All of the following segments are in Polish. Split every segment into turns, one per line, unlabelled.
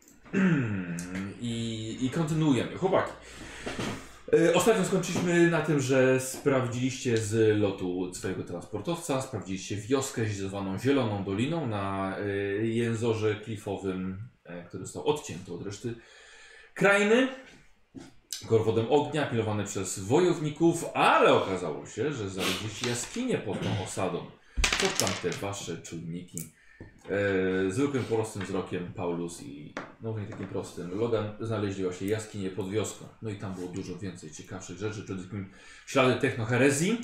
I, I kontynuujemy. Chłopaki. E, Ostatnio skończyliśmy na tym, że sprawdziliście z lotu swojego transportowca, sprawdziliście wioskę zwaną Zieloną Doliną na e, jęzorze klifowym, e, który został odcięty od reszty krainy. Gorwodem ognia, pilowany przez wojowników, ale okazało się, że znaleźliście jaskinie pod tą osadą. Co tam te wasze czujniki? E, zwykłym prostym wzrokiem Paulus i no nie takim prostym Logan znaleźli właśnie jaskinie pod wioską. No i tam było dużo więcej ciekawszych rzeczy, przede wszystkim ślady technoherezji.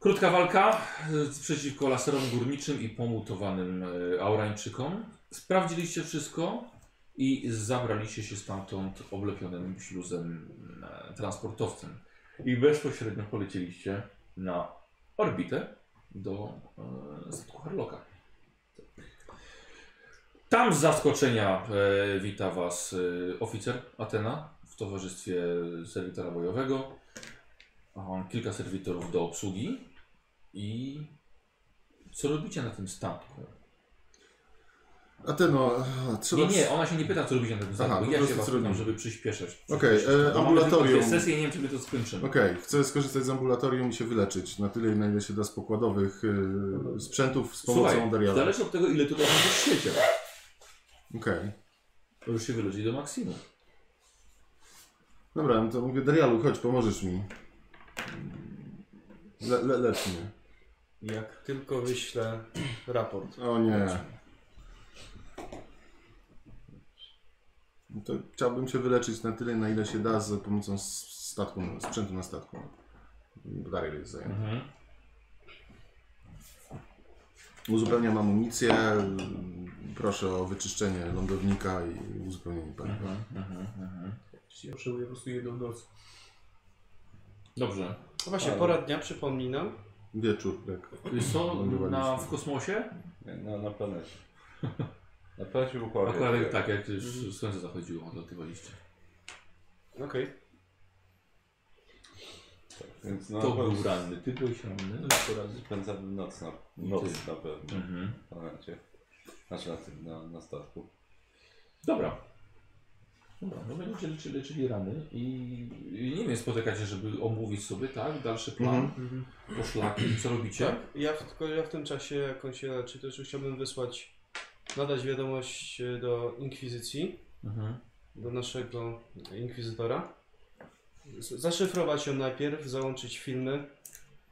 Krótka walka e, przeciwko laserom górniczym i pomutowanym e, aurańczykom. Sprawdziliście wszystko i zabraliście się stamtąd oblepionym śluzem e, transportowcem. I bezpośrednio polecieliście na orbitę do e, statku Harlocka. Tam z zaskoczenia e, wita Was e, oficer Atena w towarzystwie serwitora bojowego, a, kilka serwitorów do obsługi i co robicie na tym statku?
Ateno, a, trzeba...
Nie, nie, ona się nie pyta, co robicie na tym statku.
Aha, no po
ja się
prostu
Was
co
pytam,
robimy.
żeby przyspieszać.
Okej, e,
Bo mamy
ambulatorium.
tylko dwie sesje i nie wiem, czy my to skończymy.
Okej, chcę skorzystać z ambulatorium i się wyleczyć na tyle, na ile się da z pokładowych y, sprzętów z pomocą
Słuchaj,
Dariala. Okej.
zależy od tego, ile tu kochasz w świecie. To już się wyludzi do maksimum.
Dobra, no to mówię, Darialu, chodź, pomożesz mi. Le, le, lecz mnie.
Jak tylko wyślę raport.
O nie. No To chciałbym się wyleczyć na tyle, na ile się da za pomocą s- statku, sprzętu na statku. Darial jest zajęty.
Mhm.
Uzupełniam amunicję, proszę o wyczyszczenie lądownika i uzupełnienie paliwa.
mhm,
Ja przełuję po prostu jedną noc.
Dobrze.
No właśnie, pora dnia, przypomnij nam.
Wieczór, tak.
Wiesz co,
Lądowaliśmy.
Yy, na, w kosmosie?
Na, na planecie. Na planecie był kłopot.
Akurat jak- tak, jak już słońce zachodziło, odlatywaliście.
Okej.
Więc
No,
no, na
To
pewno
był ranny. Ty byłeś ranny?
Spędzamy noc na, noc na pewno
Mhm.
na planecie. Znaczy na, tym, na, na statku.
Dobra. Dobra, no będziecie leczyli, leczyli rany i, i nie wiem, spotykacie, żeby omówić sobie, tak? Dalszy plan,
Mhm.
poszlaki, co robicie?
Tak, ja w, tylko ja w tym czasie, jak on się leczy, też chciałbym wysłać, nadać wiadomość e, do Inkwizycji,
Mhm.
do naszego Inkwizytora. Z- Zaszyfrować ją najpierw, załączyć filmy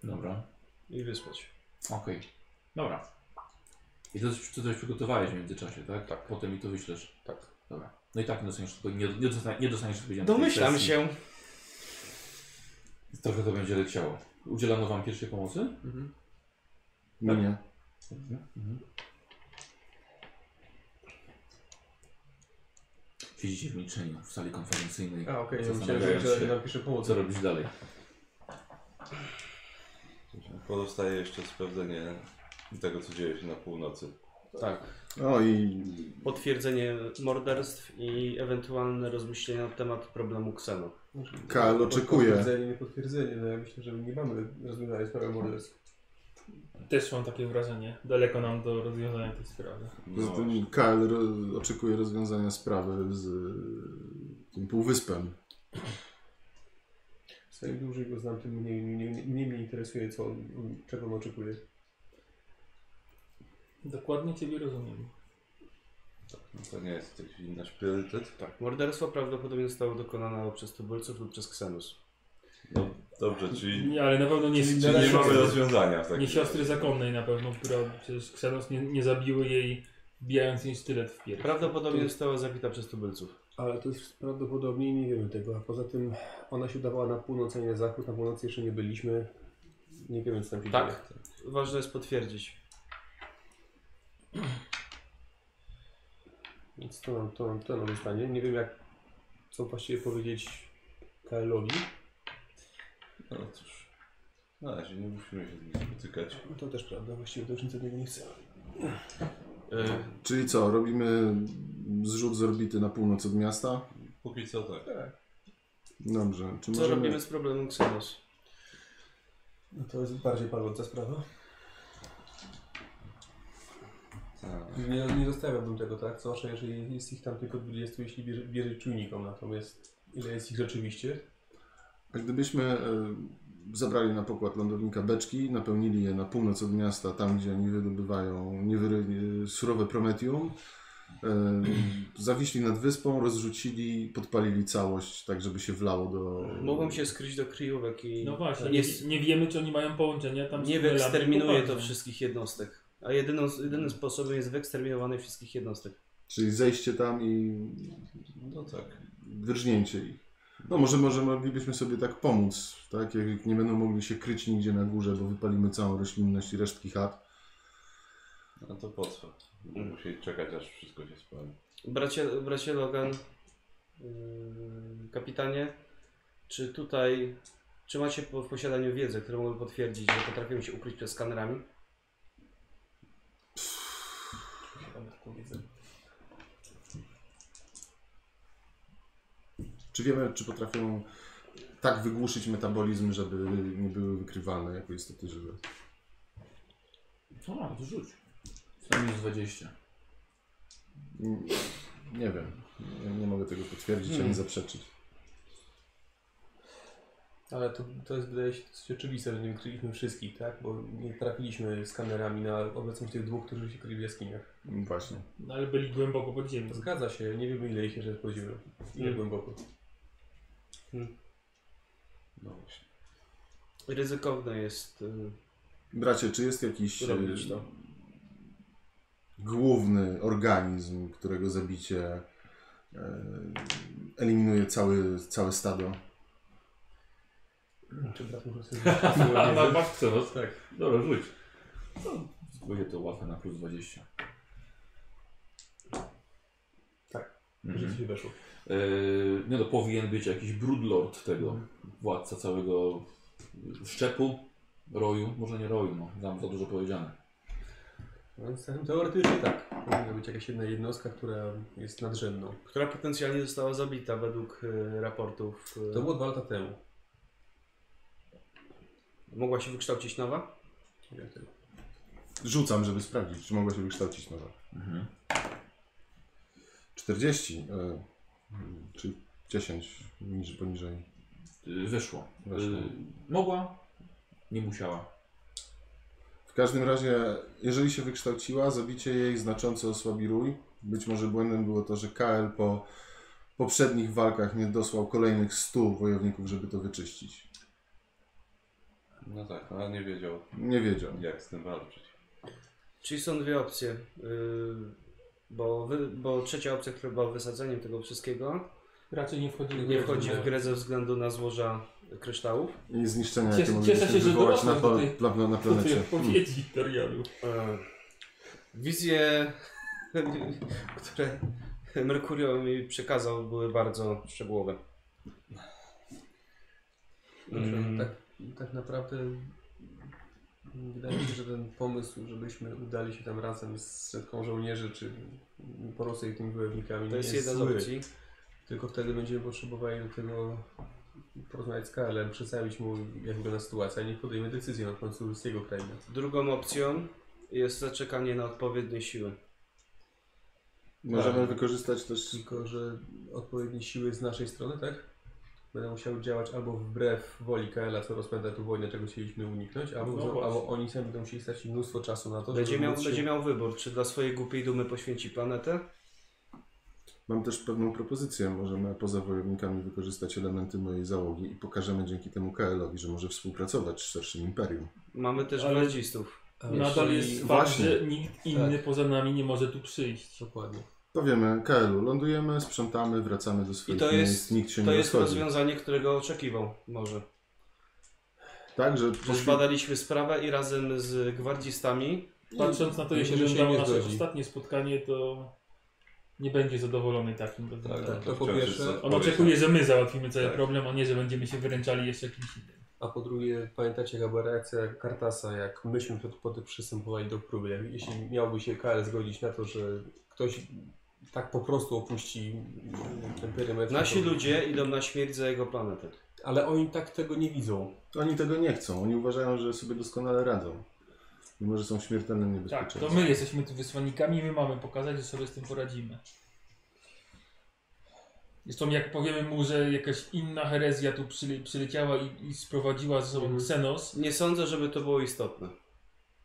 Dobra,
i wysłać.
okej. Dobra. I to, coś- to coś przygotowałeś w międzyczasie, tak? Tak. Potem mi to wyślesz.
Tak.
Dobra. No i tak nie dostaniesz, tego- nie, nie dostaniesz, nie dostaniesz odpowiedzi na tej
Domyślam
sesji.
się.
Trochę to będzie leciało. Udzielano wam pierwszej pomocy?
No nie.
Mhm. Siedzicie w milczeniu w sali konferencyjnej.
A, okej, okay, myślałem,
Zastanawiając
że,
się,
że napiszę pomoc.
co robić dalej.
Pozostaje jeszcze sprawdzenie tego, co dzieje się na północy.
Tak.
O i
Potwierdzenie morderstw i ewentualne rozmyślenia na temat problemu Kseno.
Karl oczekuje.
Potwierdzenie, nie potwierdzenie, no ja myślę, że nie mamy rozwiązania sprawy morderstw.
Też mam takie wrażenie. Daleko nam do rozwiązania tej sprawy.
Poza
No,
tym Karl ro- oczekuje rozwiązania sprawy z y, tym półwyspem.
Co Im dłużej go znam, tym mniej, mniej, mniej, mniej mnie interesuje, co on, czego on oczekuje.
Dokładnie Ciebie rozumiem.
No to nie jest w tej chwili nasz priorytet. Tak.
Morderstwo prawdopodobnie zostało dokonane albo przez tubylców lub przez Ksenus.
No, dobrze, czyli,
Nie, ale na pewno nie,
czyli nie mamy rozwiązania w takim
nie siostry
razie.
zakonnej na pewno, która przecież Ksenos nie, nie zabiły jej, wbijając jej sztylet w pierś.
Prawdopodobnie została zabita przez tubylców.
Ale to jest prawdopodobnie i nie wiemy tego. A poza tym ona się udawała na północ, a nie na zachód. Na północy jeszcze nie byliśmy. Nie wiemy, co tam się dzieje.
Tak. Ważne jest potwierdzić.
Więc to nam, to nam, to nam zostanie. Nie wiem, jak co właściwie powiedzieć KL-owi.
No cóż. Na razie nie musimy się z nim spotykać.
To też prawda, właściwie to już nic od niego nie chcę.
E,
No,
Czyli co, robimy zrzut z orbity na północ od miasta?
Póki co tak.
Dobrze. Czy
Co
możemy...
robimy z problemem Xenos?
No to jest bardziej paląca sprawa. Nie, nie zostawiałbym tego, tak? Zwłaszcza jeżeli jest ich tam tylko 20, jeśli bierze- wierzyć czujnikom. Natomiast ile jest ich rzeczywiście?
A Gdybyśmy e, zabrali na pokład lądownika beczki, napełnili je na północ od miasta, tam gdzie oni wydobywają niewyry, e, surowe prometium, e, zawiśli nad wyspą, rozrzucili, podpalili całość, tak żeby się wlało do...
Mogą się skryć do kryjówek i
No właśnie,
nie,
nie, nie wiemy czy oni mają połączenia tam z
nie
tunelami.
wyeksterminuje to
Popatrzmy.
wszystkich jednostek. A jedyną, jedynym sposobem jest wyeksterminowanie wszystkich jednostek.
Czyli zejście tam i
No tak.
wyrżnięcie ich. No może, może moglibyśmy sobie tak pomóc, tak? Jak nie będą mogli się kryć nigdzie na górze, bo wypalimy całą roślinność i resztki chat.
No to po co? Musieli czekać aż wszystko się spali.
Bracie, bracie Logan, yy, kapitanie, czy tutaj, czy macie po- w posiadaniu wiedzę, którą mogę potwierdzić, że potrafią się ukryć przed skanerami?
Czy wiemy, czy potrafią tak wygłuszyć metabolizm, żeby nie były wykrywalne jako istoty żywe?
A, to rzuć. Co najmniej jest 20.
Mm, Nie wiem. Nie, nie mogę tego potwierdzić ani zaprzeczyć.
Ale to, to jest wydaje się dosyć oczywiste, że nie wykryliśmy wszystkich, tak? Bo nie trafiliśmy skanerami na obecność tych dwóch, którzy się kryli w jaskiniach.
Mm, Właśnie.
No, ale byli głęboko pod ziemią.
Zgadza się, nie wiemy ile ich jeszcze jest podziemia. Ile
Mm.
głęboko.
No właśnie.
Ryzykowne jest yy,
Bracie, czy jest jakiś e,
robić to.
główny organizm, którego zabicie e, eliminuje cały, całe stado?
Czy brat może sobie
A,
zresztą-
na masz ksenos?
Tak.
Dobra, rzuć. No, będzie to łatwe na plus 20.
Tak.
Mhm.
Że ci się weszło.
Yy, nie no, powinien być jakiś broodlord tego, władca całego szczepu, roju, może nie roju, no, tam za dużo powiedziane.
No, zatem teoretycznie tak. Powinna być jakaś jedna jednostka, która jest nadrzędną.
Która potencjalnie została zabita według yy, raportów. Yy,
To było dwa lata temu.
Mogła się wykształcić nowa?
Nie wiem tego.
Rzucam, żeby sprawdzić, czy mogła się wykształcić nowa.
Mhm.
40, e, czy 10 niż poniżej.
Yy, wyszło.
Weszło.
Yy, mogła, nie musiała.
W każdym razie, jeżeli się wykształciła, zabicie jej znacząco osłabi rój. Być może błędem było to, że KL po poprzednich walkach nie dosłał kolejnych 100 wojowników, żeby to wyczyścić.
No tak, ale nie wiedział
Nie wiedział.
jak z tym walczyć.
Czyli są dwie opcje. Yy, bo, wy, bo trzecia opcja, która była wysadzeniem tego wszystkiego,
Raczej nie wchodzi
nie wchodzi w grę ze względu na złoża kryształów.
I zniszczenia,
Cieszę-
jakie
cieszę
mogliśmy
się, że
wywołać na,
dorosłem
pla-
do tej-
pla- na
To ty
planecie. Hmm.
odpowiedzi, Darialu.
E, Wizje, które Merkurio mi przekazał, były bardzo szczegółowe.
Znaczy,
Mm.
tak, tak naprawdę wydaje mi się, że ten pomysł, żebyśmy udali się tam razem z setką żołnierzy czy po prostu tymi wojownikami
To
nie
jest jedna z
zły.
opcji.
Tylko wtedy będziemy potrzebowali do tego porozmawiać z KL-em, przedstawić mu jak wygląda sytuacja, niech podejmie decyzję na końcu z jego krainy.
Drugą opcją jest zaczekanie na odpowiednie siły.
Możemy
Tak.
wykorzystać też
Tylko, że odpowiednie siły z naszej strony, tak? Będą musiały działać albo wbrew woli KL-a, co rozpędza tu wojnę, czego chcieliśmy uniknąć, albo,
No właśnie.
albo oni sami będą musieli stracić mnóstwo czasu na to,
Będzie
żeby
miał,
móc się-
będzie miał wybór, czy dla swojej głupiej dumy poświęci planetę,
Mam też pewną propozycję. Możemy poza wojownikami wykorzystać elementy mojej załogi i pokażemy dzięki temu KL-owi, że może współpracować z szerszym imperium.
Mamy też
Ale-
wledzistów.
Ale
Nadal
jeśli-
jest fakt,
właśnie.
że
Tak.
nikt inny poza nami nie może tu przyjść.
Dokładnie.
Powiemy KL-u, lądujemy, sprzątamy, wracamy do swoich
to
miejsc,
jest-
nikt się
To
nie
jest
rozchodzi.
rozwiązanie, którego oczekiwał może.
Tak, że
Że zbadaliśmy sprawę i razem z gwardzistami
Patrząc na to, jak
Myślę, że się
wyglądało
nie
nasze
zgodzi.
ostatnie spotkanie, to nie będzie zadowolony takim
Tak,
rozwiązaniem.
tak,
tak,
to po pierwsze.
On oczekuje, że my załatwimy cały
Tak.
problem, a nie, że będziemy się wyręczali jeszcze kimś innym.
A po drugie, pamiętacie jaka była reakcja Kartasa, jak myśmy przed- potem przystępowali do próby. Jak, jeśli miałby się KL zgodzić na to, że ktoś tak po prostu opuści ten perymetr.
nasi
to-
ludzie idą na śmierć za jego planetę.
Ale oni tak tego nie widzą.
oni tego nie chcą. Oni uważają, że sobie doskonale radzą. Mimo, że są w śmiertelnym
Tak,
niebezpieczeństwie.
to my jesteśmy tu wysłannikami i my mamy pokazać, że sobie z tym poradzimy. Zresztą jak powiemy mu, że jakaś inna herezja tu przyle, przyleciała i, i sprowadziła ze sobą
Mhm.
Xenos,
Nie sądzę, żeby to było istotne.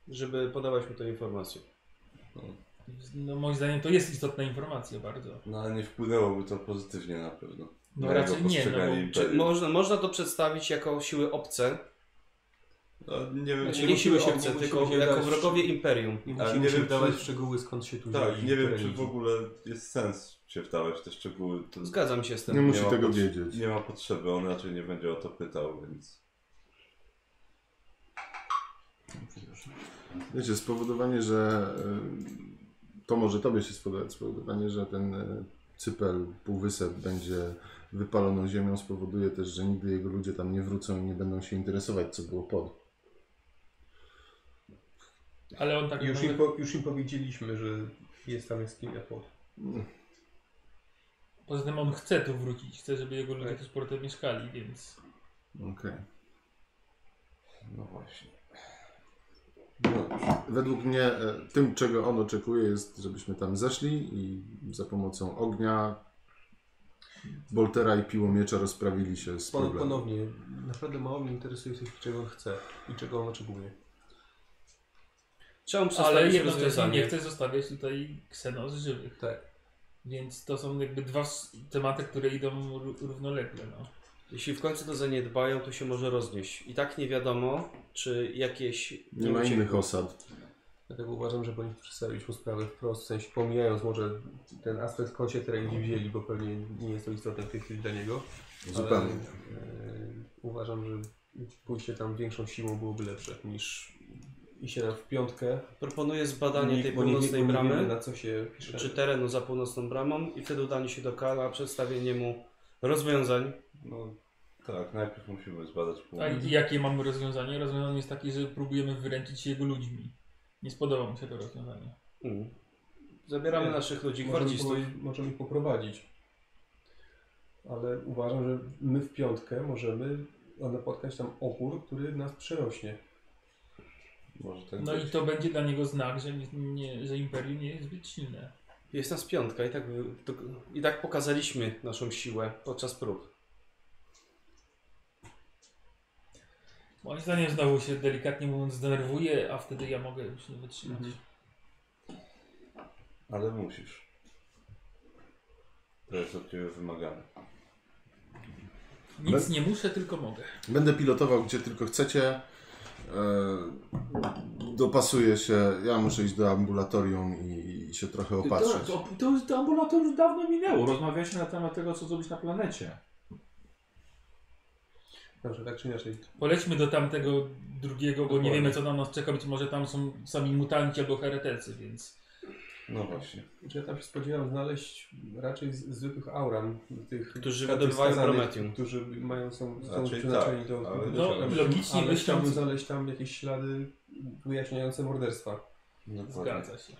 Żeby podawać mu tę informację.
no moim zdaniem to jest istotna informacja bardzo.
No ale nie wpłynęłoby to pozytywnie na pewno.
No
Na jego
raczej nie, no bo
postrzeganie
Czy
imperium.
można, można to przedstawić jako siły obce?
No, nie wiem,
Znaczy,
czy...
Nie, siły
musimy się-
obce,
nie
tylko
musimy się
jako
dać-
wrogowie Imperium.
Nie
Ale
musimy
nie
się
wiem,
wdawać
czy-
w szczegóły, skąd się tu
Tak,
wzięli
nie wiem, czy
tereni.
w ogóle jest sens się wdawać w te szczegóły. To
Zgadzam się z
Nie
tym.
musi
ma
tego
pot-
wiedzieć.
Nie ma potrzeby, on raczej nie będzie o to pytał, więc...
Wiecie, spowodowanie, że y, to może tobie się spodobać, spowodowanie, że ten y, cypel, półwysep będzie wypaloną ziemią spowoduje też, że nigdy jego ludzie tam nie wrócą i nie będą się interesować, co było pod.
Ale on tak
Już im,
naprawdę-
po, już im powiedzieliśmy, że jest tam jaskinia pod.
poza tym on chce tu wrócić, chce, żeby jego
Tak.
ludzie tu z portem mieszkali, więc
Okej.
No właśnie. No dobrze.
Według mnie e, tym, czego on oczekuje, jest, żebyśmy tam zeszli i za pomocą ognia, boltera i piłomiecza rozprawili się z
Pon,
problemem.
ponownie, naprawdę mało mnie interesuje coś, czego on chce i czego on oczekuje.
Trzeba mu
ale
przedstawić
jednocześnie nie
rozwiązanie.
chce zostawiać tutaj Xenos żywych.
Tak.
Więc to są jakby dwa s- tematy, które idą ró- równolegle, no.
Jeśli w końcu to zaniedbają, to się może roznieść. I tak nie wiadomo, czy jakieś...
Nie ma
uciekło.
innych osad.
Dlatego uważam, że powinniśmy przedstawić mu sprawę wprost, w sensie pomijając może ten aspekt skąd się teren gdzie wzięli, bo pewnie nie jest to istotne w tej chwili dla niego.
Zupełnie.
Ale, e, uważam, że pójście tam większą siłą byłoby lepsze niż iść na w piątkę.
Proponuję zbadanie
Nie-
tej
bo nie-
północnej
bo nie wiemy,
bramy,
na co się pisze.
czy terenu za północną bramą i wtedy udanie się do Kala, przedstawienie mu rozwiązań.
No tak, najpierw musimy zbadać pół.
A Tak, i jakie mamy rozwiązanie? Rozwiązanie jest takie, że próbujemy wyręczyć się jego ludźmi. Nie spodoba mu się to rozwiązanie.
Mm. Zabieramy
Nie.
naszych ludzi
Możemy, ich
gwardzistów.
poprowadzić- możemy ich poprowadzić. Ale uważam, że my w piątkę możemy napotkać tam opór, który nas przerośnie.
Może tak
No
być.
i to będzie dla niego znak, że, nie- nie, że imperium nie jest zbyt silne.
Jest nas piątka i tak, to, i tak pokazaliśmy naszą siłę podczas prób.
Moim zdaniem znowu się delikatnie mówiąc zdenerwuje, a wtedy ja mogę już nie wytrzymać.
Mhm. Ale musisz. To jest od ciebie wymagane.
Nic
Bez-
nie muszę, tylko mogę.
Będę pilotował gdzie tylko chcecie. E, dopasuję się. Ja muszę iść do ambulatorium i, i się trochę
To,
tak,
opatrzyć.
to, to, to ambulator już dawno minęło. Rozmawialiście na temat tego, co zrobić na planecie.
Dobrze, tak czy inaczej.
Polećmy do tamtego drugiego, bo
Dokładnie.
nie wiemy co tam nas czeka. Być może tam są sami mutanci albo heretycy, więc
No właśnie.
Ja tam się spodziewam znaleźć raczej z, zwykłych auran, tych
Którzy
tych
wydobywają
skazanych,
Prometium.
którzy mają, są, są
Raczej
przeznaczeni
tak,
do...
ale-
do
No,
czegoś.
logicznie
ale
myśląc-
chciałbym znaleźć tam jakieś ślady wyjaśniające morderstwa.
Dokładnie.
zgadza się.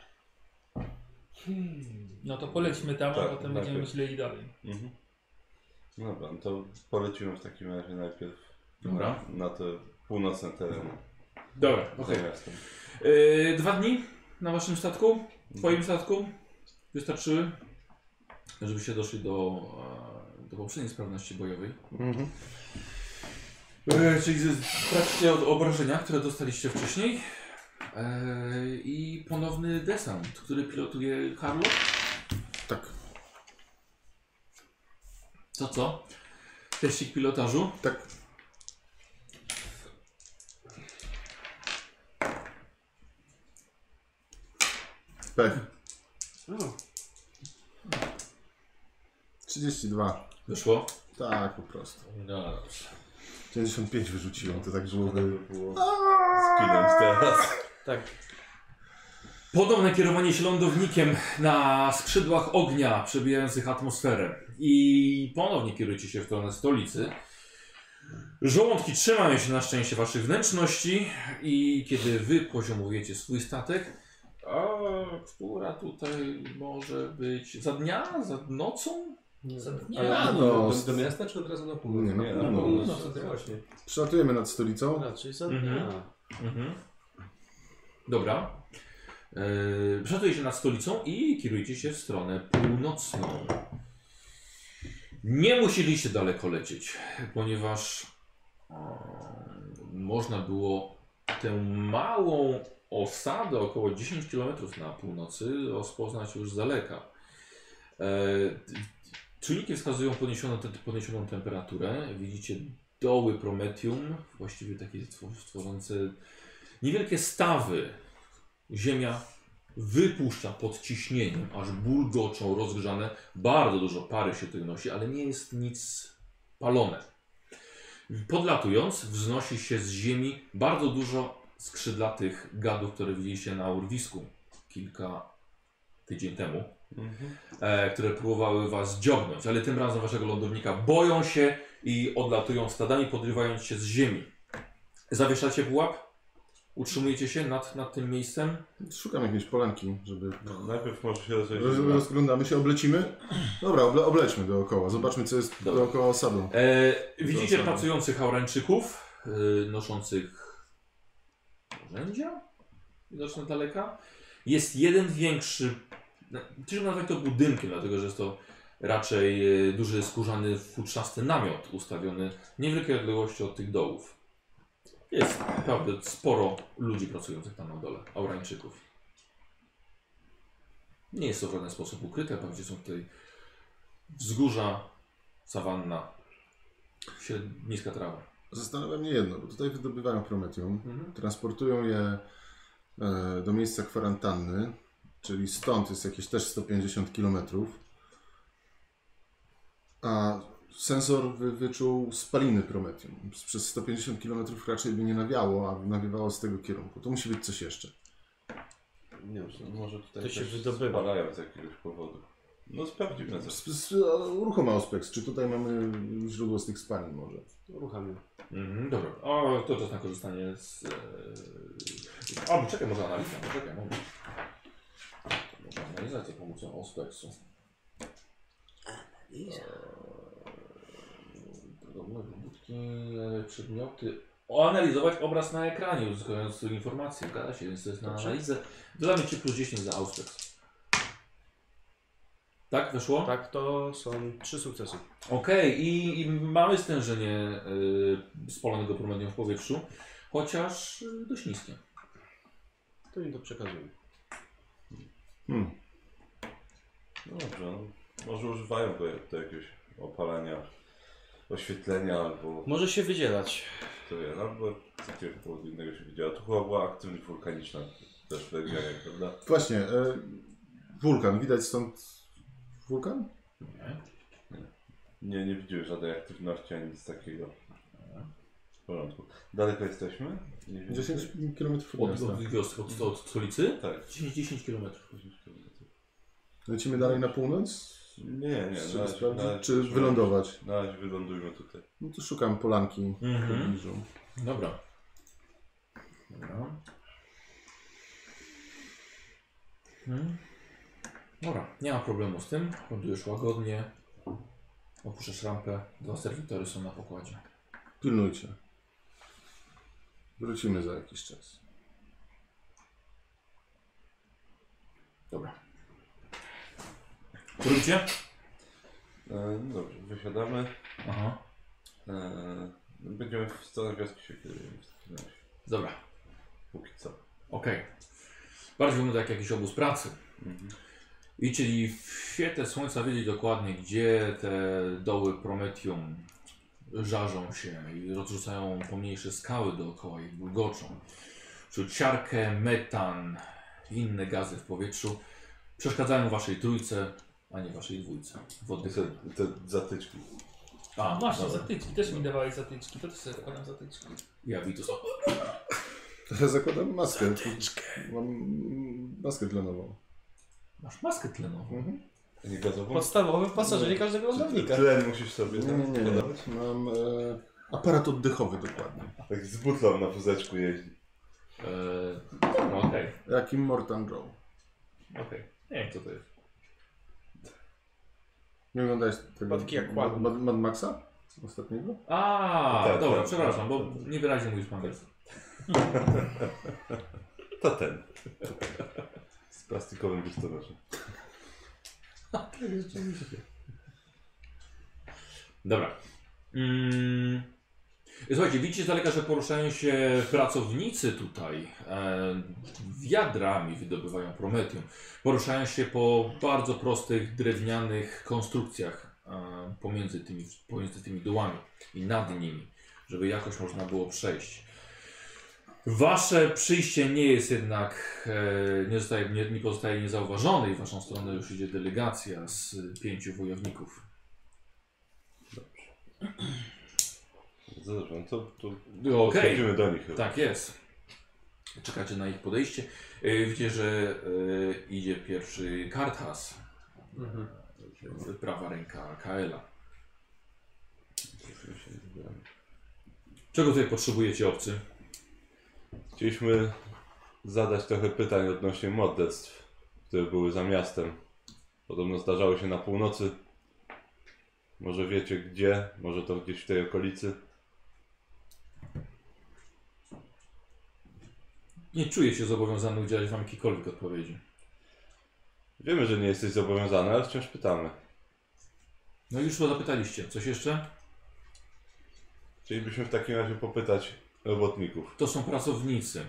No to polećmy tam,
Tak,
a potem będziemy
najpierw.
myśleli dalej.
Mhm. Dobra, no to poleciłem w takim razie najpierw
Dobra.
na te północne tereny.
Dobra,
Okay.
okej.
Za miastem.
Yy, dwa dni na waszym statku, twoim statku wystarczyły, żebyście doszli do, e, do poprzedniej sprawności bojowej.
Mhm.
E, czyli stracicie od obrażenia, które dostaliście wcześniej. E, I ponowny desant, który pilotuje Harlow.
Tak,
To co? Teścik pilotażu.
tak. Pech.
O,
32.
Wyszło.
Tak, po prostu.
No.
95 wyrzuciłem, to tak
To
byłoby...
by było zginąć teraz.
tak.
Podobne kierowanie się lądownikiem na skrzydłach ognia przebijających atmosferę. I ponownie kierujecie się w stronę stolicy. Żołądki trzymają się na szczęście waszych wnętrzności i kiedy wy poziomujecie swój statek, a która tutaj może być za dnia, za nocą? Za dnia.
Ale
no,
do,
z-
do, do miasta czy od razu na północ?
Nie, na
Nie,
pewno.
no,
to właśnie.
Przelatujemy nad stolicą.
Raczej za
Mhm.
dnia.
Mhm. Dobra. Yy, Przetujecie nad stolicą i kierujecie się w stronę północną. Nie musieliście daleko lecieć, ponieważ e, można było tę małą osadę, około 10 km na północy, rozpoznać już z daleka. E, t- Czujniki wskazują podniesioną, te- podniesioną temperaturę. Widzicie doły Prometium, właściwie takie stwor- tworzące niewielkie stawy ziemia wypuszcza pod ciśnieniem, aż bulgoczą rozgrzane. Bardzo dużo pary się tutaj nosi, ale nie jest nic palone. Podlatując, wznosi się z ziemi bardzo dużo skrzydlatych gadów, które widzieliście na urwisku kilka tydzień temu, e, które próbowały was dziobnąć, ale tym razem waszego lądownika boją się i odlatują stadami, podrywając się z ziemi. Zawieszacie pułap? Utrzymujecie się nad, nad tym miejscem?
Szukam jakiejś polanki, żeby...
No, najpierw może się zacząć...
Roz- Rozglądamy się, oblecimy? Dobra, oble, oblećmy dookoła, zobaczmy co jest
Dobra.
dookoła osadą.
E, widzicie
Zasadne.
pracujących Haurańczyków, e, noszących narzędzia widoczne z daleka. Jest jeden większy, no, ciężko nazwać to budynkiem, dlatego że jest to raczej e, duży skórzany futrzasty namiot ustawiony w niewielkiej odległości od tych dołów. Jest naprawdę sporo ludzi pracujących tam na dole, Aurańczyków. Nie jest to w żaden sposób ukryte, bardziej są tutaj wzgórza, sawanna, Śred... Niska trawa.
Zastanawia mnie jedno, bo tutaj wydobywają prometium, transportują je e, do miejsca kwarantanny, czyli stąd jest jakieś też 150 km. A sensor wy, wyczuł spaliny prometium. Przez 150 km raczej by nie nawiało, a nawiewało z tego kierunku. To musi być coś jeszcze.
Nie wiem, no może tutaj
To się
też
wydobywa.
spalają z jakiegoś powodu. No sprawdzimy coś.
S- s- a, Uruchom Auspex, czy tutaj mamy źródło z tych spalin może?
Uruchamiam.
Mhm, dobra. O, to czas na korzystanie z... E... O, czekaj, może analiza. Czekaj, moment. Może analizację pomocą ospeksu. E, Podobne wybudki, e, przedmioty. O, analizować obraz na ekranie, uzyskując informacje. Gada się, więc to jest na
Dobrze.
analizę. Dodamy Ci plus 10 za Auspex. Tak, wyszło?
Tak, to są trzy sukcesy.
Okej, i, i mamy stężenie y, spalonego promedium w powietrzu, chociaż y, dość niskie.
To im to przekazuję.
Hmm.
No dobrze, no. może używają do, do jakiegoś opalania, oświetlenia albo...
Może się wydzielać.
To ja, no bo z jakiegoś powodu innego się widziała. Tu chyba była aktywność wulkaniczna też w regionie, prawda?
Właśnie, e, wulkan. Widać stąd wulkan?
Nie, nie widziałem żadnej aktywności ani nic takiego. W porządku. Daleko jesteśmy? Nie wiem.
10 km od
Od,
miasta.
od, wiosek, od, od stolicy?
Tak.
10, 10 km.
Lecimy dalej na północ?
Nie, nie, no,
Czy
na razie-
sprawdzić,
na razie-
czy wylądować?
Na razie wylądujmy tutaj.
No to szukam polanki w
Mhm.
pobliżu.
Dobra. Dobra. Mhm. Dobra, nie ma problemu z tym. Lądujesz łagodnie. Opuszczasz rampę. Dwa serwitory są na pokładzie.
Pilnujcie. Wrócimy za jakiś czas.
Dobra. Wróćcie?
E, no dobrze, wysiadamy.
Aha.
E, będziemy w stronę wioski się kierujemy. w takim razie.
Dobra.
Póki co.
Okej. Bardziej wygląda jak jakiś obóz pracy.
Mhm.
I czyli w świetle słońca wiedzieć dokładnie, gdzie te doły Prometium żarzą się i rozrzucają pomniejsze skały dookoła i bulgoczą. Czuć siarkę, metan i inne gazy w powietrzu przeszkadzają waszej trójce, a nie waszej dwójce.
I
Wodnych.
Te, te zatyczki.
A,
No Właśnie,
dobra.
zatyczki. Też mi dawali zatyczki. To też sobie zakładam zatyczki.
Ja witus. O,
Teraz zakładam maskę. Mam maskę tlenową.
Masz maskę tlenową.
Mhm.
A Nie gazową?
Podstawowy pasażer każdego lądownika.
Tlen musisz sobie
Nie,
tam
nie, nie.
podawać.
Mam e, aparat oddechowy dokładnie.
Tak z butlą na wózeczku jeździ.
Eee, dobra, okej.
Jakim Mortan Row.
okej. Nie wiem co to jest.
Nie oglądałeś tego
Podki jak
Mad,
kładł.
Mad, Mad Maxa? Ostatniego?
A,
Tak,
dobra,
tak,
przepraszam,
tak,
bo
tak.
niewyraźnie mówisz po angielsku.
To ten. Z plastikowym biustonoszem. Tak,
Dobra. Mm. Słuchajcie, widzicie z daleka, że poruszają się pracownicy tutaj. E, wiadrami wydobywają prometium. Poruszają się po bardzo prostych, drewnianych konstrukcjach e, pomiędzy, tymi, pomiędzy tymi dołami i nad nimi, żeby jakoś można było przejść. Wasze przyjście nie jest jednak, e, nie, zostaje, nie, nie pozostaje niezauważone i w waszą stronę już idzie delegacja z pięciu wojowników.
Dobrze, no to, to
Okej.
przejdziemy do nich. chyba.
Tak jest. Czekacie na ich podejście. Yy, Widzicie, że yy, idzie pierwszy Karthas,
Mhm.
prawa ręka Kaela. Czego tutaj potrzebujecie obcy?
Chcieliśmy zadać trochę pytań odnośnie morderstw, które były za miastem. Podobno zdarzały się na północy. Może wiecie gdzie, może to gdzieś w tej okolicy.
Nie czuję się zobowiązany udzielać wam jakiejkolwiek odpowiedzi.
Wiemy, że nie jesteś zobowiązany, ale wciąż pytamy.
No już to zapytaliście. Coś jeszcze?
Chcielibyśmy w takim razie popytać robotników.
To są pracownicy,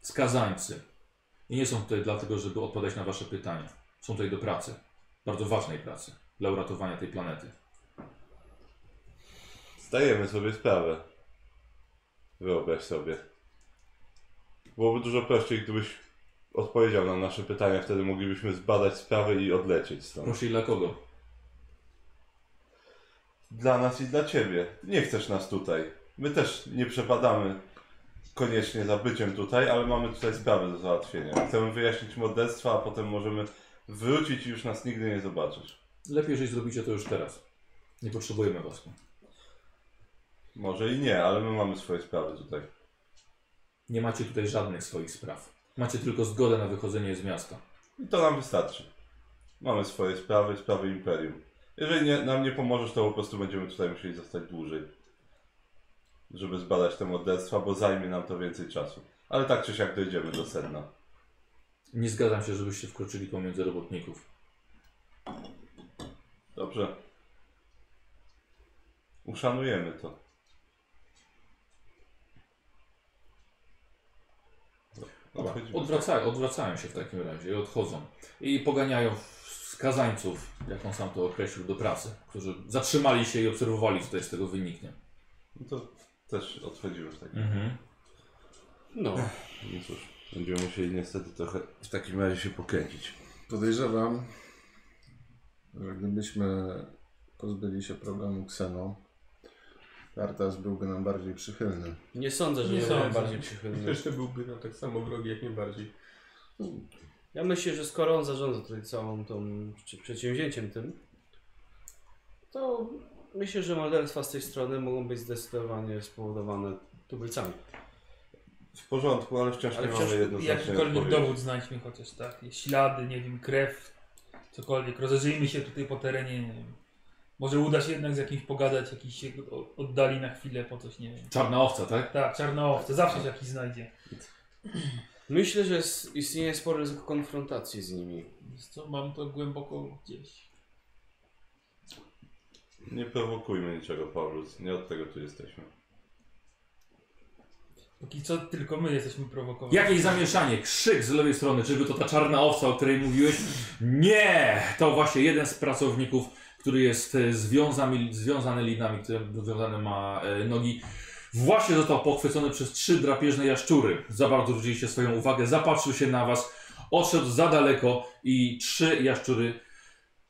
skazańcy. I nie są tutaj dlatego, żeby odpowiadać na wasze pytania. Są tutaj do pracy. Bardzo ważnej pracy. Dla uratowania tej planety.
Zdajemy sobie sprawę. Wyobraź sobie. Byłoby dużo prościej, gdybyś odpowiedział na nasze pytania, wtedy moglibyśmy zbadać sprawę i odlecieć stąd.
Proszę i dla kogo?
Dla nas i dla ciebie. Nie chcesz nas tutaj. My też nie przepadamy koniecznie za byciem tutaj, ale mamy tutaj sprawę do załatwienia. Chcemy wyjaśnić morderstwa, a potem możemy wrócić i już nas nigdy nie zobaczysz.
Lepiej, jeżeli zrobicie to już teraz. Nie potrzebujemy was. tu.
Może i nie, ale my mamy swoje sprawy tutaj.
Nie macie tutaj żadnych swoich spraw. Macie tylko zgodę na wychodzenie z miasta.
I to nam wystarczy. Mamy swoje sprawy, sprawy imperium. Jeżeli nie, nam nie pomożesz, to po prostu będziemy tutaj musieli zostać dłużej. Żeby zbadać te morderstwa, bo zajmie nam to więcej czasu. Ale tak czy siak dojdziemy do sedna.
Nie zgadzam się, żebyście wkroczyli pomiędzy robotników.
Dobrze. Uszanujemy to.
Dobra.
Odchodzimy.
Odwracają, odwracają się w takim razie i odchodzą. I poganiają skazańców, jak on sam to określił, do pracy. Którzy zatrzymali się i obserwowali, co tutaj z tego wyniknie.
No to też odchodzimy w takim
Mhm.
No.
No cóż, będziemy musieli niestety trochę w takim razie się pokręcić.
Podejrzewam, że gdybyśmy pozbyli się problemu Xeno, Tartas byłby nam bardziej przychylny.
Nie sądzę, że
Nie
nie byłem
sądzę.
bardziej przychylny.
Jeszcze byłby nam tak samo wrogi, jak nie bardziej.
Ja myślę, że skoro on zarządza tutaj całą tą czy przedsięwzięciem tym, to myślę, że morderstwa z tej strony mogą być zdecydowanie spowodowane tubylcami.
W porządku, ale wciąż
Ale
nie
wciąż
mamy jednoznacznej
Jakikolwiek
odpowiedzi.
dowód znajdźmy chociaż, tak? Ślady, nie wiem, krew, cokolwiek. Rozejrzyjmy się tutaj po terenie, nie wiem. Może uda się jednak z jakimś pogadać, jakiś się o- oddali na chwilę po coś, nie wiem.
Czarna owca, tak?
Tak, czarnoowce, zawsze się jakiś znajdzie.
Myślę, że s- istnieje spore ryzyko konfrontacji z nimi.
Więc co, mam to głęboko gdzieś.
Nie prowokujmy niczego, Paulus. Nie od tego tu jesteśmy.
Póki co tylko my jesteśmy prowokowani.
Jakieś zamieszanie, krzyk z lewej strony, czyżby to ta czarna owca, o której mówiłeś? Nie! To właśnie jeden z pracowników, który jest e, związany, związany linami, które związane ma e, nogi. Właśnie został pochwycony przez trzy drapieżne jaszczury. Za bardzo zwróciliście swoją uwagę, zapatrzył się na was, odszedł za daleko i trzy jaszczury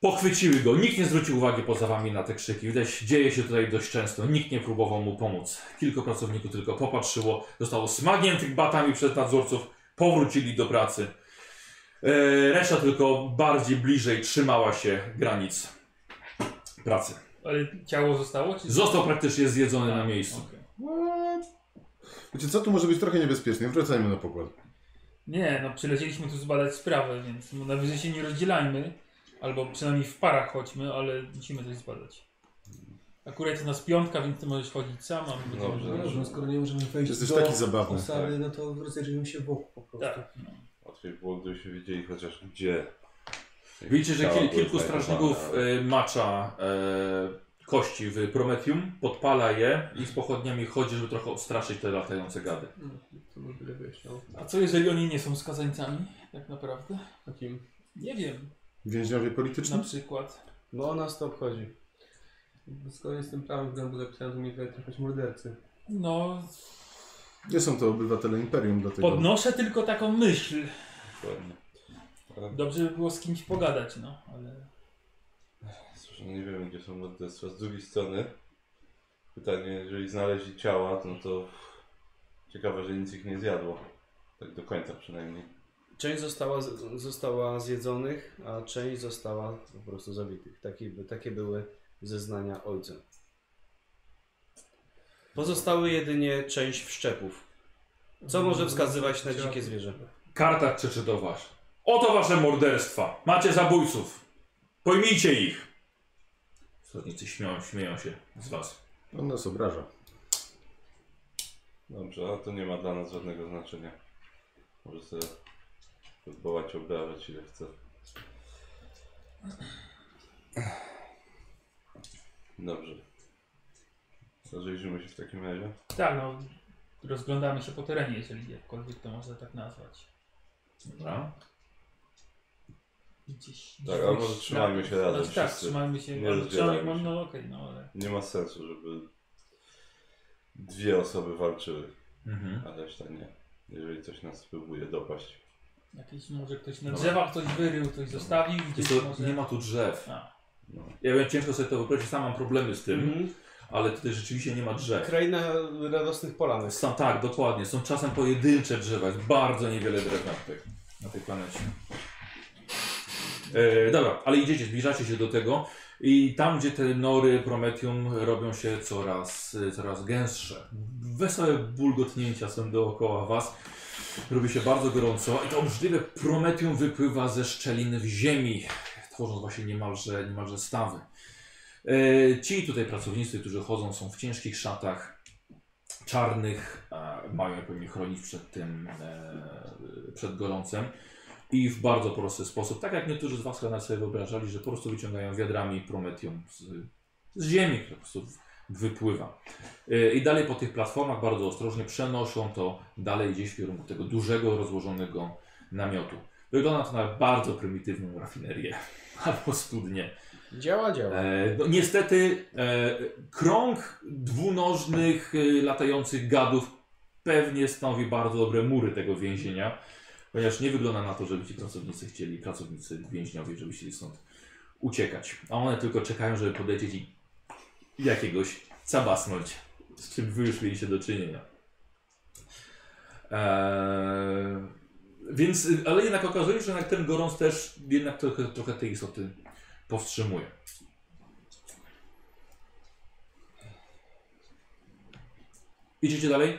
pochwyciły go. Nikt nie zwrócił uwagi poza wami na te krzyki. Widać, dzieje się tutaj dość często. Nikt nie próbował mu pomóc. Kilku pracowników tylko popatrzyło. Zostało smagniętych batami przez nadzorców. Powrócili do pracy. E, Reszta tylko bardziej bliżej trzymała się granic pracy.
Ale ciało zostało? Czy...
Został praktycznie zjedzony na miejscu.
Okej.
Wiecie co, tu może być trochę niebezpiecznie, wracajmy na pokład.
Nie, no przylecieliśmy tu zbadać sprawę, więc no, najwyżej się nie rozdzielajmy. Albo przynajmniej w parach chodźmy, ale musimy coś zbadać. Akurat jest nas piątka, więc ty możesz chodzić sam, a my będziemy
Dobrze.
No
chodzić.
dobrze, no skoro nie możemy wejść
Jesteś
do
taki zabawny.
osady, no to rozejrzyjmy się wokół po prostu.
Tak.
Łatwiej było, gdybyśmy wiedzieli chociaż gdzie.
Widzicie, że
Ciała
kil,
były
kilku strażników
znajdowane.
y, macza e, kości w Prometium, podpala je i z pochodniami chodzi, żeby trochę odstraszyć te latające gady.
No, to może tyle no. wyjaśniało.
A co jeżeli oni nie są skazańcami, tak naprawdę?
Takim
Nie wiem,
Więźniowie
na
No.
polityczni?
przykład.
Bo ona to obchodzi.
zgodnie z tym prawem, którym był zapisany, to mieli trafiać mordercy.
No,
Nie są to obywatele imperium, dlatego...
podnoszę tylko taką myśl.
Dokładnie.
Dobrze by było z kimś pogadać, no, ale...
Cóż, no nie wiemy gdzie są morderstwa. Z drugiej strony pytanie, jeżeli znaleźli ciała, no to ciekawe, że nic ich nie zjadło. Tak do końca przynajmniej.
Część została, z- została zjedzonych, a część została po prostu zabitych. Takie, by- takie były zeznania ojca. Pozostały jedynie część wszczepów. Co może wskazywać na dzikie zwierzę?
Karta krzyczy do was. Oto wasze morderstwa! Macie zabójców! Pojmijcie ich! Strażnicy śmieją, śmieją się z was.
On nas obraża.
Dobrze, ale to nie ma dla nas żadnego znaczenia. Może sobie próbować obrażać ile chce. Dobrze. Zajrzyjmy się w takim razie.
Tak, no, rozglądamy się po terenie, jeżeli jakkolwiek to można tak nazwać.
Dobra.
Gdzieś,
Tak,
gdzieś
ale może trzymajmy się razem
Znaczy, tak,
wszyscy.
trzymajmy się,
Nie
ale
rozdzielajmy
trzymajmy,
się.
no okej, no ale...
Nie ma sensu, żeby dwie osoby walczyły,
Mhm.
a reszta nie. Jeżeli coś nas próbuje dopaść.
Jakieś może ktoś
No.
na drzewach coś wyrył, coś zostawił,
Wiesz
gdzieś
co,
może...
nie ma tu drzew.
A,
No.
Ja wiem, ciężko sobie to wyobrazić, sam mam problemy z tym, ale tutaj rzeczywiście nie ma drzew.
Kraina radosnych polanek.
Są, tak, dokładnie. Są czasem pojedyncze drzewa. Jest bardzo niewiele drzew na, tych, na tej planecie. E, dobra, ale idziecie, zbliżacie się do tego i tam, gdzie te nory Prometium robią się coraz, coraz gęstsze. Wesołe bulgotnięcia są dookoła was. Robi się bardzo gorąco i to obrzydliwe Prometium wypływa ze szczelin w ziemi, tworząc właśnie niemalże, niemalże stawy. E, ci tutaj pracownicy, którzy chodzą, są w ciężkich szatach czarnych e, mają pewnie chronić przed tym, e, przed gorącem. I w bardzo prosty sposób, tak jak niektórzy z Was chyba nawet sobie wyobrażali, że po prostu wyciągają wiadrami prometium z, z ziemi, które po prostu w- wypływa. E, I dalej po tych platformach bardzo ostrożnie przenoszą to dalej gdzieś w kierunku tego dużego, rozłożonego namiotu. Wygląda to na bardzo prymitywną rafinerię albo studnię.
Działa, działa.
E, no, niestety e, krąg dwunożnych e, latających gadów pewnie stanowi bardzo dobre mury tego więzienia, ponieważ nie wygląda na to, żeby ci pracownicy chcieli, pracownicy więźniowie, żeby chcieli stąd uciekać. A one tylko czekają, żeby podejść i jakiegoś zabasnąć, z czym wy już mieliście do czynienia. Eee, więc, y, ale jednak okazuje się, że jednak ten gorąc też jednak trochę, trochę tej istoty powstrzymuje. Idziecie dalej?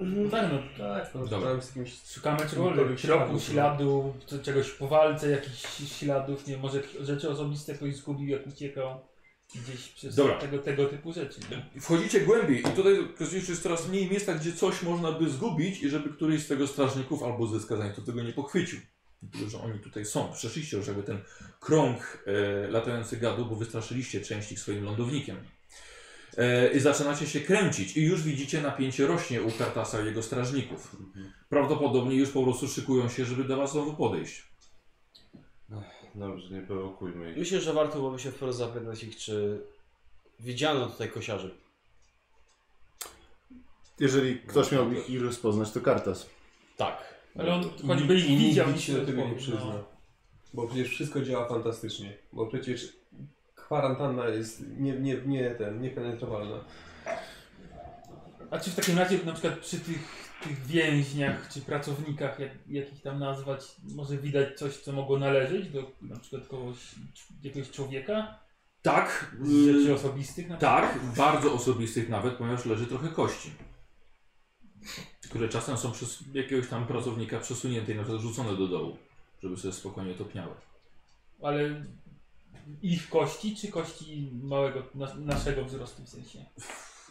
no tak, no,
Tak, no,
Dobra.
rozmawiam z kimś
szukamy
Jakiegoś
czegokolwiek, środku,
śladu.
śladu, co- czegoś po walce, jakichś śladów, nie może jakieś rzeczy osobiste ktoś zgubił, jak uciekał gdzieś przez
Dobra.
tego, tego typu rzeczy. nie?
Wchodzicie głębiej i tutaj okazuje się, że jest coraz mniej miejsca, gdzie coś można by zgubić i żeby któryś z tego strażników albo ze skazańców tego nie pochwycił. Dlatego, że oni tutaj są. Przeszliście już jakby ten krąg e, latających gadów, bo wystraszyliście część ich swoim lądownikiem. E, I zaczynacie się kręcić i już widzicie napięcie rośnie u Kartasa i jego strażników. Prawdopodobnie już po prostu szykują się, żeby do was znowu podejść.
Dobrze, no nie prowokujmy ich.
E, Myślę, że warto byłoby się wprost zapytać ich, czy widziano tutaj kosiarzy.
Jeżeli ktoś miałby ich rozpoznać, to Kartas.
Tak.
Ale on
I
choćby ich
nikt- i
widział,
nikt się do
nic
tego nie
odpowie,
przyzna.
no.
Bo przecież wszystko działa fantastycznie. Bo przecież kwarantanna jest nie, nie, nie ten, niepenetrowalna.
A czy w takim razie na przykład przy tych, tych więźniach czy pracownikach, jak, jak ich tam nazwać, może widać coś, co mogło należeć do na przykład kogoś, jakiegoś człowieka?
Tak.
Z
y,
rzeczy osobistych na przykład?
Tak, bardzo osobistych nawet, ponieważ leży trochę kości. Które czasem są przez jakiegoś tam pracownika przesunięte i na przykład rzucone do dołu, żeby sobie spokojnie topniały.
Ale ich kości, czy kości małego, nas- naszego wzrostu w sensie?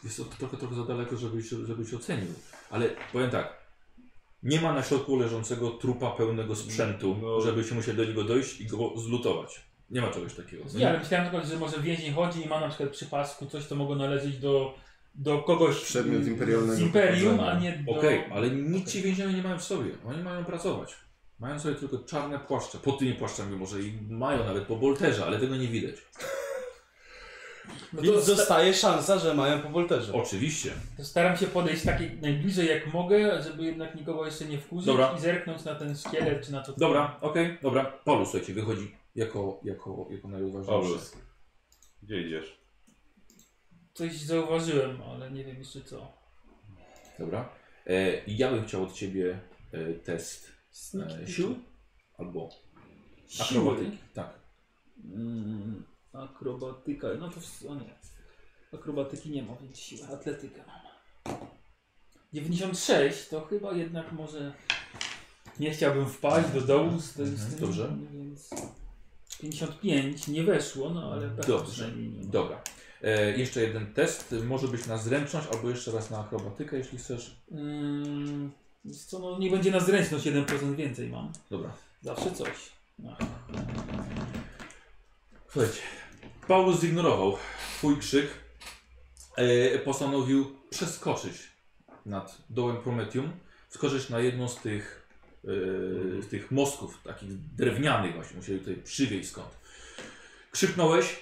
Jest to trochę, trochę za daleko, żebyś, żebyś ocenił. Ale powiem tak. Nie ma na środku leżącego trupa pełnego sprzętu,
No.
żebyśmy musieli do niego dojść i go zlutować. Nie ma czegoś takiego. No
Nie, ale myślałem na przykład, że może więzień chodzi i ma na przykład przy pasku coś, co mogło należeć do, do kogoś
Przedmiot
y,
imperialnego
z imperium,
pochodzenia.
a nie do...
Okej,
no.
ale nic ci więźniowie nie mają w sobie. Oni mają pracować. Mają sobie tylko czarne płaszcze. Pod tymi płaszczami może i mają nawet po bolterze, ale tego nie widać.
No
to
to zostaje szansa, że mają po wolterze.
Oczywiście.
To staram się podejść takiej najbliżej jak mogę, żeby jednak nikogo jeszcze nie wkurzyć
Dobra.
i zerknąć na ten szkielet czy na to.
Dobra, okej, dobra. Paulus, słuchajcie, wychodzi jako, jako, jako najuważniejszy.
Paulus. Gdzie idziesz?
Coś zauważyłem, ale nie wiem jeszcze co.
Dobra. E, ja bym chciał od ciebie e, test e, sił albo akrobatyki. Tak.
Mm, akrobatyka. No to w- o nie. Akrobatyki nie ma, więc siła. Atletyka mam. 96 to chyba jednak może. Nie chciałbym wpaść do dołu z, tej- z tym.
Mhm, Dobrze.
Więc 55 nie weszło, no ale tak
Dobrze.
przynajmniej nie ma.
Dobra. E, jeszcze jeden test. Może być na zręczność albo jeszcze raz na akrobatykę, jeśli chcesz.
Mm, wiesz co, no nie będzie na zręczność 1% więcej mam.
Dobra.
Zawsze coś. No. Ach.
Słuchajcie. Paulus zignorował twój krzyk. E, postanowił przeskoczyć nad dołem Prometium. Skoczyć na jedną z tych, e, z tych mostków, takich drewnianych właśnie. Musieli tutaj przywieźć skąd. Krzyknąłeś,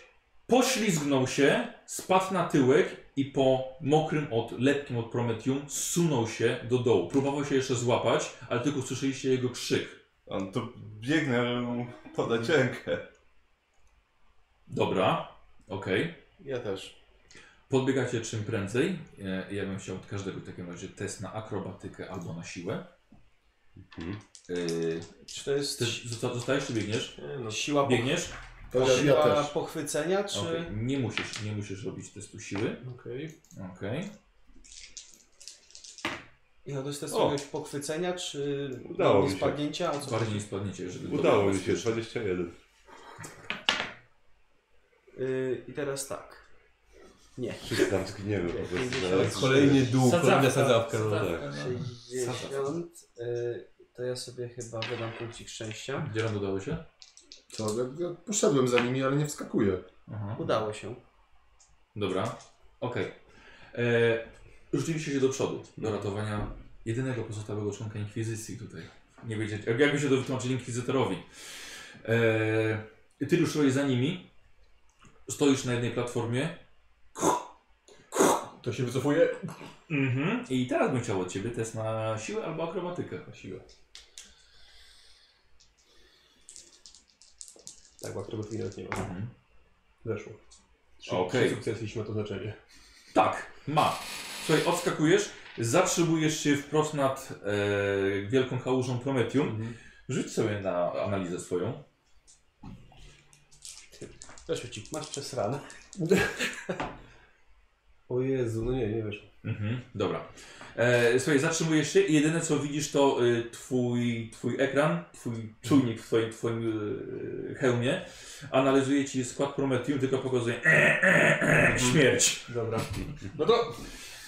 poślizgnął się, spadł na tyłek i po mokrym od, lepkim od Prometium zsunął się do dołu. Próbował się jeszcze złapać, ale tylko usłyszeliście jego krzyk.
On tu biegnę, żeby mu podać rękę.
Dobra, okej.
Ja też.
Podbiegacie czym prędzej. E, Ja bym chciał od każdego w takim razie test na akrobatykę albo na siłę. Yy,
E, Czy to jest
ty zosta- zostajesz czy biegniesz?
Nie, no,
siła, poch
Biegniesz?
To ja, ja
siła
też.
pochwycenia, czy...
Okej, Nie, musisz, nie musisz robić testu siły.
okej.
Okej.
Ja to jest test
O.
jakiegoś pochwycenia, czy
Udało
no,
mi się.
spadnięcia, a co?
Bardziej nie spadniecie, jeżeli to
Udało mi
będzie
się,
bezpieczne.
21.
Y, I teraz tak. Nie.
Wszyscy tam zginiemy po prostu. zaraz.
Kolejny dół, kolejna sadzawka. No, tak.
Sadzawka, no.
60, y, to ja sobie chyba wydam punkcik szczęścia.
Gdzie nam udało się?
Co? Ja, ja poszedłem za nimi, ale nie wskakuję.
Aha.
Udało się.
Dobra. Okej. E, Rzuciliście się do przodu do ratowania jedynego pozostałego członka inkwizycji tutaj. Nie wiedzieć, jak- jakby się to wytłumaczyli inkwizytorowi. E, ty ruszyłeś za nimi. Stoisz na jednej platformie.
To się wycofuje.
Mhm. I teraz bym chciał od ciebie test na siłę albo akrobatykę.
Na siłę. Tak, bo akrobatyki nawet nie ma.
Mhm.
Weszło. Trzy,
Okej.
trzy sukcesy, jeśli ma to znaczenie.
Tak, ma. Słuchaj, odskakujesz, zatrzymujesz się wprost nad e, wielką kałużą Prometium. Rzuć sobie na analizę swoją.
Proszę ci, masz przesrane.
O Jezu, no nie, nie weszło.
Mhm, dobra. E, słuchaj, zatrzymujesz się i jedyne co widzisz to y, twój, twój ekran, twój czujnik w twoim, twoim y, hełmie. Analizuje ci skład Prometium, tylko pokazuje e, e, e, śmierć.
Dobra.
No to...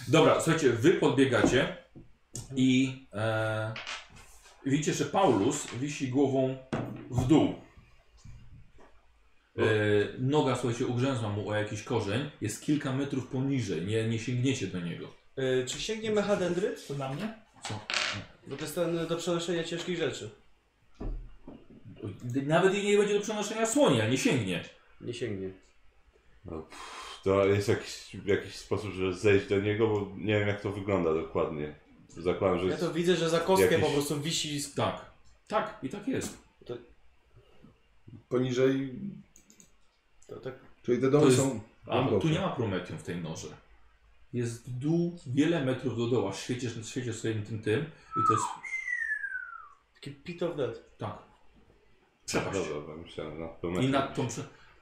Dobra, słuchajcie, wy podbiegacie i e, widzicie, że Paulus wisi głową w dół. E, noga, słuchajcie, ugrzęzła mu o jakiś korzeń. Jest kilka metrów poniżej, nie, nie sięgniecie do niego.
Y, czy sięgnie mechadendryt?
To na mnie?
Bo to jest ten e, do przenoszenia ciężkich rzeczy.
Nawet jej nie będzie do przenoszenia słonia, nie sięgnie.
Nie sięgnie.
To jest jakiś, jakiś sposób, żeby zejść do niego, bo nie wiem jak to wygląda dokładnie. Zakładam, że
Ja
jest...
to widzę, że za kostkę
Jakiś-
po prostu wisi. z-
Tak. Tak, i tak jest.
Poniżej,
To, tak.
czyli te
To
domy
jest-
są...
A,
Głęboko.
tu nie ma prometium w tej noże. Jest dół, wiele metrów do doła. Świecisz, świecisz swoim tym, tym i to jest...
Taki pit of death.
Tak. Przepaść.
No Dobra, bo myślałem na to
I nad tą... Prze...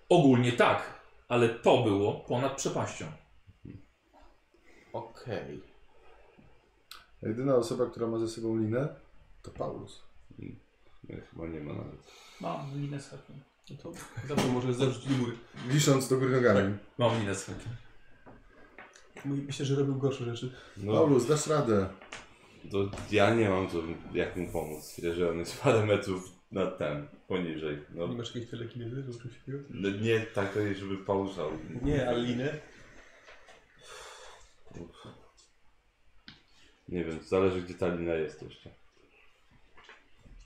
Ogólnie tak, ale to było ponad przepaścią.
Okej.
Jedyna osoba, która ma ze sobą linę, to Paulus.
Nie, Chyba nie ma nawet.
Mam linę z hakiem.
No to zawsze może zarzucić mur.
Wisząc do góry nogami.
Mam minę z hakiem.
Mówi- Myślę, że robił gorsze rzeczy.
No,
Paulus, dasz radę.
to ja nie mam co, jak mu pomóc, jeżeli on jest parę metrów nad ten, poniżej. No,
Nie masz jakiejś telekinezy, żeby czymś takiego?
no nie takiej, żeby pauszał.
Nie, ale linę.
Nie wiem, zależy gdzie ta lina jest jeszcze.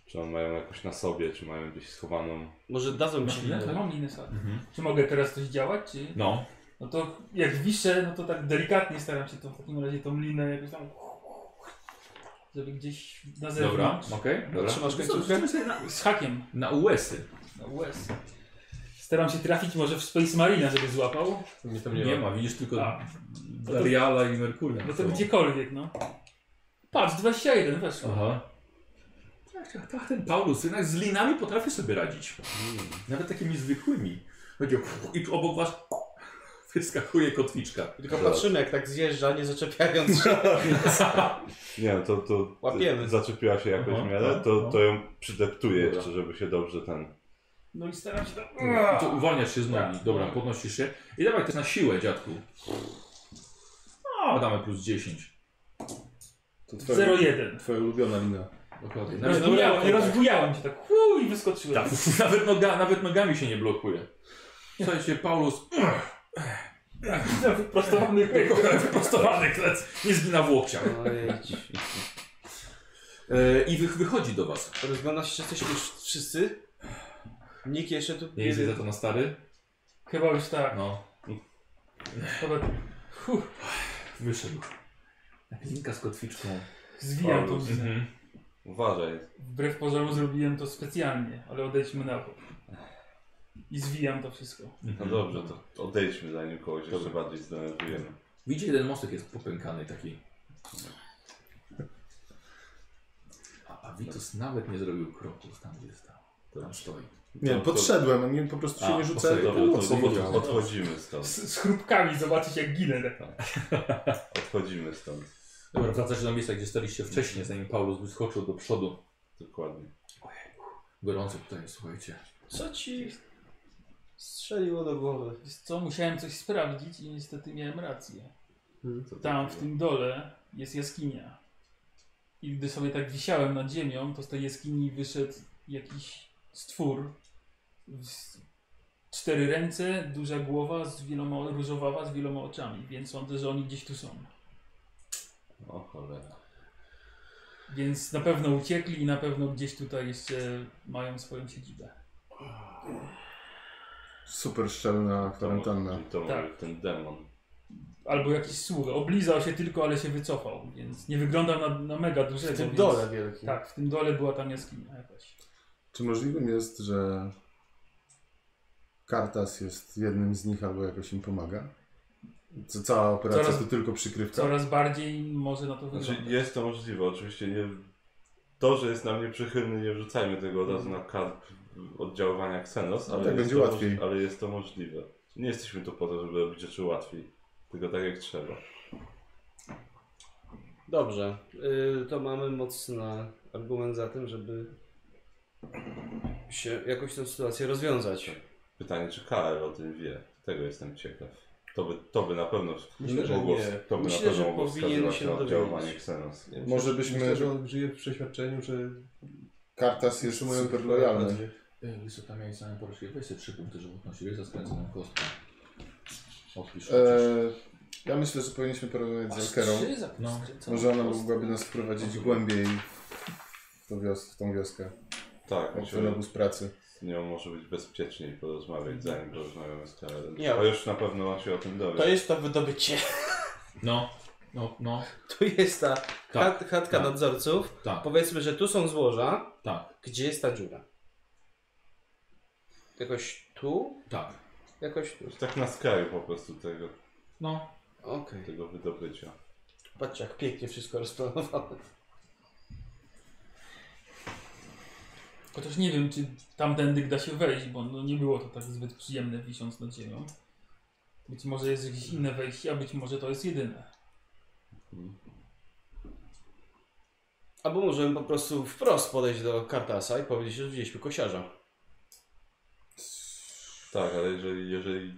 Czy on mają jakoś na sobie, czy mają gdzieś schowaną.
Może dadzą
Masz
ci
linę? To
linę.
mam linę sobie.
Mhm.
Czy mogę teraz coś działać, czy...
No.
No to jak wiszę, no to tak delikatnie staram się to w takim razie tą linę jakoś tam... Żeby gdzieś na
Dobra,
zewnątrz.
okej, dobra. No
Trzymasz końcówkę? Z hakiem
Na USy.
na łez. Staram się trafić może w Space Marina, żeby złapał.
Mnie tam nie,
Nie ma, widzisz tylko
A,
Dariala i Merkuria.
no to gdziekolwiek, no. Patrz, 21 weszło.
Aha. Tak, tak, tak, ten Paulus jednak z linami potrafi sobie radzić.
Hmm.
Nawet takimi zwykłymi. Będzie i obok was wyskakuje kotwiczka.
Tylko patrzymy, jak tak zjeżdża, nie zaczepiając się.
Nie no, to, to
Łapiemy.
zaczepiła się jakoś
Aha,
w miarę, to,
no.
to ją przydeptuje
Dobra.
jeszcze, żeby się dobrze ten.
No i staram się tak...
I
Mm.
To uwalniasz się z nogi.
Tak.
Dobra, podnosisz się. I dawaj też na siłę, dziadku. No, damy plus 10.
To twoja,
0,1.
twoja ulubiona lina.
Dokładnie. Nawet,
Rozbujałem, No, nie rozbujałem się tak. Huu, i wyskoczyłem.
tak, nawet, noga, nawet nogami się nie blokuje. Słuchajcie, Paulus
Tak. Wyprostowany pyk.
wyprostowany klec, nie zgina w łokciach. E, I wy, wychodzi do was.
Rozgląda się, czy jesteśmy już wszyscy? Nikt jeszcze tu...
Nie jesteś za to na stary?
Chyba już tak.
No,
Chyba
wyszedł. Linka z kotwiczką.
zwijam tą
Paulus.
linę.
Mhm.
Uważaj.
Wbrew pozorom zrobiłem to specjalnie, ale odejdźmy na bok. I zwijam to wszystko.
No
Mhm.
dobrze, to odejdźmy zanim kogoś jeszcze bardziej zdenerwujemy.
Widzicie, jeden mostek jest popękany taki. A Avitus nawet nie zrobił kroku tam, gdzie stał. Tam stoi.
Nie,
No, to-
podszedłem, nie, po prostu się
A,
nie rzucałem,
poseł,
tylko
Dobra,
mocno
to
poseł.
od,
widziałem.
odchodzimy stąd.
Z, z chrupkami zobaczyć jak ginę. tak.
Odchodzimy stąd.
Dobra, wracacie do miejsca, gdzie staliście wcześniej, zanim Paulus wyskoczył do przodu.
Dokładnie.
Gorąco tutaj, słuchajcie.
Co ci strzeliło do głowy?
Wiesz co, musiałem coś sprawdzić i niestety miałem rację.
Co to
Tam w
było?
tym dole jest jaskinia. I gdy sobie tak wisiałem nad ziemią, to z tej jaskini wyszedł jakiś stwór. Z- Cztery ręce, duża głowa, z wieloma, różowawa z wieloma oczami, więc sądzę, że oni gdzieś tu są.
O cholera.
Więc na pewno uciekli i na pewno gdzieś tutaj jeszcze mają swoją siedzibę.
Super szczelna
To, mo-
kwarantanna.
to może
Tak.
ten demon.
Albo jakiś sługa. Oblizał się tylko, ale się wycofał, więc nie wyglądał na, na mega dużego.
W tym
więc...
dole wielkim.
Tak, w tym dole była tam jaskinia jakaś.
Czy możliwym jest, że Kartas jest jednym z nich albo jakoś im pomaga? Co, cała operacja
Coraz-
to tylko przykrywka?
Coraz bardziej może na to wygląda.
Znaczy jest to możliwe, oczywiście nie... To, że jest nam nieprzychylny, nie wrzucajmy tego od razu na karp oddziaływania Xenos, ale,
Tak
jest
będzie
to
łatwiej.
moż- ale jest to możliwe. Nie jesteśmy tu po to, żeby robić rzeczy łatwiej, tylko tak jak trzeba.
Dobrze, y, to mamy mocny argument za tym, żeby się jakoś tę sytuację rozwiązać.
Pytanie, czy KR o tym wie? Tego jestem ciekaw. To by, to by na pewno
Myślę, że
mogło,
nie.
To by
Myślę,
na pewno
że
mogło
powinien
wskazywać
się
na
dowiedzieć.
oddziaływanie Xenos.
Może byśmy-
Myślę, że on żyje w przeświadczeniu, że
Kartas jest
Trzymają
super lojalny.
Lisy, tam miałeś same poruszki. Weź sobie trzy punkty żywotności, weź za skręconą kostkę. Odpisz.
Eee, ja myślę, że powinniśmy porozmawiać z Alkerą.
No.
Może ona mogłaby nas wprowadzić głębiej w, tą wios- w tą wioskę,
Tak,
w ten
myślę,
obóz pracy.
z nią może być bezpieczniej porozmawiać, zanim porozmawiamy z KR.
Nie.
Bo już na pewno on się o tym dowie.
To jest to wydobycie.
no, no, no,
Tu jest ta chat, chatka
tak.
nadzorców.
tak,
Powiedzmy, że tu są złoża.
tak,
Gdzie jest ta dziura? Jakoś tu?
tak.
Jakoś tu.
Tak na skraju po prostu tego,
No.
Okej.
tego wydobycia.
Patrzcie, jak pięknie wszystko rozplanowane.
Chociaż nie wiem, czy tamtędy da się wejść, bo no nie było to tak zbyt przyjemne wisząc nad ziemią. Być może jest jakieś inne wejście, a być może to jest jedyne.
Albo możemy po prostu wprost podejść do Kartasa i powiedzieć, że widzieliśmy kosiarza.
Tak, ale jeżeli, jeżeli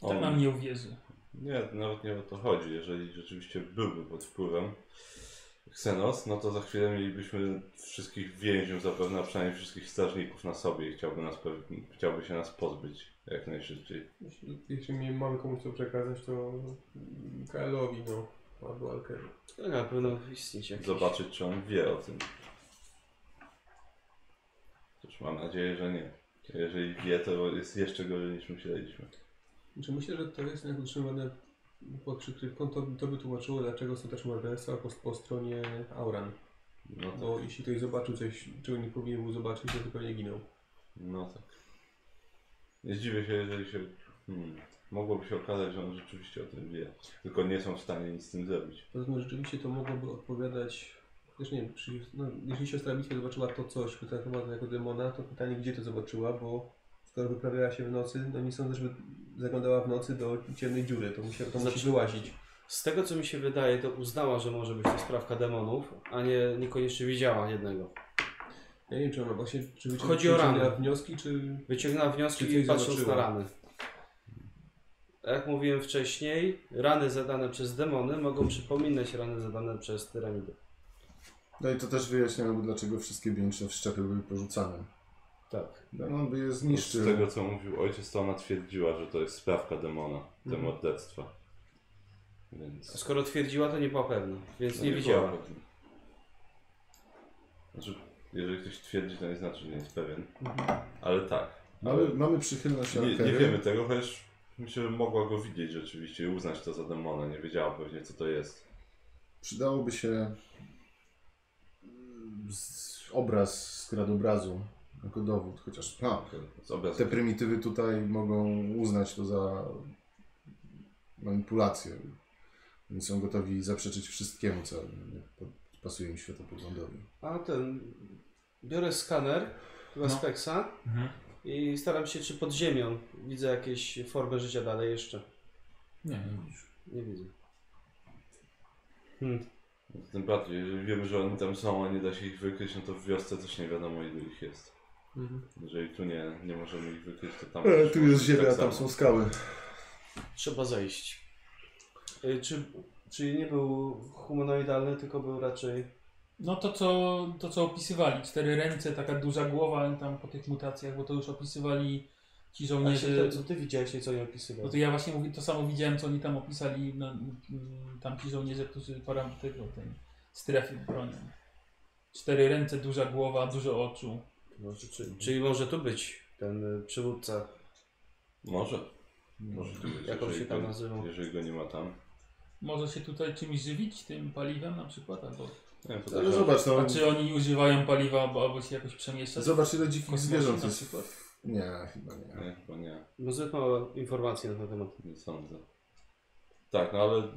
To
on...
tak nam nie uwierzy.
Nie, nawet nie o to chodzi. Jeżeli rzeczywiście byłby pod wpływem Xenos, no to za chwilę mielibyśmy wszystkich więźniów, zapewne a przynajmniej wszystkich strażników na sobie i chciałby, nas, pe- chciałby się nas pozbyć jak najszybciej.
Jeśli, jeśli mi- mamy komuś to przekazać, to mm, KL-owi, no. Albo Alkerowi.
To na pewno istnieć jakiś...
Zobaczyć, czy on wie o tym. Chociaż mam nadzieję, że nie. Jeżeli wie, to jest jeszcze gorzej niż myśleliśmy.
Czy myślę, że to jest jak utrzymane pod przykrywką, to, to by tłumaczyło, dlaczego są też morderstwa po, po stronie Auran.
No tak.
Bo jeśli ktoś zobaczył coś, czego nie powinien był zobaczyć, to pewnie ginął.
No tak. Nie zdziwię się, jeżeli się. Hmm, mogłoby się okazać, że on rzeczywiście o tym wie. Tylko nie są w stanie nic z tym zrobić.
Poza tym rzeczywiście to mogłoby odpowiadać, też nie wiem, przy, no, jeżeli siostra Bitwy zobaczyła to coś, potraktowała to jako demona, to pytanie gdzie to zobaczyła, bo skoro wyprawiała się w nocy, no nie sądzę, żeby zaglądała w nocy do ciemnej dziury, to, musiała, to musi
Znaczy-
wyłazić.
Z tego co mi się wydaje, to uznała, że może być to sprawka demonów, a nie niekoniecznie widziała jednego.
Ja nie wiem, czy ona właśnie, czy wycią-
Chodzi o rany.
wyciągnęła wnioski, czy...
Wyciągnęła wnioski
Czyli
i patrząc
zobaczyła.
na rany. A Jak mówiłem wcześniej, rany zadane przez demony mogą przypominać rany zadane przez tyranidy.
No i to też wyjaśniałoby, dlaczego wszystkie większe wszczepy były porzucane.
Tak.
Demon by je
Z
zniszczył.
tego co mówił ojciec, to ona twierdziła, że to jest sprawka demona, te morderstwa.
A
Więc.
Mhm. skoro twierdziła, to nie była pewna, więc
no
nie, widziała.
była pewna. Znaczy, jeżeli ktoś twierdzi, to nie znaczy, że nie jest pewien.
Mhm.
Ale tak.
Mamy, mamy przychylność
Nie, nie
Alkery.
wiemy tego, chociaż myślę, że mogła go widzieć rzeczywiście i uznać to za demona. Nie wiedziała pewnie, co to jest.
Przydałoby się mm, z- obraz z kradobrazu jako dowód, chociaż ha,
Z obrazu.
te prymitywy tutaj mogą uznać to za manipulację. Więc są gotowi zaprzeczyć wszystkiemu, co nie po- pasuje im światopoglądowi.
A ten. Biorę skaner chyba
No.
z Pexa
Mhm.
i staram się, czy pod ziemią widzę jakieś formę życia dalej jeszcze.
Nie, nie widzisz.
Nie widzę.
Tym bardziej, jeżeli wiemy, że oni tam są, a nie da się ich wykryć, no to w wiosce też nie wiadomo ilu ich jest.
Mhm.
Jeżeli tu nie, nie możemy ich wykryć, to tam... też
E, tu
może
jest
być
ziemia,
tak
tam są
samo.
skały.
Trzeba zejść. Y, Czy, czy nie był humanoidalny, tylko był raczej.
No to co, to co opisywali, cztery ręce, taka duża głowa tam po tych mutacjach, bo to już opisywali ci
A
żołnierze.
się to, co ty widziałeś, nieco nie opisywał.
No to ja właśnie mówi, to samo widziałem, co oni tam opisali, no, mm, tamci żołnierze, którzy param tego, tej strefy bronią. Cztery ręce, duża głowa, dużo oczu.
Może, No, czy, czyli może tu być ten y, przywódca,
Może. Może tu być,
Hmm. Jak on
jeżeli
się tam
go-
nazywał?
Jeżeli go nie ma tam.
Może się tutaj czymś żywić, tym paliwem na przykład, albo...
Nie, to
Ale
też-
zobacz, no,
A czy oni używają paliwa, albo, albo się jakoś przemieszcza?
zobacz ile dzikich
Kosmosie
zwierząt
na
jest.
przykład.
Nie, chyba nie.
Nie, chyba nie.
bo zbyt mało informacji No, na ten temat.
Nie sądzę. Tak, no ale...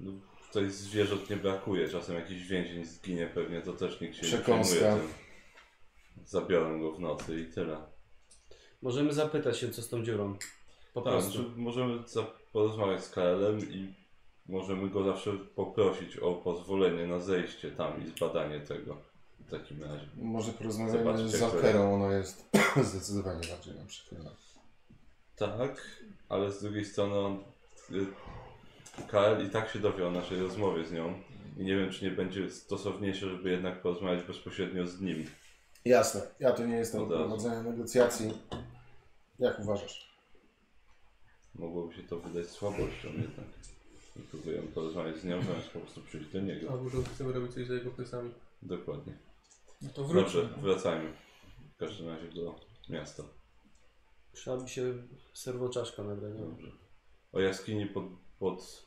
No, tutaj zwierząt nie brakuje. Czasem jakiś więzień zginie pewnie, to też nikt się
Przekąska.
nie przejmuje tym. Zabiorę go w nocy i tyle.
Możemy zapytać się, co z tą dziurą. Po
Tak,
prostu.
znaczy możemy za- porozmawiać z KL-em i możemy go zawsze poprosić o pozwolenie na zejście tam i zbadanie tego w takim razie.
Może porozmawiamy
Zobaczcie,
z
które-
Alkerą, ona jest zdecydowanie bardziej nam przychylna.
Tak, ale z drugiej strony on, y, KL i tak się dowie o naszej rozmowie z nią i nie wiem, czy nie będzie stosowniejsze, żeby jednak porozmawiać bezpośrednio z nim.
Jasne, ja tu nie jestem
Od
od
razu.
prowadzenia negocjacji. Jak uważasz?
Mogłoby się to wydać słabością jednak. I próbuję porozmawiać z nią, zamiast po prostu przyjść do niego.
Albo że chcemy robić coś za jego plecami.
Dokładnie.
No to wróćmy.
Dobrze, wracajmy. W każdym razie do miasta.
Trzeba by się serwoczaszka nagrać. no. nie?
Dobrze. O jaskini pod, pod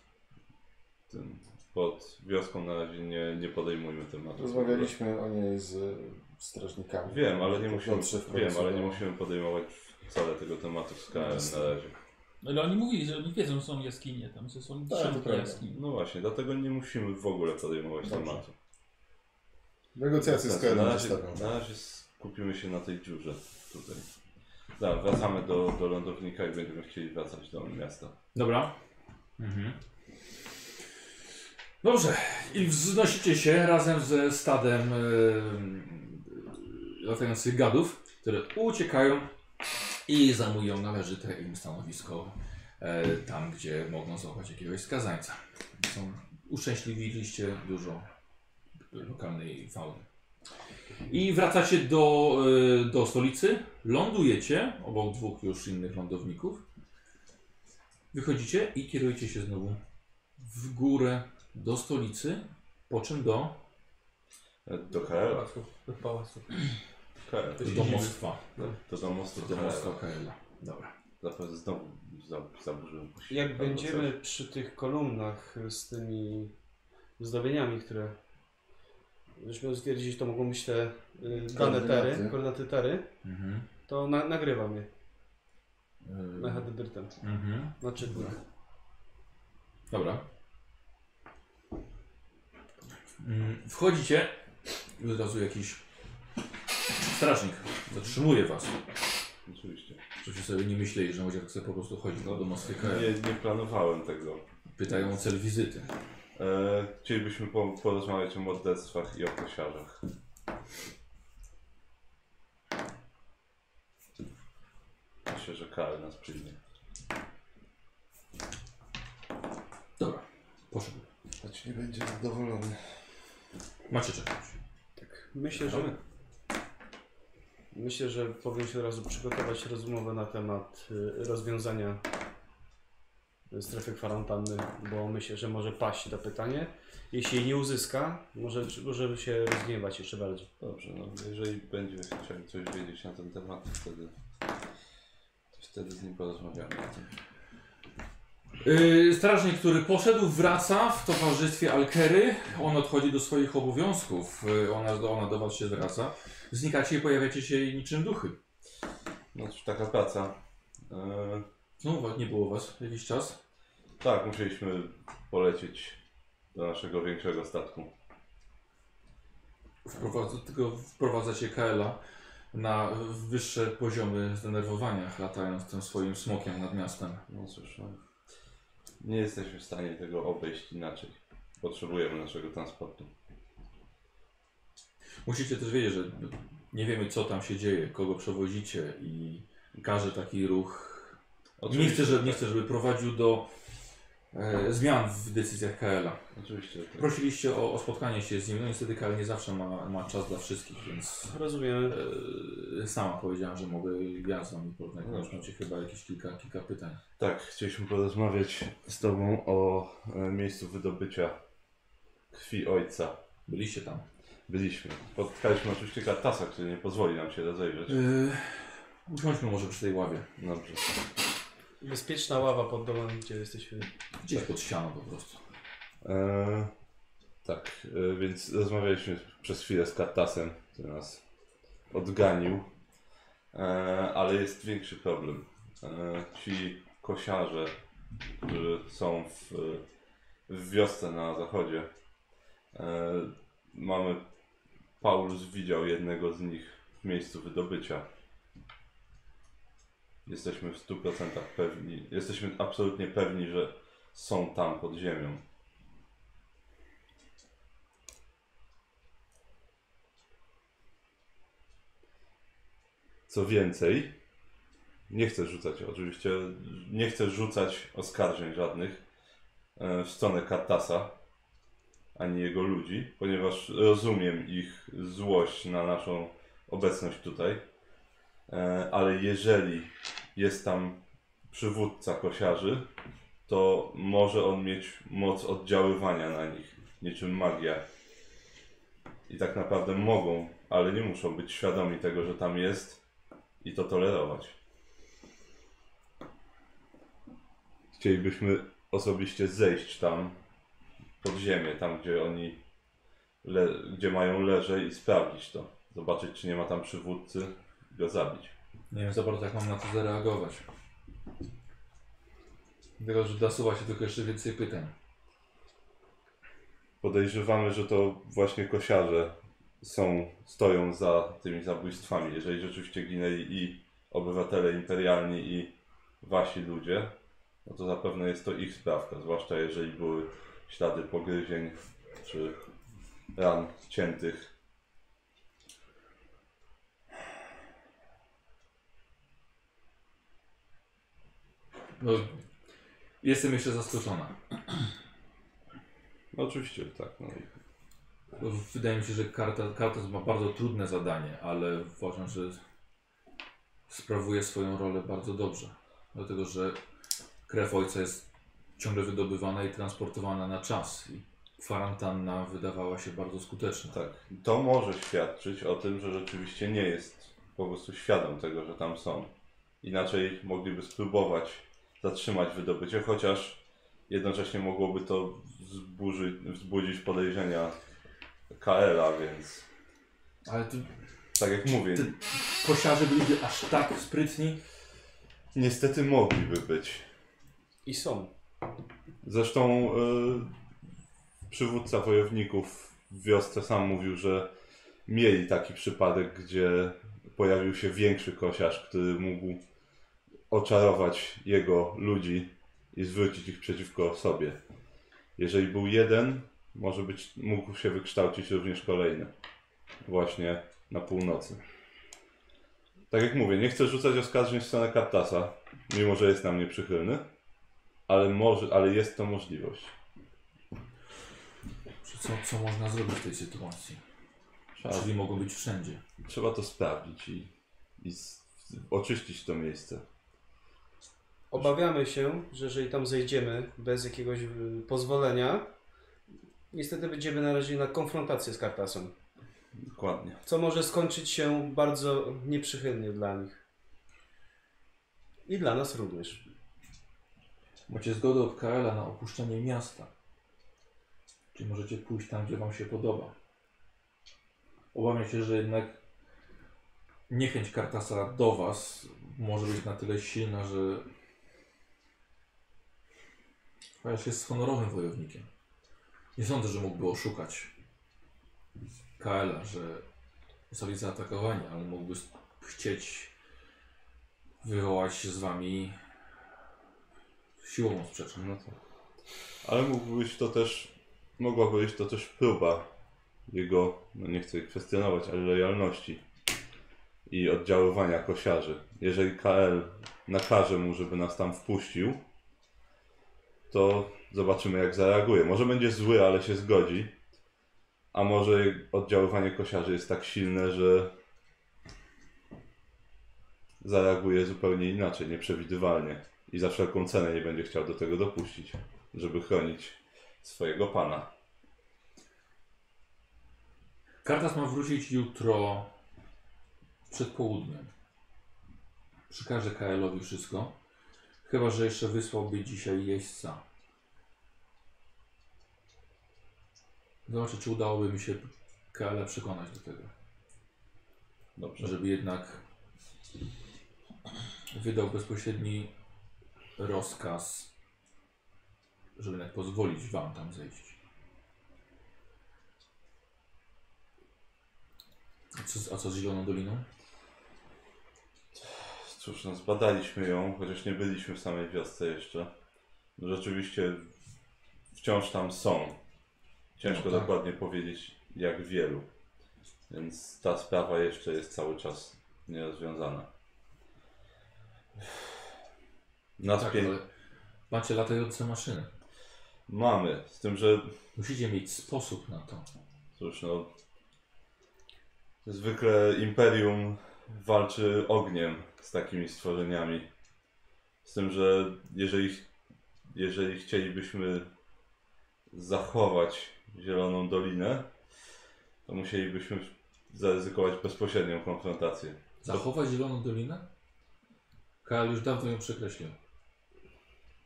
tym, pod wioską na razie nie, nie podejmujmy tematu.
Rozmawialiśmy o niej z e, strażnikami.
Wiem, ale nie musimy,
Dotrze w
wiem,
końcu
ale
do-
nie musimy podejmować wcale tego tematu z KM na razie.
Ale oni mówili, że oni wiedzą, że są jaskinie tam, że są
Tak, to
dziesiątki
prawda.
jaskiń.
No właśnie, dlatego nie musimy w ogóle podejmować
Dobrze.
tematu.
Negocjacje z
Znaczy, na,
Kerem
razie,
zostawiam.
na razie skupimy się na tej dziurze tutaj. Da, wracamy do, do lądownika i będziemy chcieli wracać do miasta.
Dobra. Mhm. Dobrze. I wznosicie się razem ze stadem e, latających gadów, które uciekają i zajmują należyte im stanowisko e, tam, gdzie mogą złapać jakiegoś skazańca. Są uszczęśliwiliście dużo lokalnej fauny. I wracacie do, e, do stolicy, lądujecie obok dwóch już innych lądowników. Wychodzicie i kierujecie się znowu w górę do stolicy, po czym do,
Do KL?
Pałacu. Do pałacu.
KL.
Do
do
siedziby.
domostwa.
To domostwo
Do domostwa
KL.
KL. Dobra.
Zapewne znowu za- zaburzyłem.
Jak
Albo
będziemy przy tych kolumnach z tymi zdobieniami, które żeśmy stwierdzić, to mogą być te y, dane
Koordynaty.
tery, koordynaty tery,
Mhm.
to na, nagrywam je na
Yy,
HDDRTem,
mhm.
na czytnik.
Dobra. Mm, Wchodzicie i od razu jakiś strażnik zatrzymuje was.
coś. Oczywiście.
Żebyście sobie nie myśleli, że może tak sobie po prostu chodzi do domostyka.
Nie, nie planowałem tego.
Pytają o cel wizyty.
E, chcielibyśmy po, porozmawiać o morderstwach i o kosiarzach. Myślę, że KL nas przyjmie.
Dobra, poszedł.
Choć Znaczy, nie będzie zadowolony.
Macie czekać.
Myślę, że myślę, że powinien się od razu przygotować rozmowę na temat y, rozwiązania y, strefy kwarantanny, bo myślę, że może paść to pytanie. Jeśli jej nie uzyska, może, może się rozgniewać jeszcze bardziej.
Dobrze, no jeżeli będzie chciał coś wiedzieć na ten temat, to wtedy, to wtedy z nim porozmawiamy o tym.
Yy, strażnik, który poszedł, wraca w towarzystwie Alkery. On odchodzi do swoich obowiązków. Yy, ona, do- ona do was się zwraca. Znikacie i pojawiacie się niczym duchy.
No cóż, taka praca. E,
No, wa- nie było was jakiś czas.
tak, musieliśmy polecieć do naszego większego statku.
Wprowadza, tylko wprowadzacie Kaela na wyższe poziomy zdenerwowania, latając tym swoim smokiem nad miastem.
No cóż, no, nie jesteśmy w stanie tego obejść inaczej. Potrzebujemy naszego transportu.
Musicie też wiedzieć, że nie wiemy, co tam się dzieje, kogo przewozicie i każdy taki ruch. Nie chcę, żeby, nie
tak.
chcę, żeby prowadził do e, zmian w decyzjach Kaela.
Oczywiście, że tak.
Prosiliście o, o spotkanie się z nim, no niestety Kael nie zawsze ma, ma czas dla wszystkich, więc
Rozumiem.
e, sama powiedziałam, że mogę ja z wami porównać.
No.
Macie chyba jakieś kilka, kilka pytań.
Tak, chcieliśmy porozmawiać z Tobą o e, miejscu wydobycia krwi ojca.
Byliście tam.
Byliśmy. Spotkaliśmy oczywiście Kartasa, który nie pozwoli nam się rozejrzeć.
Yy, usiądźmy może przy tej ławie.
Dobrze.
Bezpieczna ława pod domem, gdzie jesteśmy.
Gdzieś pod ścianą po prostu.
E, tak, e, więc rozmawialiśmy przez chwilę z Kartasem, który nas odganił, e, ale jest większy problem. E, ci kosiarze, którzy są w, w wiosce na zachodzie, e, mamy. Paulus widział jednego z nich w miejscu wydobycia. Jesteśmy w 100% pewni, jesteśmy absolutnie pewni, że są tam pod ziemią. Co więcej, nie chcę rzucać, oczywiście, nie chcę rzucać oskarżeń żadnych e, w stronę Katasa ani jego ludzi, ponieważ rozumiem ich złość na naszą obecność tutaj. E, Ale jeżeli jest tam przywódca kosiarzy, to może on mieć moc oddziaływania na nich, niczym magia. I tak naprawdę mogą, ale nie muszą być świadomi tego, że tam jest i to tolerować. Chcielibyśmy osobiście zejść tam pod ziemię, tam gdzie oni le- gdzie mają leże i sprawdzić to. Zobaczyć, czy nie ma tam przywódcy, go zabić.
Nie wiem za bardzo jak mam na to zareagować. Tylko, że nasuwa się tylko jeszcze więcej pytań.
Podejrzewamy, że to właśnie kosiarze są, stoją za tymi zabójstwami. Jeżeli rzeczywiście ginęli i obywatele imperialni, i wasi ludzie, no to zapewne jest to ich sprawka, zwłaszcza jeżeli były ślady pogryzień czy ran ciętych.
No, jestem jeszcze zaskoczona.
No oczywiście, że tak. No. i-
Bo Wydaje mi się, że karta, karta ma bardzo trudne zadanie, ale uważam, że sprawuje swoją rolę bardzo dobrze. Dlatego, że krew ojca jest ciągle wydobywana i transportowana na czas. I kwarantanna wydawała się bardzo skuteczna.
Tak. To może świadczyć o tym, że rzeczywiście nie jest po prostu świadom tego, że tam są. Inaczej mogliby spróbować zatrzymać wydobycie, chociaż jednocześnie mogłoby to wzburzy, wzbudzić podejrzenia KL-a, więc
Ale ty,
tak jak mówię,
Ty- kosiarze byli aż tak sprytni.
niestety mogliby być.
I są.
Zresztą y, przywódca wojowników w wiosce sam mówił, że mieli taki przypadek, gdzie pojawił się większy kosiarz, który mógł oczarować jego ludzi i zwrócić ich przeciwko sobie. Jeżeli był jeden, może być, mógł się wykształcić również kolejny. Właśnie na północy. Tak jak mówię, nie chcę rzucać oskarżeń w stronę Kaptasa, mimo że jest nam nieprzychylny. Ale, może, ale jest to możliwość.
Czy Co, co można zrobić w tej sytuacji?
Trzeba,
Czyli mogą być wszędzie.
trzeba to sprawdzić i, i s- oczyścić to miejsce.
Obawiamy się, że jeżeli tam zejdziemy bez jakiegoś y, pozwolenia, niestety będziemy narazieni na konfrontację z Kartasem,
Dokładnie.
co może skończyć się bardzo nieprzychylnie dla nich. I dla nas również.
Macie zgodę od Kaela na opuszczenie miasta. Czy możecie pójść tam, gdzie wam się podoba? Obawiam się, że jednak niechęć Kartasa do was może być na tyle silna, że Kajasz jest honorowym wojownikiem. Nie sądzę, że mógłby oszukać Kaela, że zostali zaatakowani, ale mógłby chcieć wywołać z wami siłową sprzeczkę.
No tak. Ale mógłby być to też, mogłaby być to też próba jego, no nie chcę jej kwestionować, ale lojalności i oddziaływania kosiarzy. Jeżeli KL nakaże mu, żeby nas tam wpuścił, to zobaczymy jak zareaguje. Może będzie zły, ale się zgodzi. A może oddziaływanie kosiarzy jest tak silne, że zareaguje zupełnie inaczej, nieprzewidywalnie i za wszelką cenę nie będzie chciał do tego dopuścić, żeby chronić swojego pana.
Kartas ma wrócić jutro przed południem. Przekażę KL-owi wszystko. Chyba, że jeszcze wysłałby dzisiaj jeźdźca. Zobaczę, czy udałoby mi się KL przekonać do tego.
Dobrze.
Żeby jednak wydał bezpośredni rozkaz, żeby jednak pozwolić wam tam zejść. A co, z- a co z Zieloną Doliną?
Cóż, no zbadaliśmy ją, chociaż nie byliśmy w samej wiosce jeszcze. No Rzeczywiście wciąż tam są. Ciężko
No tak.
dokładnie powiedzieć jak wielu. Więc ta sprawa jeszcze jest cały czas nierozwiązana. Nas
Tak,
pię-
ale macie latające maszyny.
mamy, z tym, że
Musicie mieć sposób na to.
Cóż, no. Zwykle imperium walczy ogniem z takimi stworzeniami. Z tym, że jeżeli, jeżeli chcielibyśmy zachować Zieloną Dolinę, to musielibyśmy zaryzykować bezpośrednią konfrontację.
Zachować Zieloną Dolinę? Karl już dawno ją przekreślił.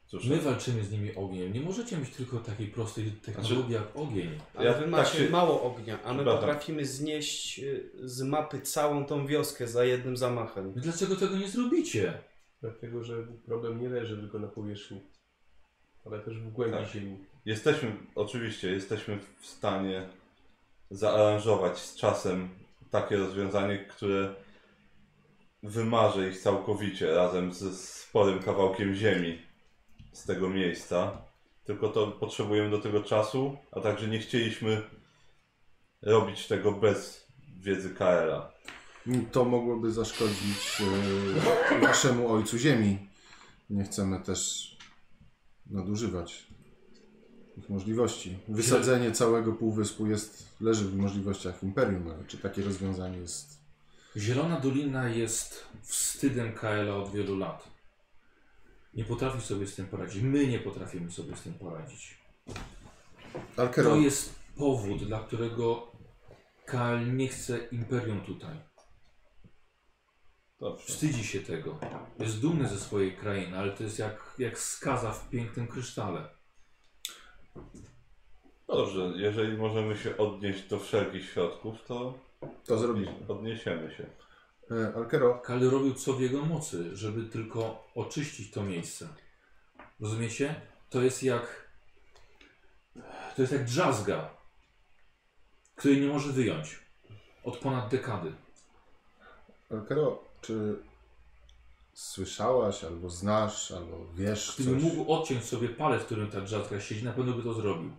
Cóż,
My walczymy z nimi ogniem. Nie możecie mieć tylko takiej prostej technologii jak ogień.
Ale
Ja
wy
tak
macie
się-
mało ognia, a my
Przepraszam.
potrafimy znieść y, z mapy całą tą wioskę za jednym zamachem.
Dlaczego tego nie zrobicie?
Dlatego, że problem nie leży tylko na powierzchni, ale też w głębi
Tak.
ziemi.
Jesteśmy, oczywiście, jesteśmy w stanie zaaranżować z czasem takie rozwiązanie, które wymarzy ich całkowicie razem ze sporym kawałkiem ziemi z tego miejsca. Tylko to potrzebujemy do tego czasu, a także nie chcieliśmy robić tego bez wiedzy KL-a.
To mogłoby zaszkodzić e, waszemu ojcu ziemi. Nie chcemy też nadużywać ich możliwości. Wysadzenie całego półwyspu jest, leży w możliwościach Imperium, ale czy takie rozwiązanie jest...
Zielona Dolina jest wstydem KLA od wielu lat. Nie potrafi sobie z tym poradzić. My nie potrafimy sobie z tym poradzić. To
Alkeron,
jest powód, dla którego KL nie chce Imperium tutaj.
Dobrze.
Wstydzi się tego. Jest dumny ze swojej krainy, ale to jest jak, jak skaza w pięknym krysztale.
Dobrze, jeżeli możemy się odnieść do wszelkich środków, to
to zrobiliśmy.
odniesiemy się.
E, Alkero,
Kal robił co w jego mocy, żeby tylko oczyścić to miejsce. Rozumiecie? To jest jak. To jest jak drzazga, której nie może wyjąć od ponad dekady.
Alkero, czy słyszałaś, albo znasz, albo wiesz coś?
Gdyby mógł odciąć sobie palec, w którym ta drzazga siedzi, na pewno by to zrobił.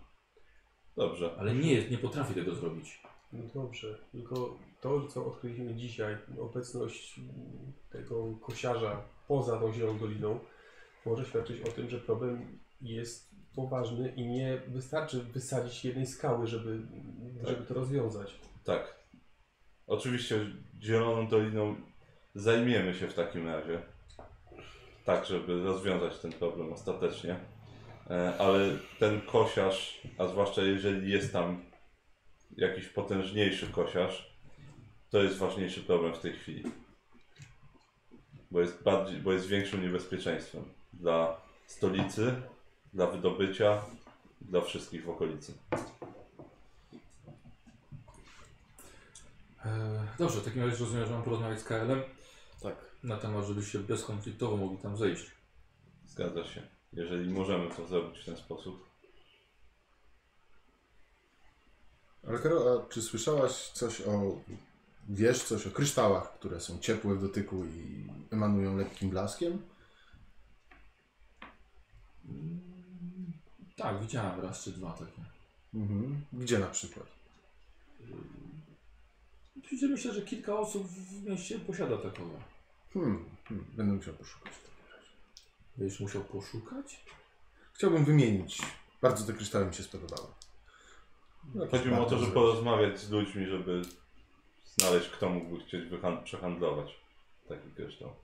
Dobrze.
Ale nie, jest- nie potrafi tego zrobić.
No dobrze, tylko to, co odkryliśmy dzisiaj, obecność mm, tego kosiarza poza tą Zieloną Doliną, może świadczyć o tym, że problem jest poważny i nie wystarczy wysadzić jednej skały, żeby, żeby to rozwiązać.
Tak. Oczywiście Zieloną Doliną zajmiemy się w takim razie. Tak, żeby rozwiązać ten problem ostatecznie. E, Ale ten kosiarz, a zwłaszcza jeżeli jest tam jakiś potężniejszy kosiarz, to jest ważniejszy problem w tej chwili. Bo jest, bardziej, bo jest większym niebezpieczeństwem dla stolicy, dla wydobycia, dla wszystkich w okolicy.
Eee, dobrze, w takim razie rozumiem, że mam porozmawiać z KL-em
Tak.
na temat, żebyście bezkonfliktowo mogli tam zejść.
Zgadza się. Jeżeli możemy to zrobić w ten sposób.
Alkero, a czy słyszałaś coś o... Wiesz coś o kryształach, które są ciepłe w dotyku i emanują lekkim blaskiem?
Tak, widziałem raz czy dwa takie.
Mhm. Gdzie na przykład?
Oczywiście myślę, że kilka osób w mieście posiada takowe.
Hmm, hmm. będę musiał poszukać.
Będziesz musiał poszukać?
Chciałbym wymienić. Bardzo te kryształy mi się spodobały. No, Jakieś
Chodzi mi o to,
bardzo
żeby
złe.
porozmawiać z ludźmi, żeby znaleźć, kto mógłby chcieć wyhan- przehandlować taki kryształ.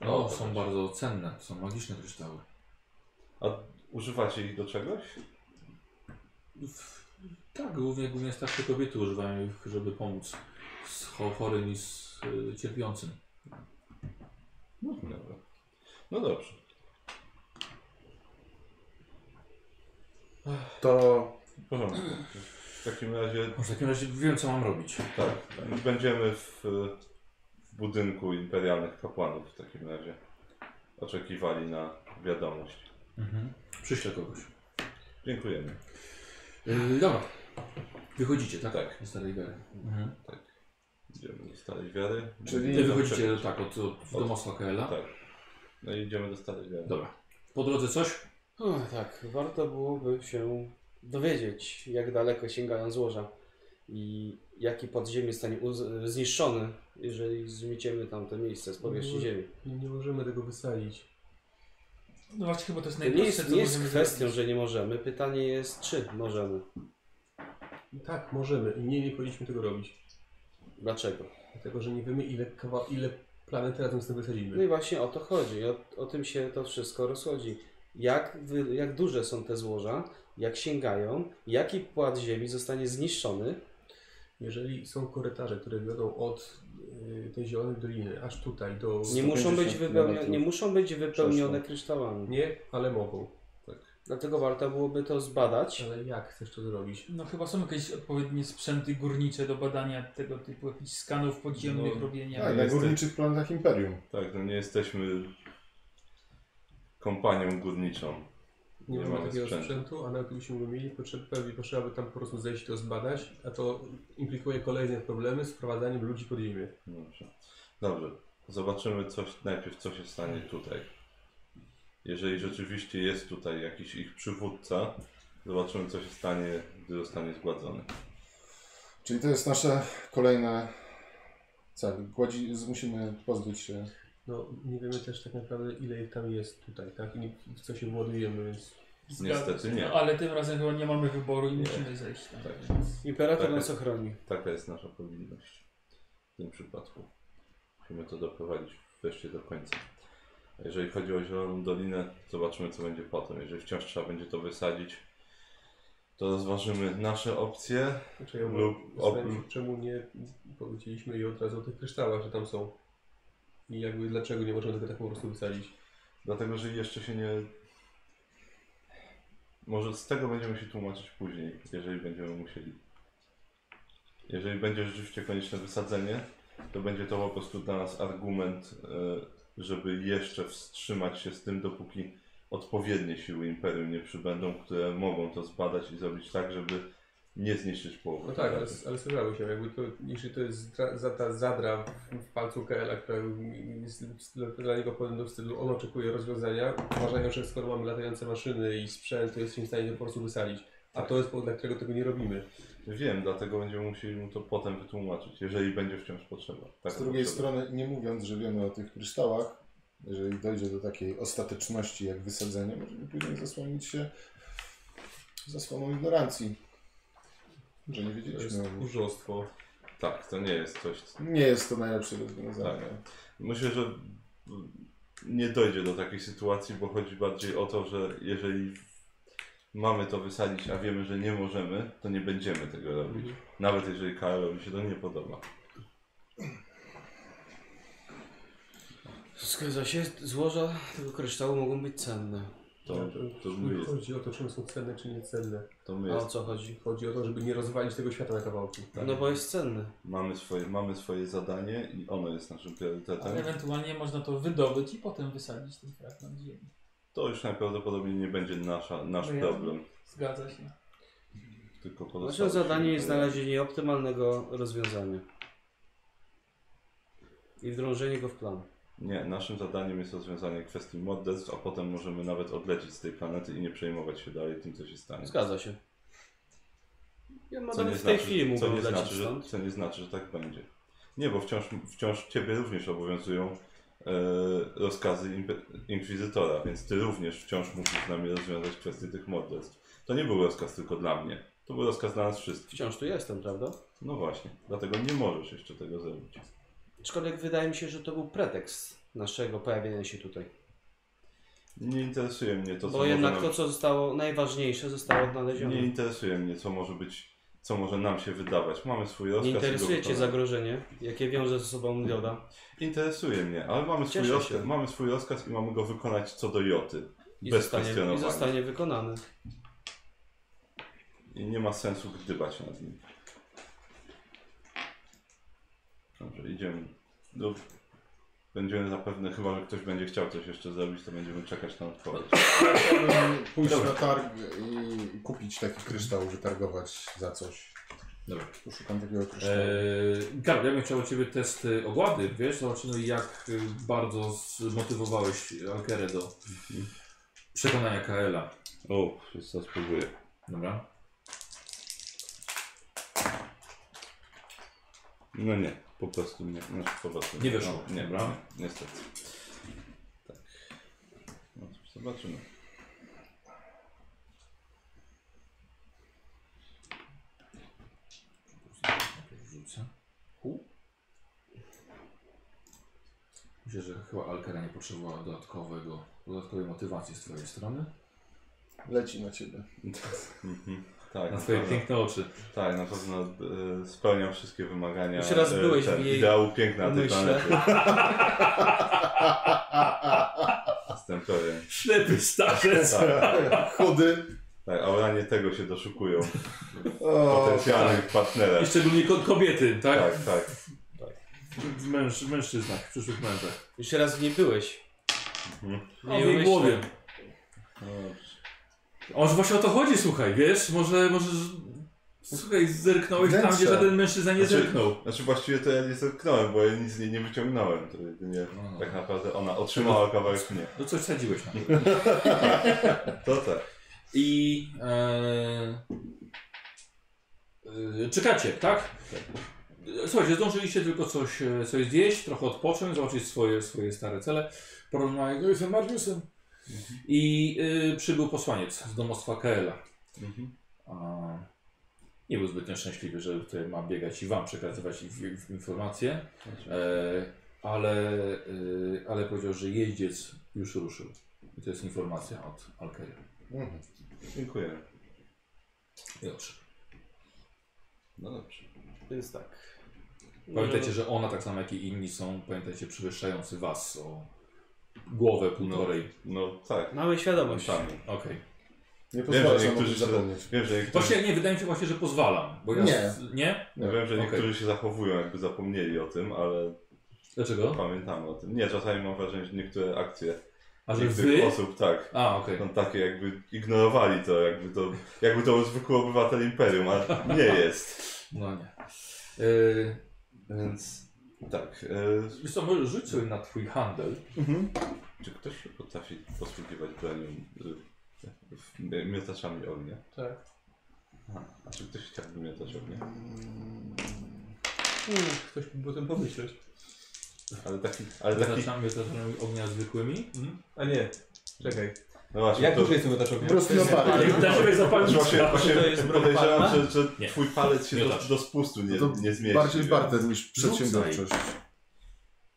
No,
O,
są
tak.
bardzo cenne, są magiczne kryształy.
A używacie ich do czegoś?
W- Tak, głównie, głównie starsze kobiety używają ich, żeby pomóc z cho- chorym i z y, cierpiącym.
No, dobra. No dobrze.
To
W porządku. W takim razie
W takim razie wiem, co mam robić.
tak, tak. będziemy w, w budynku imperialnych kapłanów w takim razie oczekiwali na wiadomość.
Mhm. Przyślę kogoś.
Dziękujemy.
Yy, dobra. Wychodzicie, tak? Mhm.
Tak.
Z starej gary.
Idziemy do starej wiary.
Czyli-
Wy
Będziemy
wychodzicie,
czekać.
tak, od, od domostwa Kaela.
Tak. No i idziemy do starej wiary.
Dobra. Po drodze coś?
Uch, tak, warto byłoby się dowiedzieć, jak daleko sięgają złoża i jaki podziemie zostanie uz- zniszczony, jeżeli zmieciemy tamte miejsce z powierzchni
Mhm.
ziemi.
Nie, nie możemy tego wysadzić.
No właśnie chyba to jest
To nie
najprostsze,
jest,
co
nie jest
możemy
kwestią,
zrobić.
że nie możemy. Pytanie jest, czy możemy.
Tak, możemy i nie, nie powinniśmy tego robić.
Dlaczego?
Dlatego, że nie wiemy ile, kawa- ile planety razem z tym
No i
wysadzimy.
właśnie o to chodzi. O, o tym się to wszystko rozchodzi. Jak, wy, jak duże są te złoża, jak sięgają, jaki płat ziemi zostanie zniszczony.
Jeżeli są korytarze, które wiodą od y, tej Zielonej Doliny aż tutaj do...
Nie muszą, być
150
wypełnione, nie
kilometrów
muszą być wypełnione
przeszło.
kryształami.
Nie, ale mogą.
Dlatego warto byłoby to zbadać.
Ale jak chcesz to zrobić?
No chyba są jakieś odpowiednie sprzęty górnicze do badania tego typu jakichś skanów podziemnych,
No,
robienia.
tak, na
Jesteś-
górniczych planetach Imperium.
Tak, no nie jesteśmy kompanią górniczą.
Nie,
Nie mamy
mamy takiego
sprzętu.
sprzętu, a nawet gdybyśmy go mieli, potrze- pewnie potrzeba by tam po prostu zejść i to zbadać, a to implikuje kolejne problemy z wprowadzaniem ludzi pod ziemię.
Dobrze. Dobrze. Zobaczymy coś, najpierw, co się stanie tutaj. Jeżeli rzeczywiście jest tutaj jakiś ich przywódca, zobaczymy, co się stanie, gdy zostanie zgładzony.
Czyli to jest nasze kolejne... Tak, gładzi... z- musimy pozbyć się
No, nie wiemy też tak naprawdę ile ich tam jest tutaj, tak? I nie- w co się władujemy, więc...
Zgadza
Niestety
się.
nie.
No, ale tym razem chyba nie mamy wyboru i
Nie.
musimy zejść tam.
Tak.
więc-
Imperator
Tak.
nas ochroni.
Taka jest nasza powinność w tym przypadku. Musimy to doprowadzić wreszcie do końca. A jeżeli chodzi o Zieloną Dolinę, zobaczymy co będzie potem. Jeżeli wciąż trzeba będzie to wysadzić, to rozważymy nasze opcje.
Znaczy, ja
Lub-
zastanawiam się,
op-
czemu nie powiedzieliśmy jej od razu o tych kryształach, że tam są. I jakby dlaczego nie możemy tego tak po prostu wysadzić.
Dlatego, że jeszcze się nie... Może z tego będziemy się tłumaczyć później, jeżeli będziemy musieli. Jeżeli będzie rzeczywiście konieczne wysadzenie, to będzie to po prostu dla nas argument, e, żeby jeszcze wstrzymać się z tym, dopóki odpowiednie siły Imperium nie przybędą, które mogą to zbadać i zrobić tak, żeby nie zniszczyć połowy.
No tak, ale,
Tartarii.
ale słyszały się, jakby to, jeśli to jest dra, za, ta zadra w, w palcu Kaela, która jest dla- dla niego podobno w stylu, on oczekuje rozwiązania, uważają, że skoro mamy latające maszyny i sprzęt, to jesteśmy w stanie to po prostu wysadzić. A to jest powód, dla którego tego nie robimy.
Wiem, dlatego będziemy musieli mu to potem wytłumaczyć, jeżeli będzie wciąż potrzeba. Taka
Z drugiej
potrzeba.
strony, nie mówiąc, że wiemy o tych kryształach, jeżeli dojdzie do takiej ostateczności jak wysadzenie, możemy później zasłonić się zasłoną ignorancji. Że nie
To jest
wiedzieliśmy. o nich.
tchórzostwo.
Tak, to nie jest coś, co
Nie jest to najlepsze rozwiązanie.
Myślę, że nie dojdzie do takiej sytuacji, bo chodzi bardziej o to, że jeżeli mamy to wysadzić, a wiemy, że nie możemy, to nie będziemy tego robić.
Mhm.
Nawet jeżeli Kaelowi się to nie podoba.
Zgadza się, złoża tego kryształu mogą być cenne.
To, to, my,
Nie
jest,
chodzi o to, czy one są cenne, czy niecenne.
to my
A o
jest,
co chodzi?
Chodzi o to, żeby nie rozwalić tego świata na kawałki.
Tak.
No bo jest cenny.
mamy, swoje, mamy swoje zadanie i ono jest naszym
Ale
priorytetem.
ewentualnie można to wydobyć i potem wysadzić ten fragment ziemi.
To już najprawdopodobniej nie będzie nasza, nasz
No ja-
problem.
Zgadza się.
Tylko pozostało
Naszym
No, się
zadaniem jest
pojawia.
znalezienie optymalnego rozwiązania. I wdrążenie go w plan.
Nie, naszym zadaniem jest rozwiązanie kwestii morderstw, a potem możemy nawet odlecieć z tej planety i nie przejmować się dalej tym, co się stanie.
Zgadza się. Ja mam
Co
nawet
nie
w tej
znaczy-
chwili
co
mógłbym
nie
lecieć
znaczy, że,
stąd.
co nie znaczy, że tak będzie. Nie, bo wciąż, wciąż ciebie również obowiązują e, rozkazy imp- inkwizytora, więc ty również wciąż musisz z nami rozwiązać kwestię tych morderstw. To nie był rozkaz tylko dla mnie. To był rozkaz dla nas wszystkich.
Wciąż tu jestem, prawda?
No właśnie, dlatego nie możesz jeszcze tego zrobić.
Aczkolwiek wydaje mi się, że to był pretekst naszego pojawienia się tutaj.
Nie interesuje mnie to, co
Bo jednak
może
to,
nam...
co zostało najważniejsze, zostało odnalezione.
Nie
Nie,
interesuje mnie, co może być, co może nam się wydawać. Mamy swój rozkaz. i go
interesuje Cię
wykonamy.
zagrożenie, jakie wiąże ze sobą Dioda.
Interesuje mnie, ale mamy swój,
Cieszę
rozkaz,
się.
mamy swój rozkaz i mamy go wykonać co do joty.
I
bez
zostanie, I
kwestionowania.
zostanie wykonany.
I nie ma sensu gdybać nad nim. Dobrze, idziemy. Do... Będziemy zapewne, chyba że ktoś będzie chciał coś jeszcze zrobić, to będziemy czekać na odpowiedź.
Chciałbym pójść na targ i kupić taki kryształ, wytargować za coś.
Dobra.
Poszukam takiego kryształu.
Eee, Gabi, ja bym chciał od Ciebie test y, ogłady, wiesz, zobaczymy jak y, bardzo zmotywowałeś Alkerę do przekonania Kaela.
O, jeszcze raz spróbuję.
Dobra?
No nie, po prostu nie. Znaczy, po prostu
Nie wyszło.
No, nie,
Dobra.
nie, niestety. Tak. No cóż, zobaczymy.
Rzucę. Myślę, że chyba Alkera nie potrzebowała dodatkowego, dodatkowej motywacji z Twojej strony.
Leci na ciebie.
Mhm. Tak,
Na Twoje
naprawdę.
piękne oczy.
Tak, na pewno e, spełniam wszystkie wymagania.
Już raz
e,
byłeś
ten,
w jej
Ideału piękna tej
umyśle.
planety. Jestem pewien.
Ślepy starzec!
Tak,
Chudy.
tak, auranie tego się doszukują.
O,
Potencjalnych
I
partnerów.
szczególnie ko- kobiety, tak?
Tak, tak.
W męż, mężczyznach, w przyszłych mężach.
Jeszcze raz w niej byłeś.
Mhm.
O, w jej głowie.
No dobrze.
A Może właśnie o to chodzi, słuchaj, wiesz? Może, może... z- Słuchaj, zerknąłeś tam,
Wnętrze.
gdzie żaden mężczyzna nie
Znaczy-
zerknął.
Znaczy właściwie to ja nie zetknąłem, bo ja nic z niej nie wyciągnąłem. To jedynie
No.
tak naprawdę ona otrzymała kawałek mnie.
No coś sadziłeś na to.
To tak.
I... E, e, czekacie, tak? Słuchajcie, zdążyliście tylko coś, e, coś zjeść, trochę odpocząć, zobaczyć swoje, swoje stare cele, porozmawiać z Mariusem. I y, przybył posłaniec z domostwa Kaela.
Mhm.
A, nie był zbytnio szczęśliwy, że tutaj ma biegać i wam przekazywać i- i- informacje, e, ale, y, ale powiedział, że jeździec już ruszył. I to jest informacja od Alkeja.
Mhm.
Dziękuję.
I odszedł.
No dobrze.
Więc tak.
Pamiętajcie, że ona tak samo jak i inni są, pamiętajcie, przewyższający was o głowę półtorej.
No tak.
Mamy świadomość.
Tam.
Okej.
Nie
Wiem,
pozwala
że
się
niektórzy
niektórzy
się,
zapomnieć.
wiem, że niektórzy,
Właśnie nie, wydaje mi się właśnie, że pozwalam. Bo ja
Nie.
Z, nie?
ja wiem, że
Okej.
niektórzy się zachowują, jakby zapomnieli o tym, ale
Dlaczego?
pamiętamy o tym. Nie, czasami mam wrażenie, że niektóre akcje
A że
niektórych
wy?
osób tak.
A, okej.
Są takie jakby ignorowali to, jakby to, jakby to był zwykły obywatel imperium, a nie jest.
No nie. Yy,
Więc tak. e,
wiesz co, może rzuć sobie na twój handel.
Czy ktoś się potrafi posługiwać bronią y, w- mi- miotaczami ognia?
Tak.
Aha. A czy ktoś chciałby miotać ognia?
Hmm, ktoś mógł o tym pomyśleć.
Ale taki, ale taki,
Zaczynamy zaczynamy ognia zwykłymi.
A nie, czekaj.
no właśnie,
Jak
to,
duży jest ten otaczek?
Po prostu na parę.
Dla siebie
to
zapalić.
właśnie, właśnie
Czy to jest broń
podejrzewam,
palna?
że, że
Nie.
twój palec się do,
Miotacz.
do spustu nie,
To
nie zmieści.
Bardziej
więc-
barter niż przedsiębiorczość.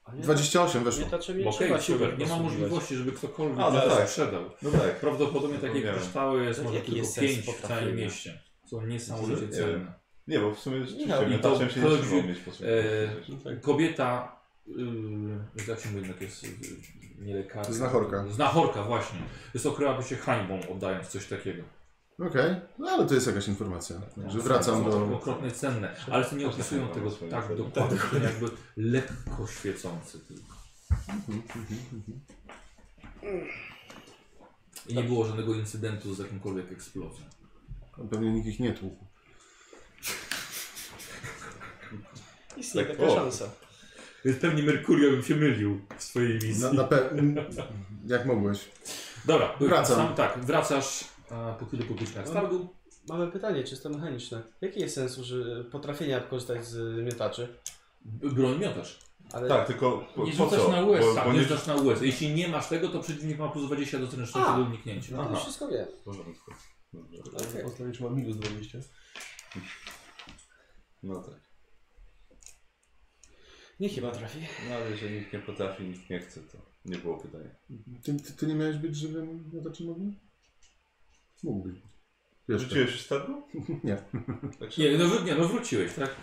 A nie,
28 weszło.
Nie, taczem nie
Okej,
trzeba się
super. Nie ma
posługiwać.
możliwogodzi, żeby ktokolwiek
A, no
teraz
tak.
sprzedał.
No tak.
Prawdopodobnie takie
Zapomniałem.
kryształy jest może
Jaki
tylko
jest sens
pięć w całym
potrafienia?
mieście. Są niesamowicie
Nie
cenne.
Nie, bo w sumie
No,
rzeczywiście
i
miotaczem
to
się nie
chodzi- e,
trzeba mieć posługiwać.
Kobieta, yy, jak się mówi, jednak jest yy, nie lekarka.
Znachorka.
Znachorka, właśnie. Jest okryłaby się hańbą, oddając coś takiego.
Okej, no ale to jest jakaś informacja. Także
No,
wracam
są to
do...
Okropnie cenne, ale to nie
Każdy
opisują
ma
tego
swoje
tak
cele.
dokładnie, są jakby lekko świecący tylko. I nie było żadnego incydentu z jakimkolwiek eksplozją.
Pewnie nikt ich nie tłukł.
Istnieje
Tak,
taka
o.
szansa.
Więc pewnie Merkurio bym się mylił w swojej wizji.
No, Na, na pe... Jak mogłeś.
Dobra,
Wracam.
Sam, tak, wracasz a, po kilku godzinach z targu.
Mamy pytanie czysto mechaniczne. Jaki jest sens uży... potrafienia korzystać z miotaczy?
B- Broń miotasz.
Ale...
Tak, tylko po,
Nie
po
rzucasz
co?
na US,
Bo,
tak,
No, bo
Nie
nie
rzucasz na US. Jeśli nie masz tego, to przeciwnik ma plus 20 do zręczności
A.
do uniknięcia.
No to już
Aha.
wszystko No, wiem.
W porządku. Dobrze.
Okej.
Postawię, czy mam minus 20.
No tak.
Nie chyba trafi.
No ale jeżeli nikt nie potrafi, nikt nie chce, to nie było pytania.
Ty, ty, ty nie miałeś być żywym miotaczem ognia? Mógłbyś. Jeszcze.
Rzuciłeś już starbu?
Nie.
Tak się...
Nie, no, wr- nie, no wróciłeś, tak?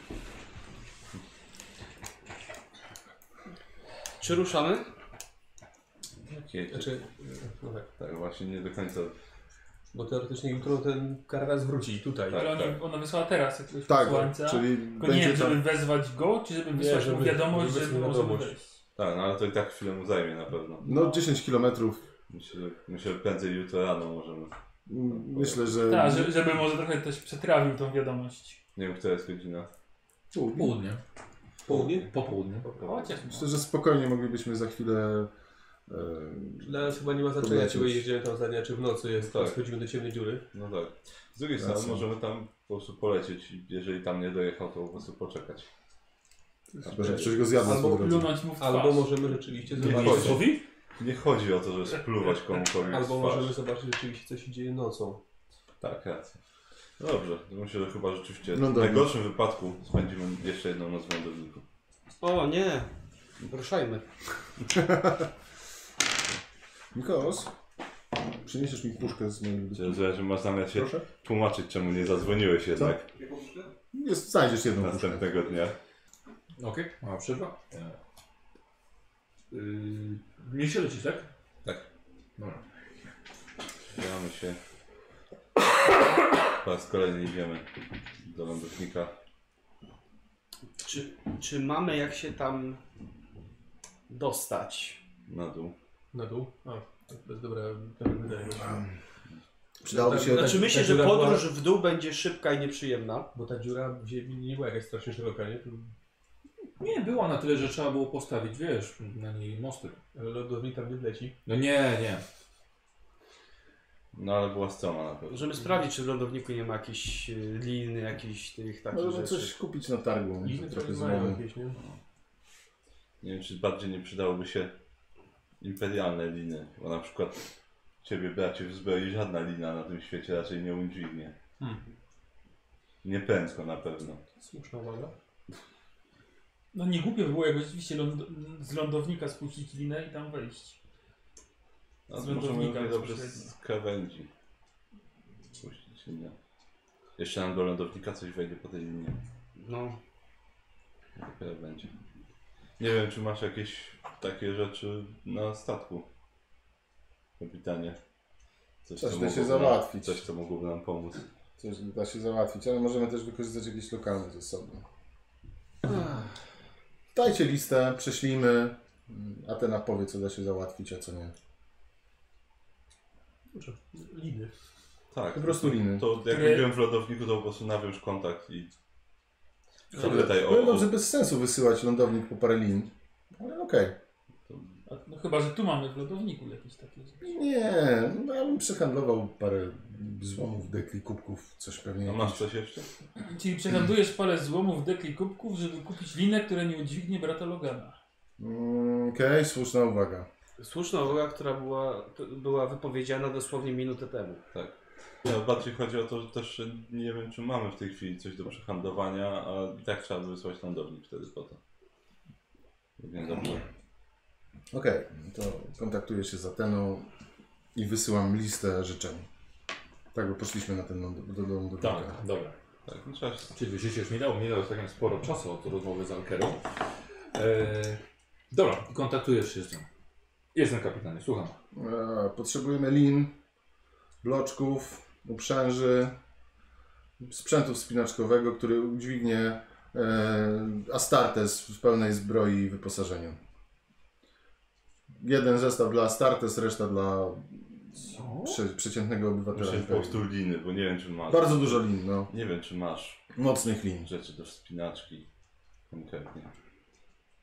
Czy ruszamy?
Okej, to-
Znaczy, no tak.
Tak, właśnie nie do końca.
Bo teoretycznie jutro ten karawan wróci tutaj.
Tak,
Ale ona,
tak.
ona wysłała teraz jakiegoś
Tak,
posłańca.
czyli
Tylko nie
będzie tak.
wiem,
tam...
żeby wezwać go, czy żeby
Nie,
wysłać mu
żeby-
wiadomość,
żeby
żeby może
wiadomość.
wejść.
Tak, no ale to i tak chwilę mu zajmie na pewno.
No 10 kilometrów.
Myślę, że, myślę, że prędzej jutro rano możemy.
M- Myślę, że...
Tak, że- żeby może trochę też przetrawił tą wiadomość.
Nie wiem, która jest godzina.
Południe.
Południe?
Popołudnie.
No,
Chociaż
Myślę, że spokojnie moglibyśmy za chwilę... E...
Dla nas chyba nie ma znaczenia, czy wyjedziemy tam za dnia, czy w nocy jest,
Tak.
tak. schodzimy do ciemnej dziury.
No tak. Z drugiej
Racja.
strony możemy tam po prostu polecieć i jeżeli tam nie dojechał, to po prostu poczekać.
Chyba, że ktoś go zjadł po
albo
drodze.
plunąć mu w twarz.
Albo możemy rzeczywiście
Nie
zobaczyć.
chodzi.
Popołudnie?
Nie chodzi o to, że spluwać komukolwiek
Albo
w
możemy
twarz.
zobaczyć rzeczywiście, co się dzieje nocą.
Tak, racja. No dobrze, to myślę, że chyba rzeczywiście
No
w
dobra.
najgorszym wypadku spędzimy jeszcze jedną noc w lądowniku.
O nie. Ruszajmy.
Nikos, przyniesiesz mi puszkę z mojej
Czy że masz zamiar się
Proszę? No
tłumaczyć, czemu nie zadzwoniłeś jednak
Jest, znajdziesz jedną puszkę.
następnego dnia?
Okej, mała przerwa. Yy, nie się lecisz, tak?
Tak.
Dobra.
Staramy się. Po raz kolejny idziemy do lądownika.
Czy, czy mamy jak się tam dostać?
Na dół.
Na dół? A, to jest dobra, dobre pytanie.
Przydałoby się...
Tak,
Znaczy myślę,
tak,
że
tak,
podróż w dół będzie szybka i nieprzyjemna.
Bo ta dziura w ziemi nie była jakaś strasznie szeroka, nie? Tu-
Nie, była na tyle, że trzeba było postawić, wiesz, na niej mosty.
Ale lodownik tam nie wleci.
No nie, nie.
No ale była stroma na pewno.
Możemy sprawdzić, czy w lądowniku nie ma jakichś e, lin, jakichś tych takich
Możemy
rzeczy.
tak, coś kupić na targu,
Liny
No, trochę
trochę mają
zmowy.
jakieś, nie?
Nie wiem, czy bardziej nie przydałoby się imperialne liny, bo na przykład ciebie bracie w zbroi żadna lina na tym świecie raczej nie udźwignie. Nie prędko na pewno.
Słuszna uwaga.
No nie głupio by było, jakby rzeczywiście ląd z lądownika spuścić linę i tam wejść.
No,
Z
to możemy
lądownika
równie dobrze
bezpośrednio.
z krawędzi puścić linię. Jeszcze nam do lądownika coś wejdzie po tej linie.
No,
Dopiero będzie. Nie wiem, czy masz jakieś takie rzeczy na statku, kapitanie. Coś,
Coś
co
da się
mogłoby Nam,
załatwić.
coś, co mogłoby nam pomóc.
Coś da się załatwić, ale możemy też wykorzystać jakieś lokalne zasoby. Dajcie listę, prześlijmy. mm, Atena powie, co da się załatwić, a co nie.
Dobrze. Liny.
Tak.
Po prostu liny.
To jak
Które-
byłem w lodowniku, to po prostu nawiąż kontakt i zapytaj o...
Powiem
o
wam, że bez sensu wysyłać lądownik po parę lin. Ale okej.
A, no chyba, że tu mamy w lodowniku jakieś takie rzeczy.
Nie, no ja bym przehandlował parę złomów, dekli, kubków, coś pewnie.
a No masz coś jeszcze?
Czyli przehandlujesz parę złomów, dek i kubków, żeby kupić linę, która nie udźwignie brata Logana.
Mm, Okej, słuszna uwaga.
słuszna uwaga, która była, t- była wypowiedziana dosłownie minutę temu.
Ja No, bardziej chodzi o to, że też nie wiem, czy mamy w tej chwili coś do przehandlowania, a i tak trzeba by wysłać lądownik wtedy po to. Nie dobrze.
Okej, to kontaktuję się z Ateną i wysyłam listę życzeń. Tak, bo poszliśmy na ten ląd do lądownika.
Tak, dobra.
Tak, no trzeba się...
Czyli życie już mi dało, mi dało całkiem sporo czasu od rozmowy z Alkerą. E, dobra, kontaktujesz się z nią. Jestem kapitanie, słucham.
E, Potrzebujemy lin, bloczków, uprzęży, sprzętu wspinaczkowego, który udźwignie e, Astartes w pełnej zbroi i wyposażeniu. Jeden zestaw dla Astartes, reszta dla prze, przeciętnego obywatela.
Myślę, że po prostu liny, bo nie wiem, czy masz.
Bardzo dużo lin, no.
Nie wiem, czy masz
Mocnych lin.
rzeczy do wspinaczki konkretnie.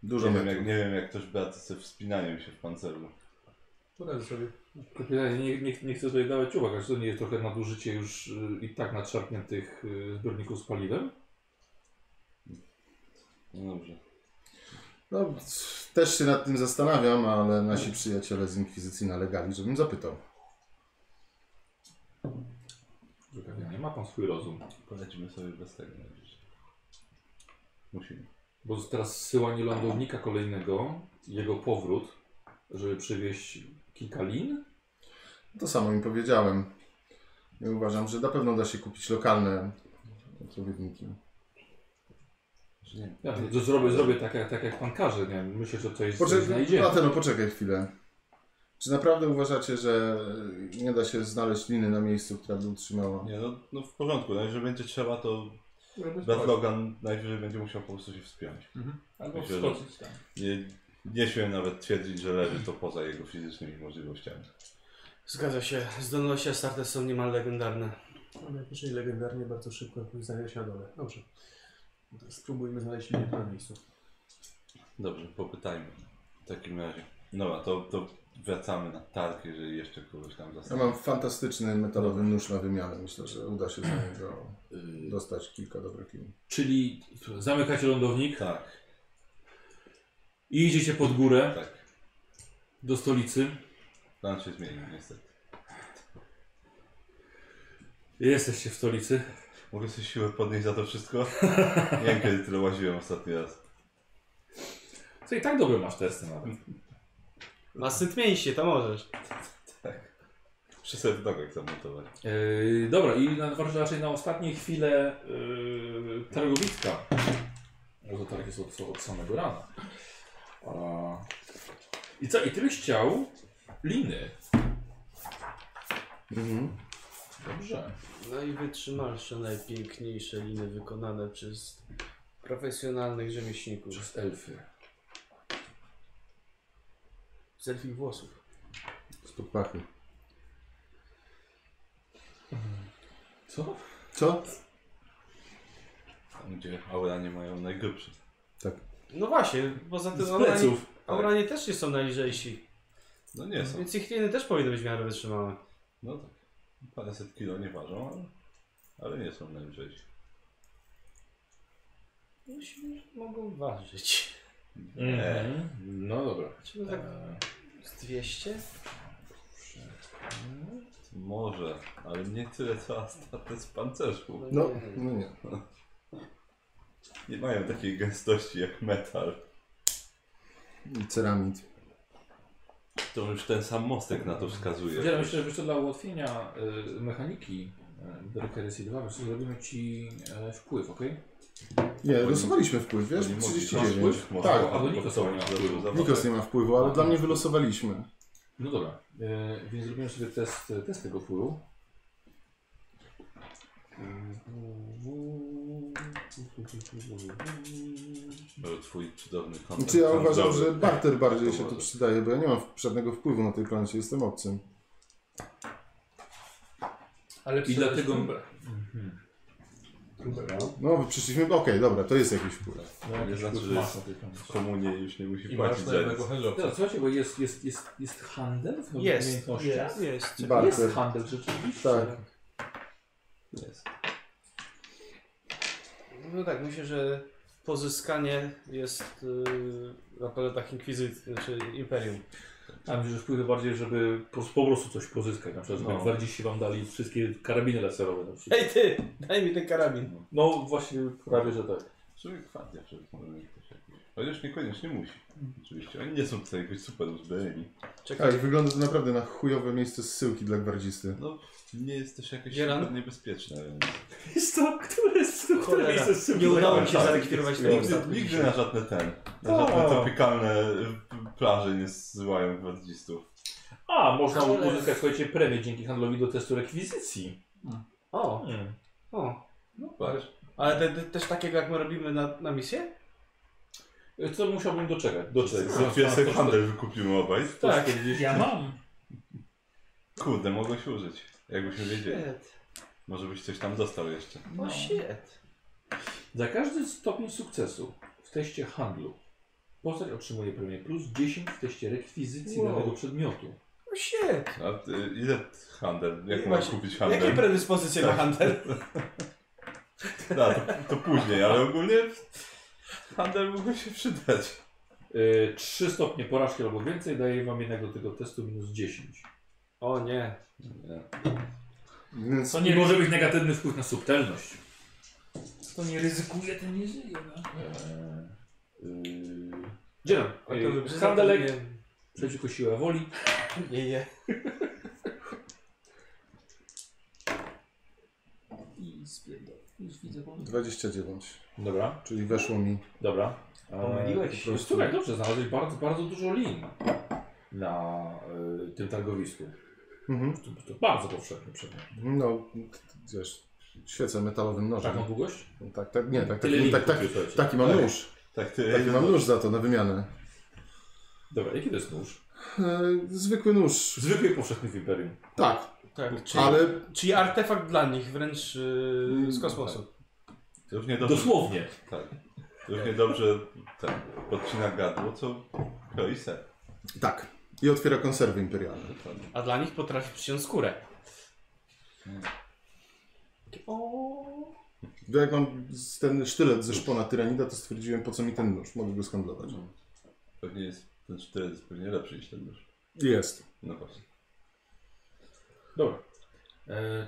Dużo
Nie wiem,
metrów.
jak, nie wiem, jak ktoś braty ze wspinaniem się w pancerzu.
Poradzę sobie.
Kapitanie, nie, nie, nie chcę tutaj dawać uwag, ale czy to nie jest trochę nadużycie już y, i tak nadszarpniętych y, zbiorników z paliwem?
No dobrze.
No, też się nad tym zastanawiam, ale nasi przyjaciele z Inkwizycji nalegali, żebym zapytał.
Że Kapitanie, ma pan swój rozum.
Polecimy sobie bez tego na dziś. Musimy.
Bo teraz zsyłanie lądownika kolejnego, jego powrót, żeby przywieźć kilka lin?
To samo im powiedziałem. Ja uważam, że na pewno da się kupić lokalne odpowiedniki.
Znaczy, nie.
Ja to zrobię, zrobię tak, jak, tak jak pan każe, nie wiem, myślę, że coś, coś
Poczekaj,
znajdzie.
Ateno, poczekaj chwilę. Czy naprawdę uważacie, że nie da się znaleźć liny na miejscu, która by utrzymała?
nie no, no w porządku, no, jeżeli będzie trzeba, to Bad Logan najwyżej będzie musiał po prostu się wspiąć.
Albo
Myślę, że-
wskoczyć tam.
Nie, nie śmiem nawet twierdzić, że leży to poza jego fizycznymi możliwościami.
Zgadza się, zdolności Astartes są niemal legendarne.
Mam najwyżej legendarnie bardzo szybko jakoś znaleźć na dole. Dobrze. Spróbujmy znaleźć linię na miejscu.
Dobrze, popytajmy. W takim razie. Dobra, to, to wracamy na targ, jeżeli jeszcze kogoś tam
Ja
zastanawia.
mam fantastyczny metalowy nóż na wymianę. Myślę, że uda się za niego
Yy.
Y,
dostać kilka dobrych lin.
Czyli zamykacie lądownik
Tak,
i idziecie pod górę
tak.
do stolicy.
Plan się zmienił, niestety.
Jesteście w stolicy.
Mogę sobie siłę podnieść za to wszystko? Nie wiem, kiedy tyle łaziłem ostatni raz.
Co i tak dobre masz testy nawet.
Na synt mięśnie, to możesz.
Muszę sobie w nogach zamontować.
Yy, dobra, i na, raczej na ostatnie chwile yy, targowiska. Bo to targi są są od samego rana. A... I co, i ty byś chciał liny.
Mhm.
Dobrze.
No i wytrzymalsze, najpiękniejsze liny wykonane przez profesjonalnych rzemieślników.
Przez elfy.
Z elfich włosów.
Spod pachy.
Co?
Co?
Tam, gdzie aura nie mają najgrubsze.
No właśnie, poza tym
Z
Auranie,
pleców.
Auranie też nie są najlżejsi.
No nie są.
Więc ich liny też powinny być w miarę wytrzymałe.
No tak. Paręset kilo nie ważą, ale, ale nie są najlżejsi.
No się mogą ważyć.
Nie.
Mhm. No dobra.
Czy tak
E,
z 200?
Może, ale nie tyle co astaty z pancerzu.
No, no nie.
Nie mają takiej gęstości jak metal.
Ceramid.
To już ten sam mostek na to wskazuje.
Ja myślę, że wiesz co, dla ułatwienia y, mechaniki y, Breaker Silva, wiesz co, zrobimy ci e, wpływ, ok?
Nie,
Oni-
losowaliśmy wpływ, wiesz?
Oni mogli- Masz
39.
wpływ? Można
Tak,
było
albo Nikos
podsumować,
nie ma
żeby
wpływu.
zobaczyć.
Nikos nie ma wpływu, ale dla mnie wylosowaliśmy.
No dobra, e, więc zrobimy sobie test, test tego wpływu.
Był twój cudowny kontakt.
Znaczy ja uważam,
handlowy.
że barter bardziej
To
się tu
może.
przydaje, bo ja nie mam żadnego wpływu na tej planecie, jestem obcym.
Ale
I dlatego...
próbę.
Mhm.
No, bo przyszliśmy, okej, dobra, to jest jakiś wpływ.
No, jakiś
znaczy,
wpływ
że
ma
jest-
na tej planecie.
W komunie już nie musi
I
płacić
masz
za nic.
znajomego handlowca.
Teraz słuchajcie, bo jest, jest, jest, jest handel w
Jest,
umiejętnościach.
Jest.
Barter.
Jest handel rzeczywiście.
Tak.
Jest.
No tak, myślę, że pozyskanie jest yy, na pewno tak inkwizycji, znaczy imperium.
Ja myślę, że wpływa bardziej, żeby po, po prostu coś pozyskać. Na przykład, żeby
No.
gwardziści wam dali wszystkie karabiny laserowe. Na przykład.
Ej ty, daj mi ten karabin.
No właśnie, prawie, że tak.
W sumie kwartia przecież może mieć też jakiś. Chociaż niekoniecznie musi. Oczywiście. Oni nie są tutaj jakoś super uzbrojeni.
Czekaj,
Tak, wygląda to naprawdę na chujowe miejsce zsyłki dla gwardzisty.
No, nie jest też jakieś
Gieran?
super niebezpieczne, więc...
Jest to, które jest
Cholera, nie udało mi
Tak.
się zarekwirować tego
Nigdy,
statku.
nigdy na żadne ten, na żadne
O.
tropikalne y, plaże nie zsyłają gwardzistów.
A, można
Cholera.
uzyskać, słuchajcie, premię dzięki handlowi do testu rekwizycji.
O,
Hmm.
o.
No patrz,
Ale te, te, też takiego jak my robimy na, na misję?
Co musiałbym doczekać? Doczekać.
za chwilę sobie handel wykupimy obaj.
Tak.
Ja mam.
Kurde, mogę się użyć, jakbyśmy wiedzieli.
Shit.
Może byś coś tam dostał jeszcze.
O No shit.
Za każdy stopień sukcesu w teście handlu postać otrzymuje premię plus 10 w teście rekwizycji
Wow.
danego przedmiotu.
O No shit.
A ty, ile handel? Jak
Nie,
mam
właśnie,
kupić
Jakie
handel?
predyspozycje na handel?
Da, to, to później, ale ogólnie handel mógłby się przydać.
Yy, 3 stopnie porażki albo więcej daje wam jednak do tego testu minus 10.
O nie.
Więc
To
Nie
nie,
może być negatywny wpływ na subtelność.
to nie ryzykuje, ten nie żyje. No.
E, Dzielam.
A to
Yy,
wybrzeże
Handelek przeciwko siłę woli.
Nie, nie.
I spierdol. Już widzę po
29,
Dobra,
czyli weszło mi.
dobra. E,
Pomyliłeś
po
się.
prostu. Słuchaj, dobrze, znalazłeś bardzo, bardzo dużo lin na y, tym targowisku.
Mhm.
To, to bardzo powszechny przedmiot.
No, t- t- wiesz, świecę metalowym nożem.
Taką długość?
Tak, tak, nie, tak,
Tyle lin
taki, tak, tak,
kupił, słuchajcie.
taki mam
Tak.
nóż.
Tak ty,
Taki mam nóż za to, na wymianę.
Dobra, jaki to jest nóż?
E, zwykły nóż.
Zwykły i powszechny w Imperium.
Tak,
Tak, czyli,
ale
czyli artefakt dla nich, wręcz yy, z
Mm,
kosmosu.
to już niedobrze.
Dosłownie.
Tak. To już niedobrze ten, podcina gadło, co kroi ser.
tak. I otwiera konserwy imperialne.
Dokładnie.
A dla nich potrafi przyciąć skórę.
Bo jak mam z- ten sztylet ze szpona tyranida, to stwierdziłem, po co mi ten nóż. Mogę go skandlować.
Pewnie jest, ten sztylet jest pewnie lepszy niż ten nóż.
Jest.
No właśnie.
Dobra. E,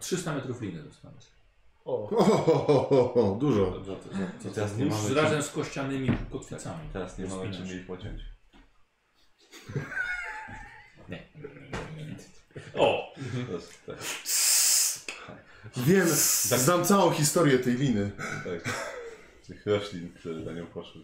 300 metrów liny dostaniesz.
O, ho, ho, ho, ho, ho, dużo.
Dobrze, to, to, to teraz nie
Nóż
mamy
z
czym-
razem z kościanymi kotwicami.
Teraz nie mamy czym
Spinasz.
jej pociąć.
O!
To jest, tak,
Wiem, znam całą historię tej liny.
tak. Tych roślin, które na nią poszły.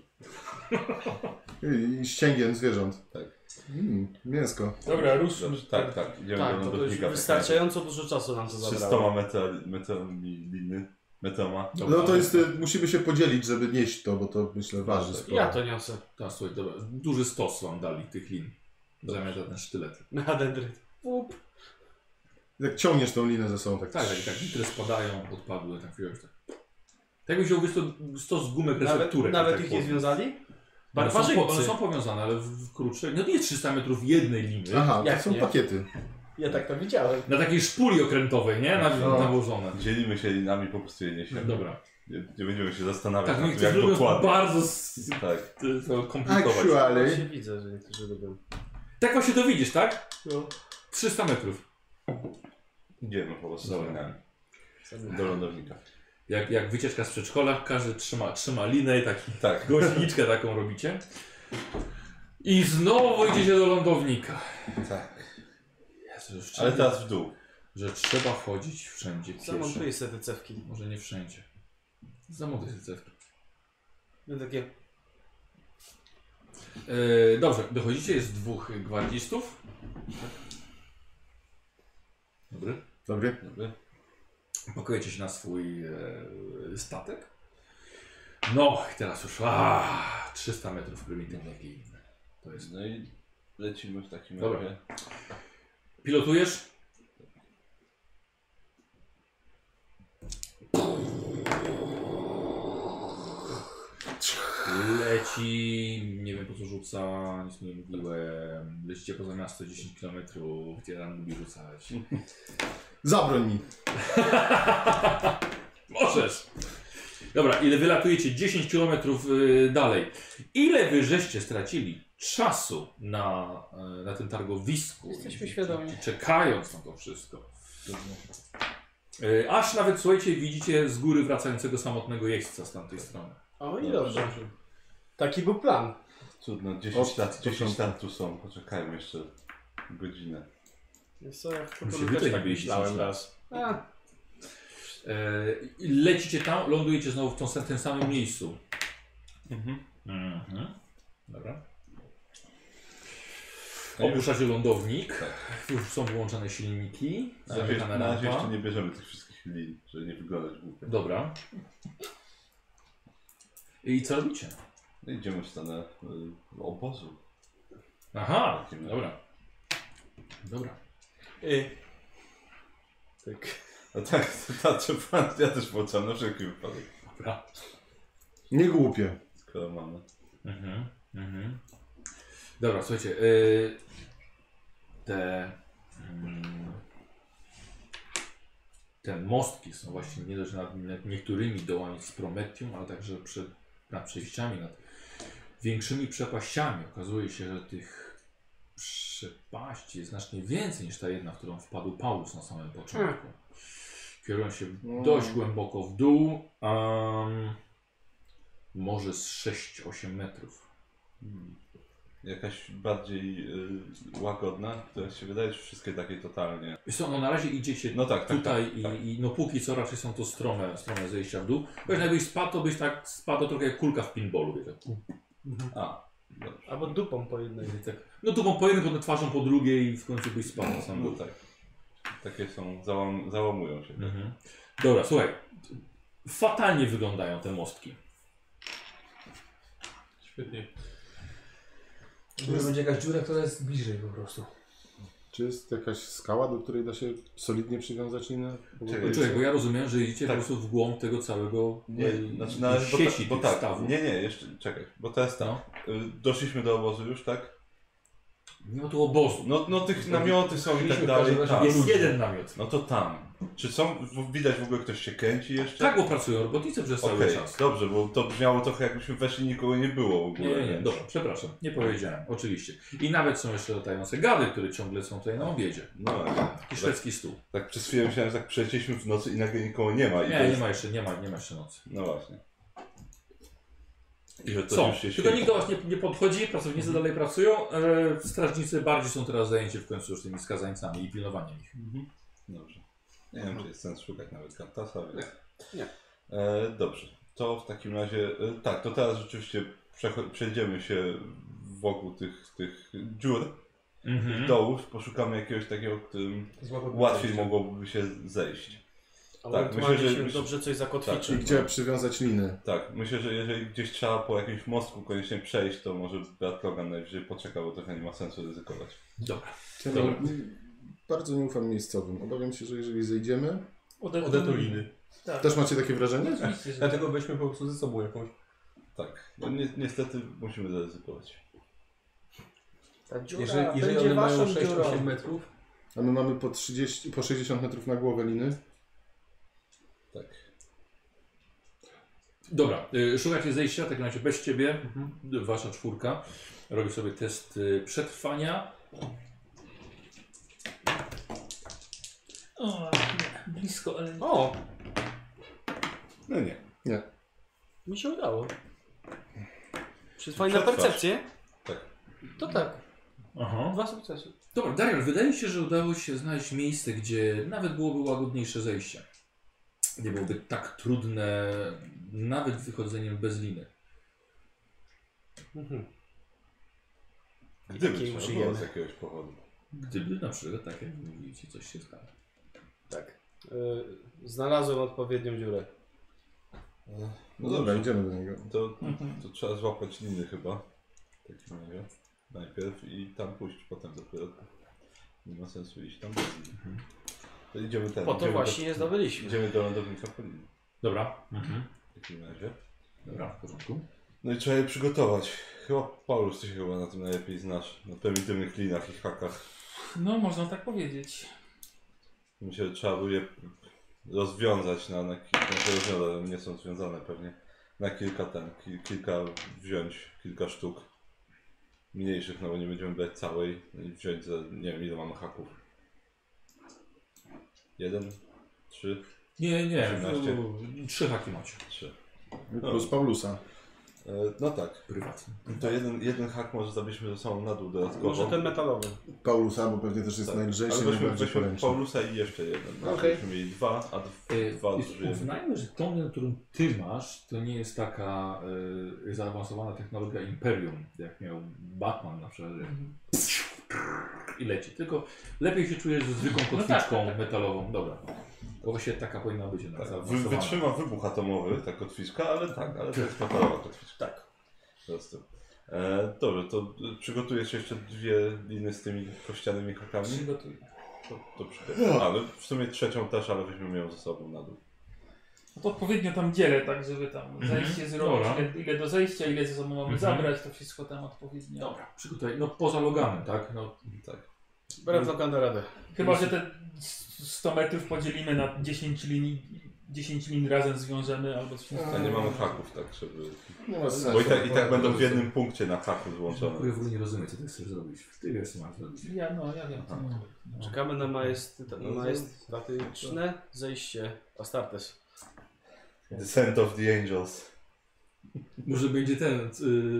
I- I ścięgien zwierząt.
Tak.
Mm, mięsko.
Dobra, ruszmy.
Dobrze, tak, tak. Idziemy
Tak,
do
to, to już
lądownika.
wystarczająco dużo czasu nam to
Z
zabrało.
300 metal, metalami liny. Metoma.
No to jest, y, musimy się podzielić, żeby nieść to, bo to myślę waży sporo.
Ja to niosę.
Teraz słuchaj, dobra. Duży stos wam dali tych lin. Zamiast za ten sztylet.
Na dendryt.
Jak ciągniesz tą linę ze sobą, tak.
Tak, tak, tak. Litre spadają, odpadły, tak wiesz. Tak. Tak jak wziął wiesz, to stos gumek
Nawet,
recepturek.
nawet
tak
ich nie
powiem.
związali?
One są, po,
Barbarzyńcy.
one są powiązane, ale w, w krótszej. No nie 300 metrów jednej liny.
Aha,
Jak
to są
nie?
pakiety.
Ja tak to widziałem.
Na takiej szpuli okrętowej, nie? Na,
No.
nałożone.
Dzielimy się linami, po prostu je niesiemy.
Dobra.
Nie, nie będziemy się zastanawiać
Tak, no i
nad
to
tym, jak
jest
dokładnie.
bardzo s-
Tak.
y, to
Tak,
komplikować.
Ja się
Actually,
widzę, że niektórzy lubią.
Tak właśnie to widzisz, tak?
No.
300 metrów.
Idziemy po prostu
Dobra.
z linami. Do lądownika.
Jak, jak wycieczka z przedszkola, każdy trzyma, trzyma linę i taki
Tak.
goźniczkę taką robicie. I znowu idziecie do lądownika.
tak.
Jezu, że,
Ale
trzeba,
teraz w dół.
że trzeba chodzić wszędzie pieszo.
Zamontuję sobie te cewki.
Może nie wszędzie. Zamontuj sobie cewkę.
No takie...
E, dobrze, dochodzicie, jest dwóch gwardzistów. Dobry.
dobry.
Dobry. Pakujecie się na swój e, statek. No, i teraz już a, 300 metrów prymitywnych i inne. To jest.
No i lecimy w takim
Dobra.
razie.
Pilotujesz? Leci, nie wiem po co rzuca, nic nie mówiłem. Lecicie poza miasto 10 km, gdzie tam lubi rzucać.
Zabroń mi.
Możesz! Dobra, ile wylatujecie 10 km dalej. Ile wy żeście stracili czasu na, y, na tym targowisku?
Jesteśmy
I-
świadomi.
i Czekając na to wszystko. Y, Aż nawet, słuchajcie, widzicie z góry wracającego samotnego jeźdźca z tamtej strony.
O
No,
i dobrze. Taki był plan.
Cudno, 10
Od-
no, lat, 10
początku.
lat tu są. Poczekajmy jeszcze godzinę.
Wiesz co, jak
My
tylko
się
bym też
tutaj nie
tak
byliście.
myślałem.
myślę.
A,
E, i Lecicie tam, lądujecie znowu w tą, tym samym miejscu. Mhm. Dobra. Obusza się lądownik. Już są wyłączane silniki.
Tak. Na razie,
Zamykana
na razie jeszcze
rampa.
nie bierzemy tych wszystkich lin, żeby nie wyglądać głupio.
Dobra. I co robicie?
No idziemy w stronę y, obozu.
Aha, dobra. Dobra.
y,
A tak, tarczę pan, ja też włączam na wszelki wypadek,
Dobra.
Nie głupie.
skoro mamy.
Mhm. Mhm. Dobra, słuchajcie. Y, te... Mm, te mostki są właśnie nie dość nad, nad niektórymi dołami z Prometium, ale także przed, nad przejściami, nad większymi przepaściami. Okazuje się, że tych przepaści jest znacznie więcej niż ta jedna, w którą wpadł Paulus na samym początku. Kierują się dość głęboko w dół, um, może z 6-8 metrów.
Hmm. Jakaś bardziej y, łagodna, która się wydaje, czy wszystkie takie totalnie.
Wiesz co, no na razie idziecie
No tak, tak,
tutaj
tak,
i,
tak. Mhm.
i no póki co raczej są to strome, strome zejścia w dół. Wiesz, jakbyś spadł, to byś tak spadł trochę jak kulka w pinballu, tak. wiecie.
A,
albo dupą po jednej.
Wiecie, tak. No tu po jednym, potem twarzą po drugiej i w końcu byś spadł na sam
no
dół.
tak. Takie są, załam, załamują się.
Mhm. Dobra, słuchaj. Fatalnie wyglądają te mostki.
Świetnie. Może będzie jakaś dziura, która jest bliżej po prostu.
Czy jest jakaś skała, do której da się solidnie przywiązać linę?
Czekaj,
Człowiek, bo ja rozumiem, że idziecie
Tak.
po prostu w głąb tego całego
Nie,
e,
znaczy na razie, bo, ta,
sieci
bo
tych
tak,
stawów.
nie, nie, jeszcze, czekaj, bo teraz tak,
No.
y, doszliśmy do obozu już, tak?
Mimo tu obozu.
No, no tych namioty są i tak
Mieliśmy
dalej,
w każdym
tak.
razie
Jest jeden namiot.
No to tam. Czy są, w- widać w ogóle ktoś się kręci jeszcze?
Tak, bo pracują robotnicy przez cały
Okej,
czas.
dobrze, bo to brzmiało trochę jakbyśmy weszli i nikogo nie było w
Nie,
ogóle.
nie, nie,
więc-
dobra, przepraszam, nie powiedziałem, oczywiście. I nawet są jeszcze latające gady, które ciągle są tutaj na obiedzie.
No, tak.
I szwedzki stół.
tak przez chwilę myślałem, że tak przelecieliśmy w nocy i nagle nikogo nie ma. I to
Nie, nie
jest...
ma jeszcze, nie ma, nie ma jeszcze nocy.
No właśnie. I że to
Są,
już się
tylko
świeci.
nikt do was nie, nie podchodzi, pracownicy dalej pracują, e, strażnicy bardziej są teraz zajęci w końcu już tymi skazańcami i pilnowaniem ich.
Dobrze. Nie wiem, czy jest sens szukać nawet Kartasa, więc...
Nie.
E, dobrze. To w takim razie... E, tak, to teraz rzeczywiście przecho- przejdziemy się wokół tych, tych dziur,
Mhm.
dołów, poszukamy jakiegoś takiego, którym łatwiej mogłoby się zejść.
Albo
Tak,
ewentualnie
myślę, że-
się dobrze coś zakotwiczy.
I gdzie przywiązać linę?
Tak, myślę, że jeżeli gdzieś trzeba po jakimś mostku koniecznie przejść, to może Beat Logan najwyżej poczeka, bo trochę nie ma sensu ryzykować.
Dobra.
Ja
Dobra.
nie- Bardzo nie ufam miejscowym. Obawiam się, że jeżeli zejdziemy...
Odetuliny.
Tak.
Też macie takie wrażenie?
Oczywiście, że
Dlatego weźmy po prostu ze sobą jakąś.
Tak, no ni niestety musimy zaryzykować.
Ta dziura
Jeżeli, jeżeli
będzie
one
waszą
mają
dziurą.
6-8 metrów,
A my mamy po 30, po 60 metrów na głowę liny.
Dobra, y, szukacie zejścia, tak na razie bez ciebie,
Mhm.
wasza czwórka. Robię sobie test y, przetrwania.
O, nie, blisko, ale...
O,
No nie.
mi się udało. Przyzwyczaj na
Przetrwasz.
percepcję?
Tak.
To tak,
Aha.
dwa sukcesy.
Dobra, Darial, wydaje się, że udało się znaleźć miejsce, gdzie nawet byłoby łagodniejsze zejście. Nie byłoby tak trudne nawet wychodzeniem bez liny.
Mhm.
Gdyby
Takiej
trzeba było
użyjemy.
z jakiegoś powodu.
Gdyby na przykład, tak jak mówicie, coś się stało.
Tak.
Y, znalazłem odpowiednią dziurę.
E,
No dobra, idziemy do niego.
To,
Mhm.
to trzeba złapać liny chyba. W takim razie. Najpierw i tam pójść, potem dopiero. Nie ma sensu iść tam bez liny. To idziemy ten.
Po to
idziemy
właśnie je
Do,
zdobyliśmy.
idziemy do lądownika po linie.
Dobra.
W takim razie.
Dobra, w porządku.
No i trzeba je przygotować. Chyba Paulus, ty się chyba na tym najlepiej znasz. Na prymitywnych linach i hakach.
No, można tak powiedzieć.
Myślę, że trzeba było je rozwiązać na, na kilka, znaczy rozwiązane, nie są związane pewnie, na kilka ten, ki- kilka wziąć, kilka sztuk mniejszych, no bo nie będziemy brać całej no i wziąć za, nie wiem ile mamy haków. Jeden, trzy,
Nie, nie,
18.
w- trzy haki macie.
trzy. No.
Plus Paulusa.
E, no tak,
Prywatnie.
to jeden, jeden hak może zabierzmy ze sobą na dół dodatkowo.
Może ten metalowy.
Paulusa, bo pewnie też jest najlżejszy
Tak. Ale
i
weźmy,
najbardziej
weźmy
poręczny.
Paulusa i jeszcze jeden. No,
Okej.
Żebyśmy mieli dwa, a dw-
Y,
dwa
jest-
zużyjemy.
Uznajmy, że tą, którą ty masz, to nie jest taka y, zaawansowana technologia Imperium, jak miał Batman na przykład. że
Mhm.
I leci. Tylko lepiej się czujesz ze zwykłą
No
kotwiczką
tak, tak, tak.
metalową. Dobra. Bo właśnie taka powinna być jednak
Tak, wy,
zaawansowana.
wytrzyma wybuch atomowy, ta kotwiczka, ale tak, ale to jest metalowa kotwiczka. Tak. Zresztą. E, dobrze, to y, przygotujesz jeszcze dwie liny z tymi kościanymi hakami?
Przygotuj.
To, to przygotuj. Ale w sumie trzecią też, ale weźmiemy ją ze sobą na dół.
No to odpowiednio tam dzielę, tak, żeby tam
Mhm.
zejście zrobić,
Dobra.
ile, ile do zejścia, ile ze sobą mamy
Mhm.
zabrać, to wszystko tam odpowiednio.
Dobra, przygotuj. No poza loganem, tak? No,
Brat Logan da radę.
Chyba, że te 100 metrów podzielimy na 10 linii, 10 lin razem zwiążemy albo coś
A nie mamy haków, tak, żeby...
Nie ma sensu.
Bo i tak, i tak będą w jednym punkcie na haku
Tak.
złączone.
ja w ogóle nie rozumiem, co ty chcesz zrobić. Ty wiesz, co masz zrobić.
Ja, no, ja wiem.
Aha.
No.
Czekamy na majest-
No,
majestatyczne zejście Astartes.
Descent of the Angels.
Może będzie ten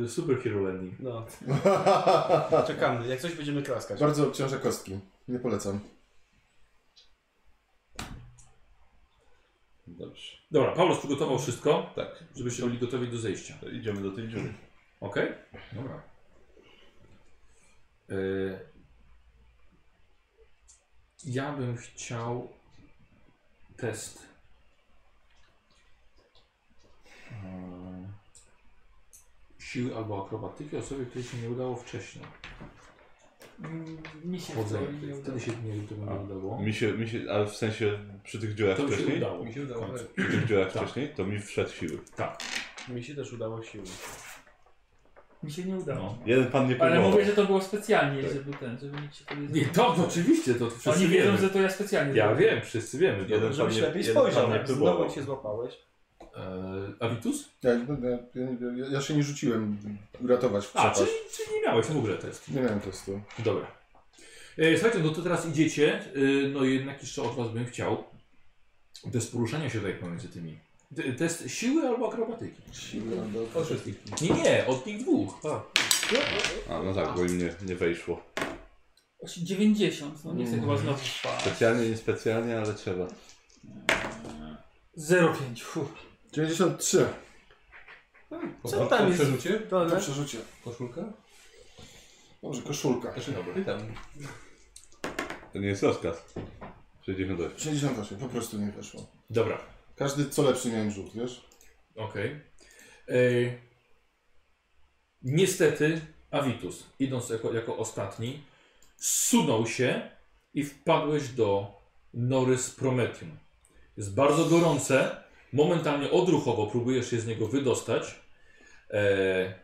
y, super hero landing.
No. Czekamy, jak coś będziemy klaskać.
Bardzo obciąża kostki. Nie polecam.
Dobrze,
Dobra, Paulus przygotował wszystko,
tak.
żebyście byli gotowi do zejścia.
To idziemy do tej dziury.
Okej, dobra. Y, ja bym chciał test. mm, Siły albo akrobatyki osobie, której się nie udało wcześniej.
Mm, Mi się
Chodzenie.
wcale nie udało.
Wtedy się nie, to by nie
A,
udało.
Mi się, mi się, ale w sensie przy tych dziurach
To mi się
wcześniej?
udało.
Mi się
w
udało.
końcu.
Przy tych dziurach
Tak.
wcześniej, to mi wszedł siły.
Tak.
Mi się też udało siły.
Mi się nie udało.
No.
Jeden pan nie
Ale
próbował.
mówię, że to było specjalnie,
Tak.
żeby ten, żeby nikt się tego
Nie,
nie
to oczywiście, to wszyscy
Oni
wiemy.
wiedzą, że to ja specjalnie
Ja
zrobiłem.
wiem, wszyscy wiemy. to.
Jeden pan
Żebyś
nie,
lepiej
jeden pan
spojrzał,
nie
jak znowu
próbował.
się złapałeś.
Eee, Avitus?
Ja, no, ja, ja, ja, ja się nie rzuciłem ratować w
A,
przepaść.
czyli, czyli nie miałeś w ogóle testu.
Nie miałem testu.
Dobra. E, Słuchajcie, no to teraz idziecie, e, no jednak jeszcze od was bym chciał test poruszania się tutaj pomiędzy tymi. T- Test siły albo akrobatyki.
Siły albo...
O wszystkich.
Nie, nie, od tych dwóch.
A no tak, bo im nie, nie wejszło.
90, no nie chcę chyba znowu spać.
Specjalnie, niespecjalnie, ale trzeba.
0,5. fuh.
93.
Co tam jest?
Przerzucie?
To
Dole.
przerzucie.
Koszulka?
Dobrze, koszulka.
Znaczy, pytam.
To nie jest rozkaz. 68.
68, po prostu nie weszło.
Dobra,
Każdy co lepszy miałem rzut, wiesz?
okej. E, Niestety Avitus, idąc jako, jako ostatni, zsunął się i wpadłeś do nory z Prometium. Jest bardzo gorące. Momentalnie odruchowo próbujesz się z niego wydostać. E,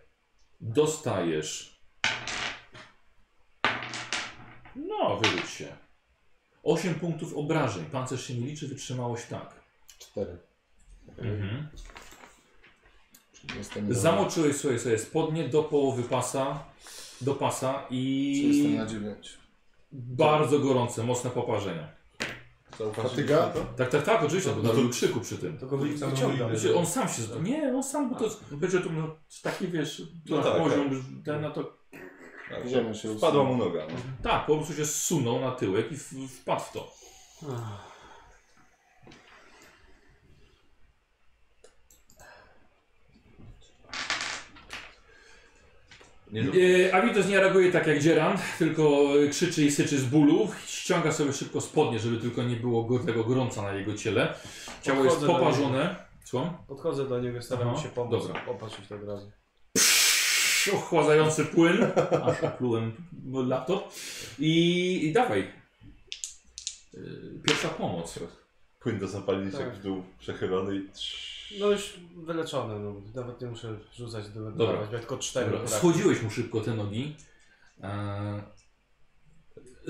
dostajesz. No, wyrzuć się. 8 punktów obrażeń. Pancerz się nie liczy, wytrzymałość tak. Mhm.
Cztery. Czyli jestem
No.
na-
Zamoczyłeś sobie, sobie spodnie do połowy pasa, do pasa
Czyli jestem
i
na 9.
bardzo gorące, mocne poparzenia.
Fatyga?
Tak, tak, tak, oczywiście, bo na krzyku przy tym.
Tylko wy-
No Wyciągam. Tak.
wyciągam.
Znaczy, on sam się. z- Nie, on sam, bo to będzie to no, taki wiesz, to
No tak,
poziom, że ten na to.
Tak,
Idziemy się
Wpadła mu noga. No.
Tak, po prostu się zsunął na tyłek i w- wpadł w to.
Nie no, do...
E, Avitos nie reaguje tak jak Dzieran, tylko krzyczy i syczy z bólu. Ściąga sobie szybko spodnie, żeby tylko nie było go- tego gorąca na jego ciele. Ciało jest
Podchodzę do
poparzone. Co?
Podchodzę do niego, staram
Aha,
się pomóc.
dobra.
Opatrzyć od razu.
Ochładzający płyn. Aż oplułem laptop. I, i dawaj. Y, Pierwsza pomoc.
Płyn do zapalniczek
Tak.
w dół przechylony i... trz-
No już wyleczony, no. nawet nie muszę rzucać do
Dobra.
dodawać, bo ja tylko
Tak,
cztery.
Dobra,
braki.
schodziłeś mu szybko te nogi. E,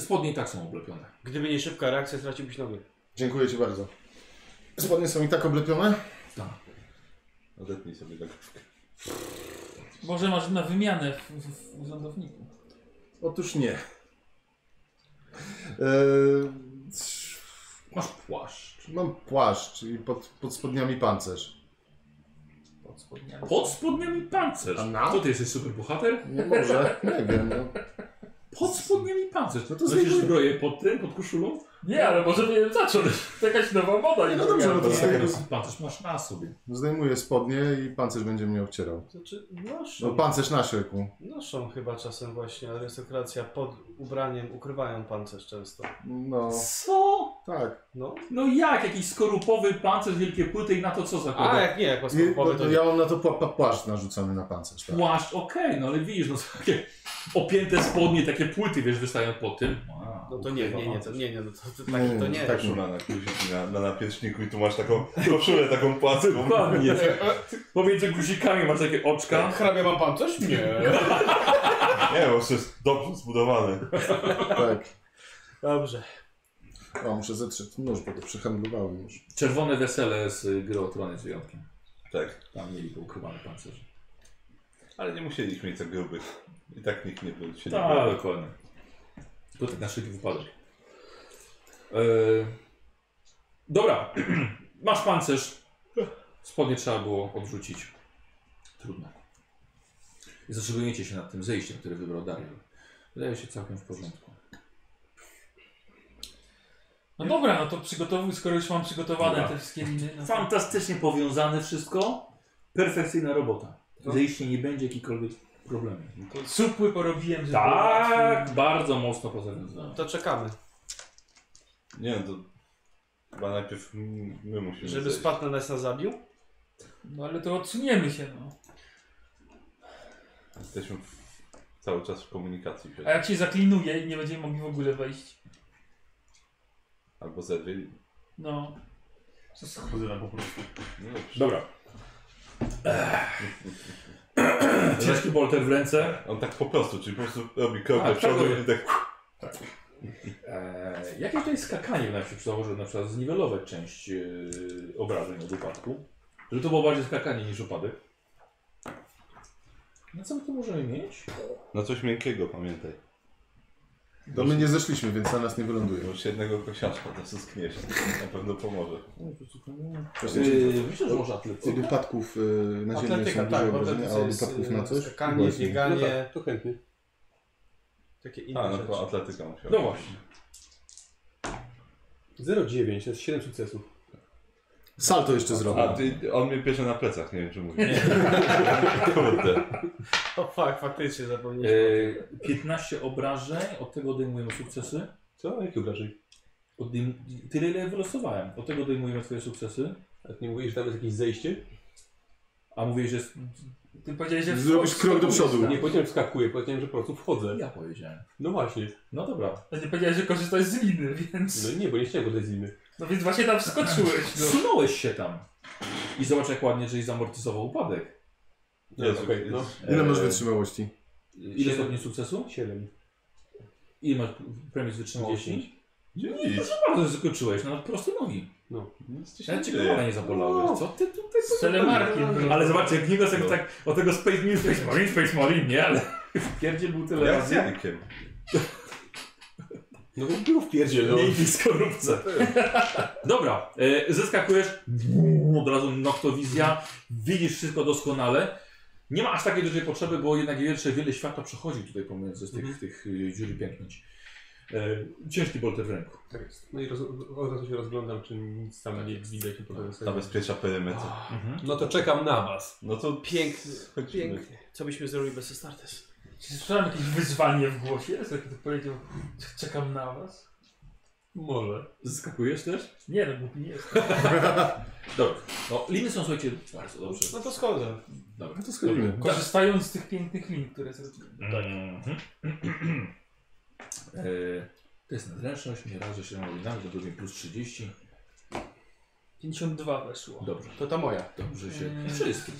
Spodnie i tak są oblepione.
Gdyby nie szybka reakcja, straciłbyś nogę.
Dziękuję Ci bardzo. Spodnie są i tak oblepione?
Odetnij no sobie tak nogówkę.
Może masz na wymianę w, w, w urzędowniku.
Otóż nie. E,
Masz płaszcz.
mam płaszcz i pod, pod spodniami pancerz.
Pod spodniami.
Pod spodniami pancerz.
A na?
To ty jesteś super bohater?
Nie No może, nie wiem. No.
Pod spodniami pancerz. No
to
to znajdziesz
zdejmuj.
zbroję pod tym, pod koszulą?
Nie, ale może powinienem zacząć. To jakaś nowa moda.
Nie,
nie
no dobrze,
wiem.
no to zdejmuję,
Pancerz masz na sobie.
zdejmuję spodnie i pancerz będzie mnie obcierał.
Znaczy, noszą,
No pancerz na szyku.
noszą chyba czasem właśnie arystokracja pod ubraniem, ukrywają pancerz często.
No,
Co?
tak.
No.
No jak? Jakiś skorupowy pancerz, wielkie płyty i na to co zakłada?
A jak nie, jak was
I, no,
powie,
to
to nie.
ja mam na to pła- pła- płaszcz narzucony na pancerz, tak.
Płaszcz, okej, no ale widzisz, no takie opięte spodnie, takie płyty, wiesz, wystają po tym. Wow,
No to nie, nie, nie, to
pancerz.
nie, nie, no to, to,
Nie, nie,
taki to nie.
tak
Koszula na guzik na, na napieczniku i tu masz taką koszulę taką płaską.
Dokładnie. Pomiędzy guzikami masz takie oczka.
Tak.
Hrabia ma pan coś? Nie.
Nie, bo to jest dobrze zbudowane.
tak.
Dobrze.
O, muszę zetrzeć nóż, bo to przehandlowałem już.
Czerwone wesele z y, gry o Trony z wyjątkiem.
Tak.
Tam mieli poukrywane pancerze.
Ale nie musieli ich mieć tak grubych. I tak nikt nie był. Się nie
Tak,
bał.
dokładnie. Tylko tak na szybki wypadek. E, dobra, masz pancerz. Spodnie trzeba było odrzucić. Trudno. I zatrzymujecie się nad tym zejściem, które wybrał Dariel. Wydaje się całkiem w porządku.
No dobra, no to przygotowuj, skoro już mam przygotowane
Dobra.
te wszystkie liny. No to...
Fantastycznie powiązane wszystko. Perfekcyjna robota. Zejście nie będzie jakichkolwiek problemów.
Supły porobiłem, żeby...
Tak, bardzo mocno pozawiązane.
To czekamy,
Nie, no to chyba najpierw m- my musimy
żeby
zejść.
spadł na nas na zabił.
No ale to odsuniemy się, no.
Jesteśmy w, cały czas w komunikacji.
A jak się zaklinuje i nie będziemy mogli w ogóle wejść?
Albo zerwieli.
No.
Co schodzę na po prostu.
No dobrze.
Dobra. Ciężki bolter w ręce.
On tak po prostu, czyli po prostu robi krok do
Tak,
przodu
tak.
i tak...
Eee, jakie to jest skakanie na przykład, może na przykład zniwelować część e, obrażeń od upadku? Żeby to było bardziej skakanie niż upadek. Na co my tu możemy mieć?
Na No coś miękkiego pamiętaj.
To my nie zeszliśmy, więc na nas nie wyląduje.
Już jednego kosiaczka to skniesz. Na pewno pomoże.
Eee, myślę, że może atletyka.
Od upadków y, na ziemię
Atletyka,
są
tak,
duże
bo
obrażenia, a
atletyka
od
jest
upadków na
y,
coś?
skakanie,
Właśnie.
No
bieganie,
tak, to chętnie.
takie inne
A, no
rzeczy.
to atletyka musiała.
No właśnie.
0,9, to jest 7 sukcesów.
Salto jeszcze zrobię.
A ty, on mnie bierze na plecach, nie wiem czy mówi. Kurde.
O fuck, faktycznie zapomnieliśmy.
Eee, 15 obrażeń, od tego odejmujemy sukcesy.
Co? Jakie obrażeń?
Odejm tyle ile wylosowałem. Od tego odejmujemy twoje sukcesy.
A ty nie mówisz, że tam jest jakieś zejście?
A mówię, że jest...
Ty powiedziałeś, że...
Zrobisz krok do przodu.
Nie powiedziałem, że skakuję, powiedziałem, że po prostu wchodzę.
Ja powiedziałem.
No właśnie.
No dobra.
A Ty powiedziałeś, że korzystasz z liny, więc...
No nie, bo nie chciałem podejść z nimi.
No więc właśnie tam wskoczyłeś, no.
Zsunąłeś się tam. I zobacz jak ładnie, żeś zamortyzował upadek.
No,
Jezu,
okej,
jest-
no.
Ile masz
Eee,
wytrzymałości?
Ile stopni sukcesu?
7.
Ile masz premii z wytrzymałości?
Gdzie nic.
Proszę bardzo, zaskoczyłeś, no proste nogi.
Nic ci się
Ja
nie
cię
dzieje.
kolana nie zabolały.
No.
Co ty tutaj
Z telemarkiem. był.
Ale zobaczcie, jak Nikos
No.
jak tak o tego Space Marine, Space Marine, Space Marine, nie? Ale wpierdziel był tyle
Jak z
razy.
Jankiem.
No bo był w pierdzie, no.
Miękki skorupce. Dobra, e, zeskakujesz, od razu noktowizja, widzisz wszystko doskonale. Nie ma aż takiej dużej potrzeby, bo jednak jeszcze wiele światła przechodzi tutaj pomiędzy z tych,
Mhm.
tych y, dziury pięknięć. E, ciężki bolter w ręku.
Tak jest. No i roz, od razu się rozglądam, czy nic tam nie widać. nie podobno sobie.
Zabezpiecza perymetr.
Tak,
Mhm.
No to czekam na was.
No to
Piękny,
Chodźmy.
piękny. Co byśmy zrobili bez Astartes?
Czy słyszałem jakieś wyzwanie w głosie? Jak to powiedział, czekam na was.
Może.
Zeskakujesz też?
Nie, no głupi nie jest.
Dobra, no liny są słuchajcie bardzo dobrze.
No to schodzę.
Dobra.
No to schodzimy.
Korzystając z tych pięknych lin, które są.
no
Tak. Mhm. e, to jest nadręczność, nie rażę się na linami, do drugiej plus 30.
52 weszło.
Dobrze,
To ta moja. E.
dobrze się...
Mm.
Wszystkich,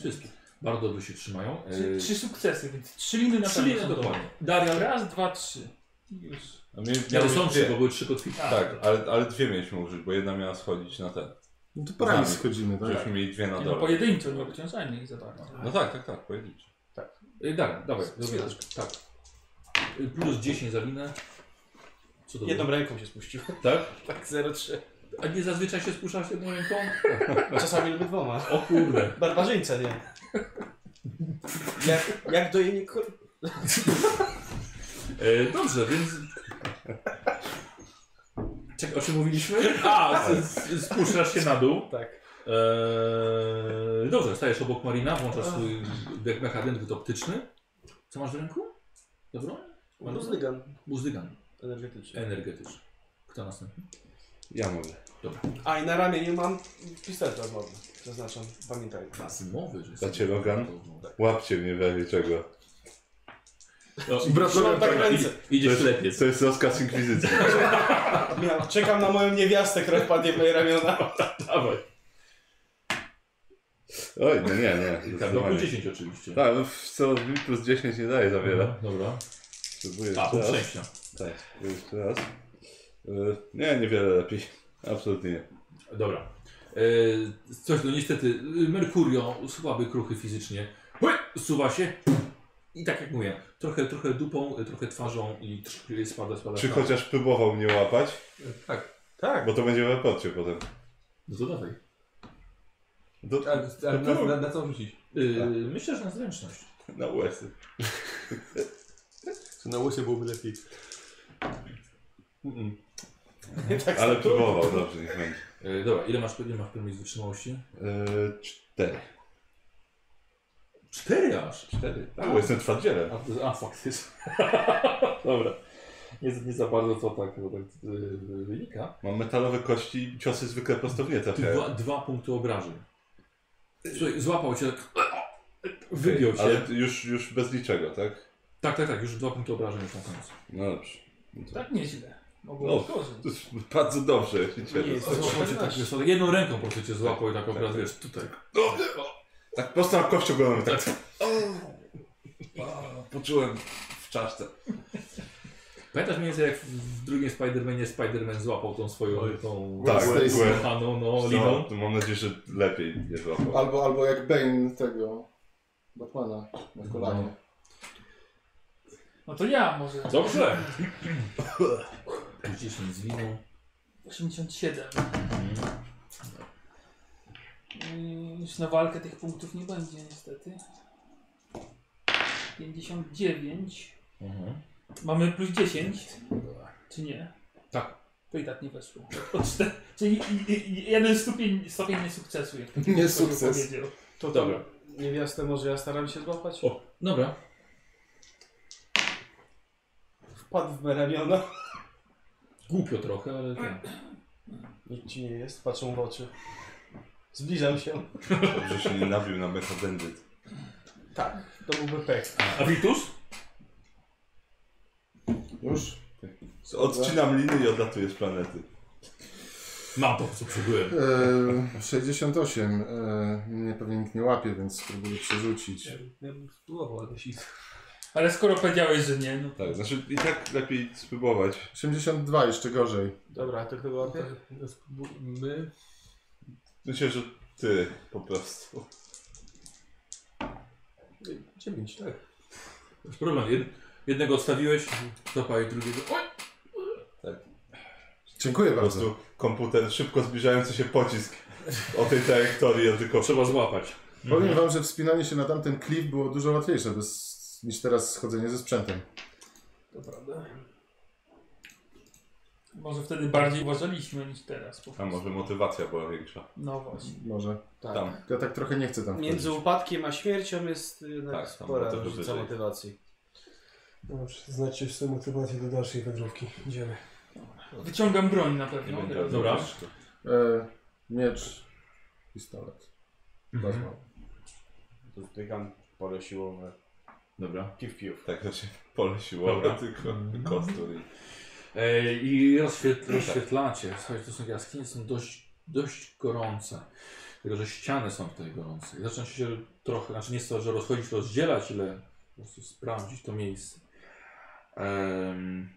wszystkich. Bardzo dobrze się trzymają. E,
Trzy, trzy sukcesy, więc trzy liny na
Trzy
pewno
liny
są
dokładnie.
dobre. Darial raz, dwa, trzy. I Już.
A my
Ale
miały
no są trzy,
dwie.
bo były trzy kotwiki.
A,
Tak, ale, ale dwie mieliśmy użyć, bo jedna miała schodzić na ten.
No to parami
Zamiast.
schodzimy, tak?
Żeśmy mieli dwie na
Nie, bo
dole.
pojedynczo nie obciążajmy ich za bardzo.
No tak, tak, tak, pojedyncze.
Y, Dara, dawaj, zrobię. Tak. Y, Plus 10 za linę. Co to
Jedną
było?
ręką się spuściłem.
Tak?
Tak, 0,3.
A nie zazwyczaj się spuszczasz jedną ręką?
Czasami lubię dwoma.
O kurde.
Barbarzyńca, nie? Jak, jak do jej ko-
E, dobrze, więc... Czekaj, o czym mówiliśmy? A, z, z, spuszczasz się na dół.
Tak.
E, dobrze, stajesz obok Marina, włączasz swój me- mechanizm optyczny. Co masz w ręku? Dobrą?
No Rozdygan.
Buzdygan
Energetyczny.
energetyczny. Kto następny?
Ja mogę.
A i na ramieniu mam pistolet rozmowny. Zaznaczam, pamiętaj.
Mowy, że...
Dacie Logan? Łapcie mnie w razie czego.
No,
Brat
Trzymam tak ręce.
i- idziesz ślepiec.
To jest rozkaz inkwizycji.
Ja czekam na moją niewiastę, która wpadnie w moje ramiona.
Dawaj.
Oj, no nie, nie.
Tak, no plus
zdecydowanie.
10 oczywiście.
Tak, no co mi plus 10 nie daje za wiele.
Dobra.
Spróbuję
A,
jeszcze
punkt
raz.
szczęścia.
Tak, spróbuję jeszcze raz. Y, Nie, niewiele lepiej. Absolutnie nie.
Dobra. E, coś, no niestety, y, Merkurio, słaby, kruchy fizycznie, Hui! suwa się i tak jak mówię, trochę, trochę dupą, y, trochę twarzą i trz- spada, spada.
Czy
spada.
chociaż próbował mnie łapać?
Tak.
Bo to będzie w raporcie potem.
No to dawaj.
Do,
A, a na, na, na co rzucić?
Y, Myślę, że na zręczność.
na łesy.
To na łosie byłoby lepiej.
Tak
Ale próbował, dobrze, niech będzie.
Y, dobra, ile masz, ile masz pewnie wytrzymałości?
Y, Cztery.
Cztery aż.
Cztery. Tak, bo jestem twardzielem.
A, a faktycznie. Dobra. Nie, nie za bardzo to tak, bo tak y, wynika.
Mam metalowe kości i ciosy zwykle tak. prosto w nie
Dwa,
trafiają.
dwa punkty obrażeń. Słuchaj, złapał cię tak. Wybił cię.
Ale już, już bez niczego, tak?
Tak, tak, tak, już dwa punkty obrażeń już na końcu.
No dobrze. No to-
Tak nieźle. Mogło być
No.
gorzej.
To jest bardzo dobrze, ja się cieszę.
Nie jest.
Złapał cię tak, wiesz, tak jedną ręką po prostu cię złapał i tak obraz, wiesz, tutaj.
Tak prosto na kości ogólną, tak. O, Poczułem w czaszce.
Pamiętasz mniej więcej jak w drugim Spider-Manie Spider-Man złapał tą swoją, tą
Tak,
Stacy.
byłem.
kochaną, no,
No,
liną.
to mam nadzieję, że lepiej nie złapał.
Albo, albo jak Bane tego Batmana na kolanie.
No to ja może.
Dobrze. Gdzieś mi z liną.
87.
Mhm.
Yy, Już na walkę tych punktów nie będzie niestety. 59.
Mhm.
Mamy plus 10. Czy nie?
Tak.
To i tak nie weszło. O cztery. Czyli i- i- i- jeden stopień, stopień niesukcesu. jak to
Nie
ktoś
sukces.
powiedział.
To
Dobra.
Niewiastę może ja staram się złapać?
O, dobra.
Wpadł w me ramiona.
Głupio trochę, ale tak.
Nic ci nie jest, patrzą w oczy. Zbliżam się.
Dobrze się nie nabił na metadendyt.
Tak, to byłby pech.
A Vitus?
No. Już?
Odcinam liny i odlatuję z planety.
Mam to, co przybyłem.
E, 68. E, mnie pewnie nikt nie łapie, więc spróbuję przerzucić.
Ja bym spróbował, ale jeśli
Ale skoro powiedziałeś, że nie, no to...
Tak, znaczy i tak lepiej spróbować.
82, jeszcze gorzej.
Dobra, to chyba
Okej. My?
Myślę, że ty po prostu.
9, tak.
Masz problem. Jed jednego odstawiłeś, zapalił drugiego. Oj!
Dziękuję
Po
bardzo.
prostu komputer szybko zbliżający się pocisk o tej trajektorii, ja tylko
Trzeba złapać.
Powiem wam, że wspinanie się na tamten klif było dużo łatwiejsze bez, niż teraz schodzenie ze sprzętem.
To prawda.
może wtedy bardziej uważaliśmy niż teraz. Po
A
prostu.
może motywacja była większa.
No właśnie.
Może.
Tak.
Tam.
Ja tak trochę nie chcę tam wchodzić.
Między upadkiem a śmiercią jest y, jednak
Tak, tam
spora
było to
różnica
wyżej.
motywacji.
Dobrze, znacie No, sobie motywację do dalszej wędrówki. Idziemy.
Wyciągam broń na
Nie
pewno.
będę
teraz.
robił
dobra.
rzeczy.
E, miecz, pistolet.
Mhm.
Bardzo.
Dotykam pole siłowe.
Dobra.
Piw, piw.
Tak, znaczy pole siłowe,
Dobra.
tylko kostur. i-
E, I rozświetl rozświetlacie. Słuchajcie, to są jaskinie, są dość, dość gorące. Tylko, że ściany są tutaj gorące. I zaczyna się trochę, znaczy nie to, że rozchodzić, rozdzielać, ile po prostu sprawdzić to miejsce. Um,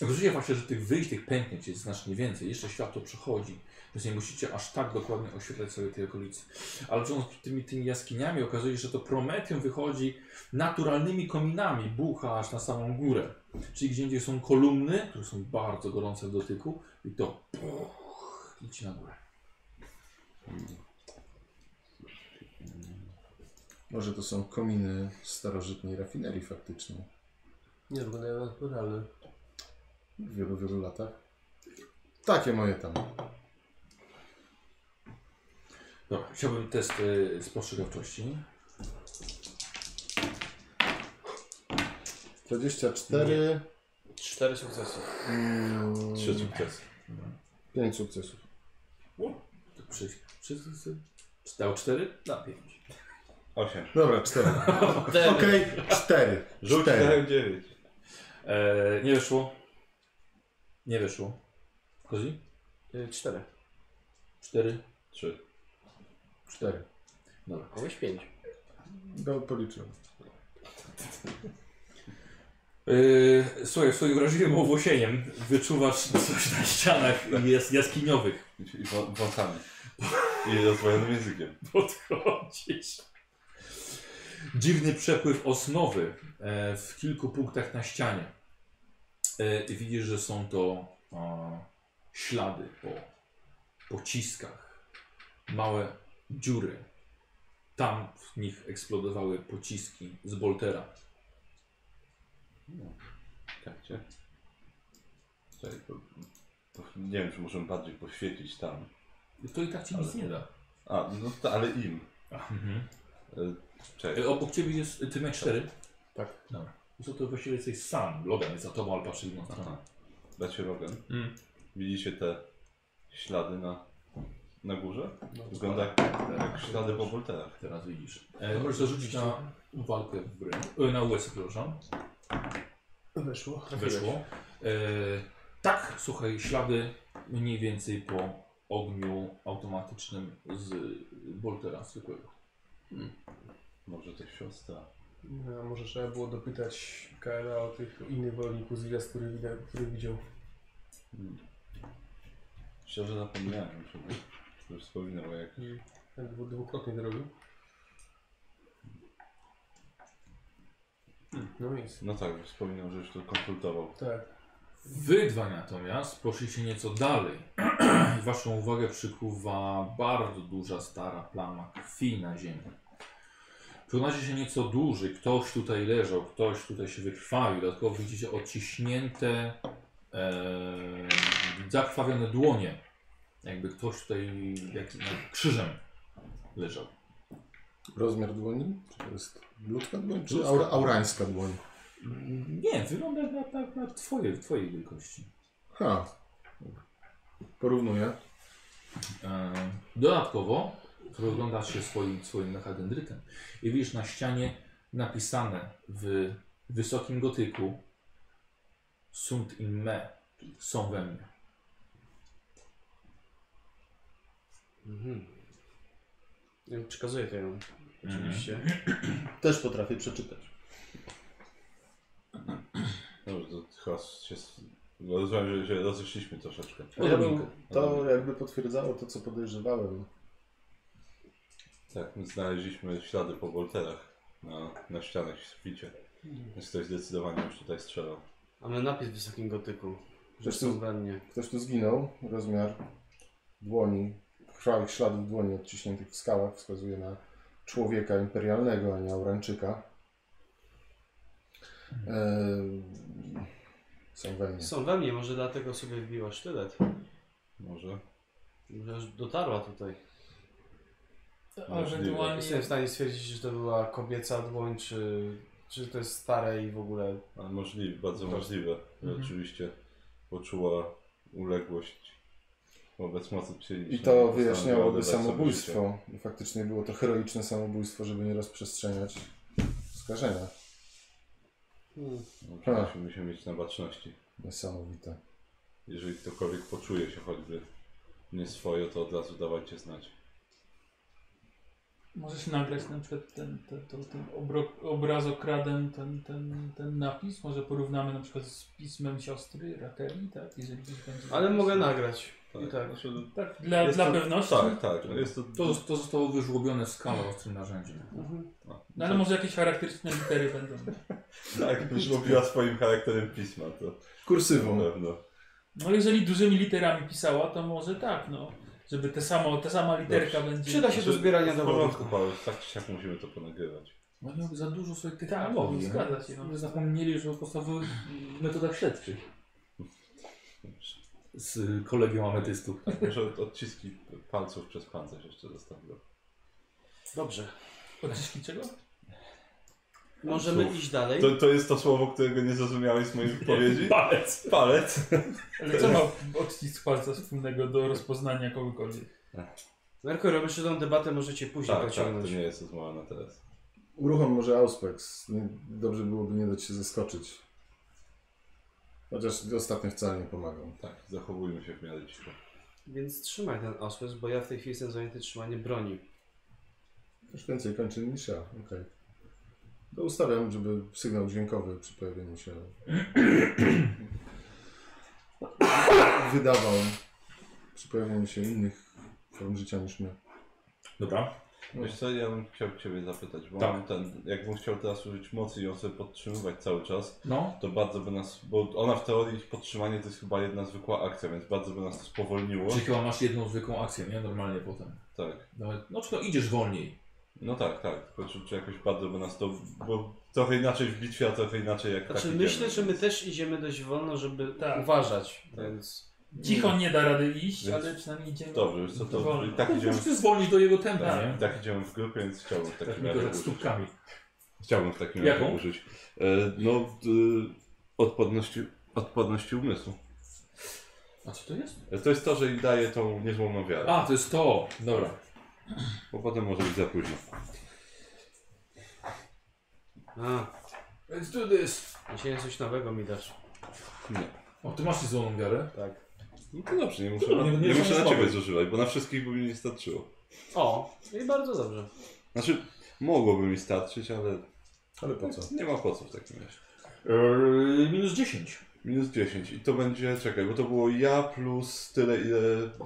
Wrzucie właśnie, że tych wyjść, tych pęknięć jest znacznie więcej. Jeszcze światło przechodzi, więc nie musicie aż tak dokładnie oświetlać sobie tej okolicy. Ale wciąż tymi, tymi jaskiniami okazuje się, że to Prometium wychodzi naturalnymi kominami, bucha aż na samą górę. Czyli gdzie indziej są kolumny, które są bardzo gorące w dotyku i to puch, idź na górę.
Może to są kominy starożytnej rafinerii faktycznie.
Nie, wyglądają naturalne.
W wielu, wielu latach. Takie moje tam.
Dobra, chciałbym test y, spostrzegawczości.
24,
Cztery sukcesy.
mm,
Trzy sukcesy.
5 sukcesów.
To Przy, przy, przy, przy, dał 4? Da
No,
5.
Osiem.
Dobra, 4. Okej, 4.
Rzuć
4.
na dziewięć.
E, nie wyszło. Nie wyszło. Chodzi?
Y, Cztery.
4.
Trzy.
4.
Dobra.
Kogoś pięć.
Go No, policzyłem.
E, słuchaj, w swoim wrażliwym owłosieniem wyczuwasz coś na ścianach jest jaskiniowych.
I i wą- wąsami. I rozwojonym językiem.
Podchodzisz. Dziwny przepływ osnowy e, w kilku punktach na ścianie. E, i widzisz, że są to e, ślady po pociskach, małe dziury. Tam w nich eksplodowały pociski z Boltera.
Czekajcie. Czekaj, bo, bo nie wiem, czy możemy bardziej poświecić tam.
To i tak ci nic
Ale-
nie da.
A, no to, ale im. E, Czekaj.
Mhm. E, Obok ciebie jest ty miałeś cztery.
Tak.
Dobra. Co to właściwie jesteś sam. Logan jest za tobą, ale patrzy w inną stronę.
Aha. Dacie Rogan.
Tak. Mm.
Widzicie te ślady na, na górze? Wygląda jak,
Tak.
jak Tak, ślady po wolterach.
Teraz widzisz. E, możesz zarzucić na walkę w bry. E, na US, przepraszam.
Weszło.
Weszło. E, tak, słuchaj, ślady mniej więcej po ogniu automatycznym z Boltera zwykłego.
Może to siostra.
No, a może trzeba było dopytać Kaela o tych innych wolników z gwiazd, który, widać, który widział.
Szczerze zapomniałem już, że już wspominał o jak...
I ten dwu- dwukrotnie zrobił. No nic.
No tak, wspominał, że już to konsultował.
Tak.
Wy dwa natomiast poszliście nieco dalej. I Waszą uwagę przykuwa bardzo duża stara plama krwi na ziemi. Przyglądacie się nieco dłużej. Ktoś tutaj leżał, ktoś tutaj się wykrwawił. Dodatkowo widzicie odciśnięte, e, zakrwawione dłonie. Jakby ktoś tutaj jak, jak krzyżem leżał.
Rozmiar dłoni? Czy to jest ludzka dłoń, czy
Ludzka.
aura, aurańska dłoń?
Nie, wygląda na, na, na twoje, twojej wielkości.
Ha. Porównuję.
E, Dodatkowo rozglądasz się swoim, swoim mechadendrytem i widzisz na ścianie napisane w wysokim gotyku Sunt in me, czyli są we mnie.
Mhm. Ja Przekazuję to ją. Oczywiście.
Mm.
Też potrafię przeczytać.
Dobrze, to chyba się... no, Rozumiem, że się rozeszliśmy troszeczkę.
Ja bym,
Odrobinkę.
to jakby potwierdzało to, co podejrzewałem.
Tak, my znaleźliśmy ślady po wolterach na, na ścianach w świcie. Więc ktoś zdecydowanie już tutaj strzelał.
Mamy napis w wysokim gotyku. Że
Zresztą-
są we mnie.
Ktoś tu zginął, rozmiar dłoni, krwawych śladów dłoni odciśniętych w skałach wskazuje na człowieka imperialnego, a nie Aurańczyka. Ehm, są we mnie.
Są we mnie, może dlatego sobie wbiła sztylet.
Może?
Może już dotarła tutaj.
Możliwe.
Ewentualnie
Jestem w stanie stwierdzić, że to była kobieca dłoń, czy, czy to jest stare i w ogóle.
Ale możliwe, bardzo
Tak.
możliwe. że
Mhm.
Oczywiście poczuła uległość wobec mocy psychicznej.
I to
Postanowiła
wyjaśniałoby
odebrać sobie życie.
samobójstwo. I faktycznie było to heroiczne samobójstwo, żeby nie rozprzestrzeniać skażenia.
Hmm.
No,
Ha.
Musimy się mieć na baczności.
Niesamowite.
Jeżeli ktokolwiek poczuje się choćby nie swoje, to od razu dawajcie znać.
możesz nagrać na przykład ten, ten, ten, ten obro, obrazokradem ten, ten, ten napis. Może porównamy na przykład z pismem siostry Rakeli, tak? Jeżeli gdzieś będzie
Ale
napis.
mogę nagrać. I tak.
znaczy,
Tak, dla,
jest
dla
to-
pewności.
tak, tak. No jest to,
To, to zostało wyżłobione w skalę ostrym narzędziem.
No, ale może jakieś charakterystyczne litery będą.
tak, już mówiła swoim charakterem pisma, to na
Kursywą.
pewno.
No jeżeli dużymi literami pisała, to może tak, no. Żeby te samo, ta sama literka będzie.
Przyda się do
Znaczy,
zbierania
W porządku,
dowodów.
Paweł, tak czy siak musimy to ponagrywać.
No miał za dużo swoich tych
Tak,
analogii.
zgadza się, no.
Zapomnieli, że o podstawowych metodach śledczych. Z kolegią ametystu.
Może od- odciski palców przez pancerz jeszcze zostawię.
Dobrze.
Odciski czego?
Możemy
Słów.
iść dalej.
No To, to jest to słowo, którego nie zrozumiałeś z mojej wypowiedzi?
Palec!
Palec.
Ale co ma odcisk palca wspólnego do rozpoznania kogokolwiek?
Merkur, robisz tą debatę, możecie później
Tak, tak, to
pociągnąć.
nie jest rozmowa na teraz.
Uruchom może Auspex. Nie- Dobrze byłoby nie dać się zaskoczyć. Chociaż ostatnio wcale nie pomagał.
Tak, zachowujmy się w miarę cicho.
Więc trzymaj ten osłys, bo ja w tej chwili jestem zajęty trzymaniem broni.
Już więcej kończy niż ja. Okej. To ustawiam, żeby sygnał dźwiękowy przy pojawieniu się wydawał przy pojawieniu się innych form życia niż my.
Dobra.
Wiesz co, ja bym chciał Ciebie zapytać, bo
Tak.
mam ten, jakbym chciał teraz użyć mocy i ją sobie podtrzymywać cały czas,
No.
to bardzo by nas, bo ona w teorii podtrzymanie to jest chyba jedna zwykła akcja, więc bardzo by nas to spowolniło.
Czyli chyba masz jedną zwykłą akcję, nie? Normalnie potem.
Tak.
Nawet, no czy no idziesz wolniej.
No tak, tak. Tylko czy, czy jakoś bardzo by nas to. Bo trochę inaczej w bitwie, a trochę inaczej jak.
Znaczy
tak
myślę,
idziemy.
że my też idziemy dość wolno, żeby
Tak.
uważać, więc
Cicho nie da rady iść,
Więc-
ale przynajmniej idziemy.
Dobrze, już co to.
Wolno.
I tak
No,
idziemy,
Musisz ty zwolnić do jego tempa,
Tak.
nie?
i tak idziemy w grupę, więc chciałbym w
Tak
takim
mi go
razie.
tak
użyć-
stópkami.
Chciałbym w takim
Jaką?
razie użyć. E, no, d, odporności, odporności umysłu.
A co to jest?
E, To jest to, że jej daje tą niezłomną wiarę.
A, to jest to. Dobra.
Bo potem może być za późno.
a,
Let's do this.
dzisiaj coś nowego mi dasz.
Nie.
O, ty masz złą wiarę?
No to dobrze, nie muszę,
Dobra,
nie,
nie- nie są
muszę na
słabe.
ciebie zużywać, bo na wszystkich by mi nie starczyło.
O, i bardzo dobrze.
Znaczy, mogłoby mi starczyć, ale
Ale po co?
nie ma po co w takim razie.
Eee, minus 10.
Minus 10 i to będzie, czekaj, bo to było ja plus tyle ile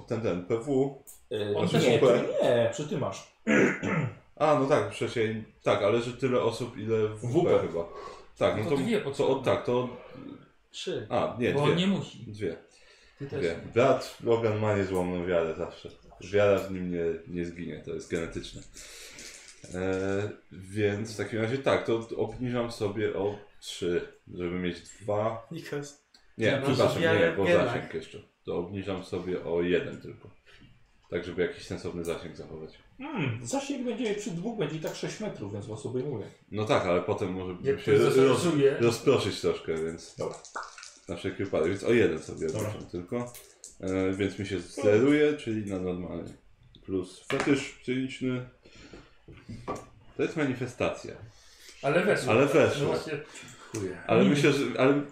ten, ten, PW.
On
Znaczy
też nie.
WP.
Nie, czy ty masz?
A, no tak, przecież, tak, ale że tyle osób ile WP,
WP.
chyba. Tak, no
To
to,
dwie
to,
potrzebne.
od- tak, to,
Trzy.
a, nie,
Bo
dwie,
on nie musi.
dwie,
Ty też.
dwie. Brat Logan ma niezłomną wiarę zawsze. Wiara w nim nie, nie zginie, to jest genetyczne. E, więc w takim razie tak, to obniżam sobie o 3, żeby mieć dwa
Nikas.
Nie,
Masz
przepraszam, nie,
wiarę
bo
w genach.
zasięg jeszcze. To obniżam sobie o jeden tylko. Tak, żeby jakiś sensowny zasięg zachować.
Hmm, zasięg będzie przy dwóch, będzie i tak 6 metrów, więc was obejmuje.
No tak, ale potem może
Jak
się
ktoś
roz, roz,
zaszarżuje,
rozproszyć troszkę, więc
Dobra.
na wszelki wypadek. Więc o jeden sobie
Dobra.
obniżam tylko. E, więc mi się zeruje, czyli na normalny. Plus fetysz psychiczny. To jest manifestacja.
ale weszło.
Ale weszło.
No właśnie,
Chuje.
Ale
Nie.
myślę, że... Ale,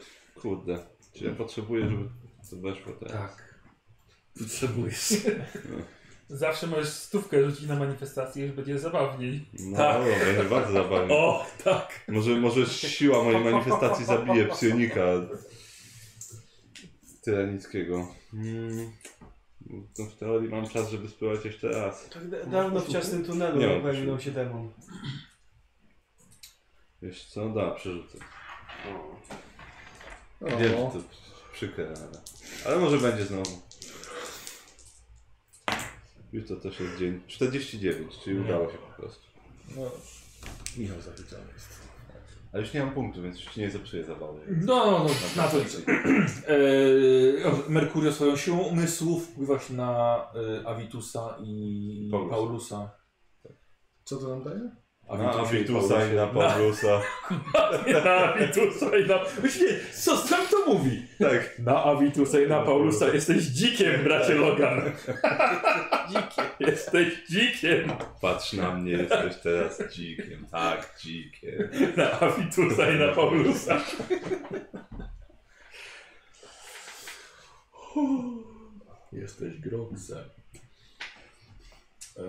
kurde. Czy ja potrzebuję, żeby to weszło teraz?
Tak. Potrzebujesz.
Zawsze możesz stówkę rzucić na manifestację, już będzie zabawniej.
No
Tak.
dobra, będzie bardzo zabawnie.
O, tak.
Może, może siła mojej manifestacji zabije psionika tyranickiego. Mm. No w teorii mam czas, żeby spróbować jeszcze raz.
Tak da- dawno w ciasnym tunelu
Nie mam
pojawił się demon.
Wiesz co? Da, przerzucę.
O,
Wiem, że to przykre, ale... Ale może będzie znowu. Już to też jest dzień 49, czyli udało się po prostu.
Michał zapytany jest.
A już nie mam punktu, więc już ci nie zepsuję zabawy.
No, no, no na to liczę. E, Merkurio swoją siłą umysłu wpływa się na e, Avitusa i
Paulusa.
Paulusa.
Co to nam daje?
Na Abitusa i na
Paulusa.
Pawlusa.
Na, na Avitusa i na... Właśnie, co z nam to mówi?
Tak.
Na Avitusa i na Paulusa jesteś dzikiem, bracie Logan. dzikiem. Jesteś dzikiem.
Patrz na mnie, jesteś teraz dzikiem. Tak, dzikiem.
Na Avitusa i na Paulusa. Jesteś groksem. Eee,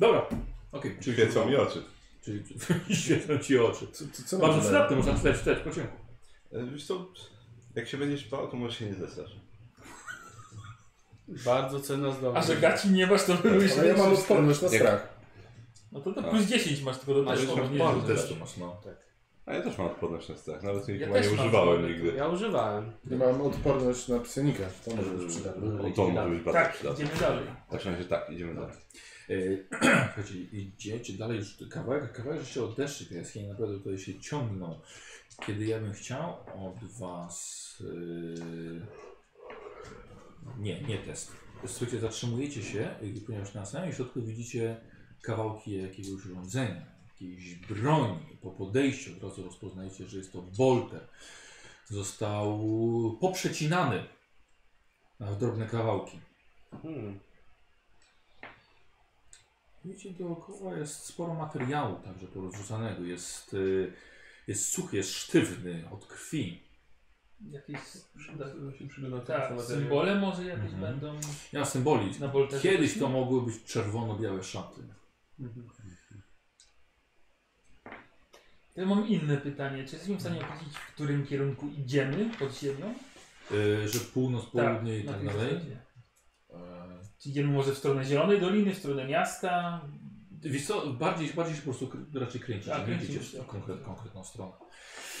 dobra. Okej, czyli
Świecą mi oczy.
Czyli świecą ci oczy.
Co, co, co nam
Bardzo
daje?
przydatne, można wstać, wstać, po ciemku.
E, Wiesz co, jak się będziesz bał, to możesz się nie zesrać.
Bardzo cenna zdolność.
A że gaci nie masz, to byłeś
Ale ja mam odporność na
Nie.
strach.
No to, to
A.
plus 10 masz tylko do
Tak. Masz
testu. nie
odporny
rzucasz.
też tu masz, no.
A ja też mam odporność na strach, nawet jej
Ja
chyba nie
też mam
używałem
odporność.
nigdy.
Ja używałem.
Ja mam odporność na psionika. To może być przydatne.
O, to może być bardzo
Tak,
przydatne.
idziemy dalej.
W takim razie tak, idziemy dalej.
Yy, Słuchajcie, idziecie dalej, już tu kawałek, kawałek jeszcze od deszczy te jaskinie naprawdę tutaj się ciągną. Kiedy ja bym chciał od was... Yy... Nie, nie test. Słuchajcie, zatrzymujecie się, yy, ponieważ na samym środku widzicie kawałki jakiegoś urządzenia, jakiejś broni. Po podejściu od razu rozpoznajecie, że jest to bolter. Został poprzecinany na drobne kawałki.
Hmm.
Widzicie, dookoła jest sporo materiału także porozrzucanego. Jest, y, jest suchy, jest sztywny od krwi.
Jakieś
Przyda, się przyda na
tak, symbole może jakieś
Mhm.
będą
Nie ma symboli.
na Bolterze.
Kiedyś to mogły być czerwono-białe szaty.
Ja mam inne pytanie. Czy jesteśmy w stanie powiedzieć, w którym kierunku idziemy pod ziemią?
Y, że północ, południe i
na
tak
tej
dalej.
zasadzie. Czy idziemy może w stronę Zielonej Doliny, w stronę miasta?
Y, Wiesz co, bardziej, bardziej się po prostu kr- raczej kręcić,
Tak,
nie
kręcimy
wiecie
się,
w
tak.
konkret, konkretną stronę.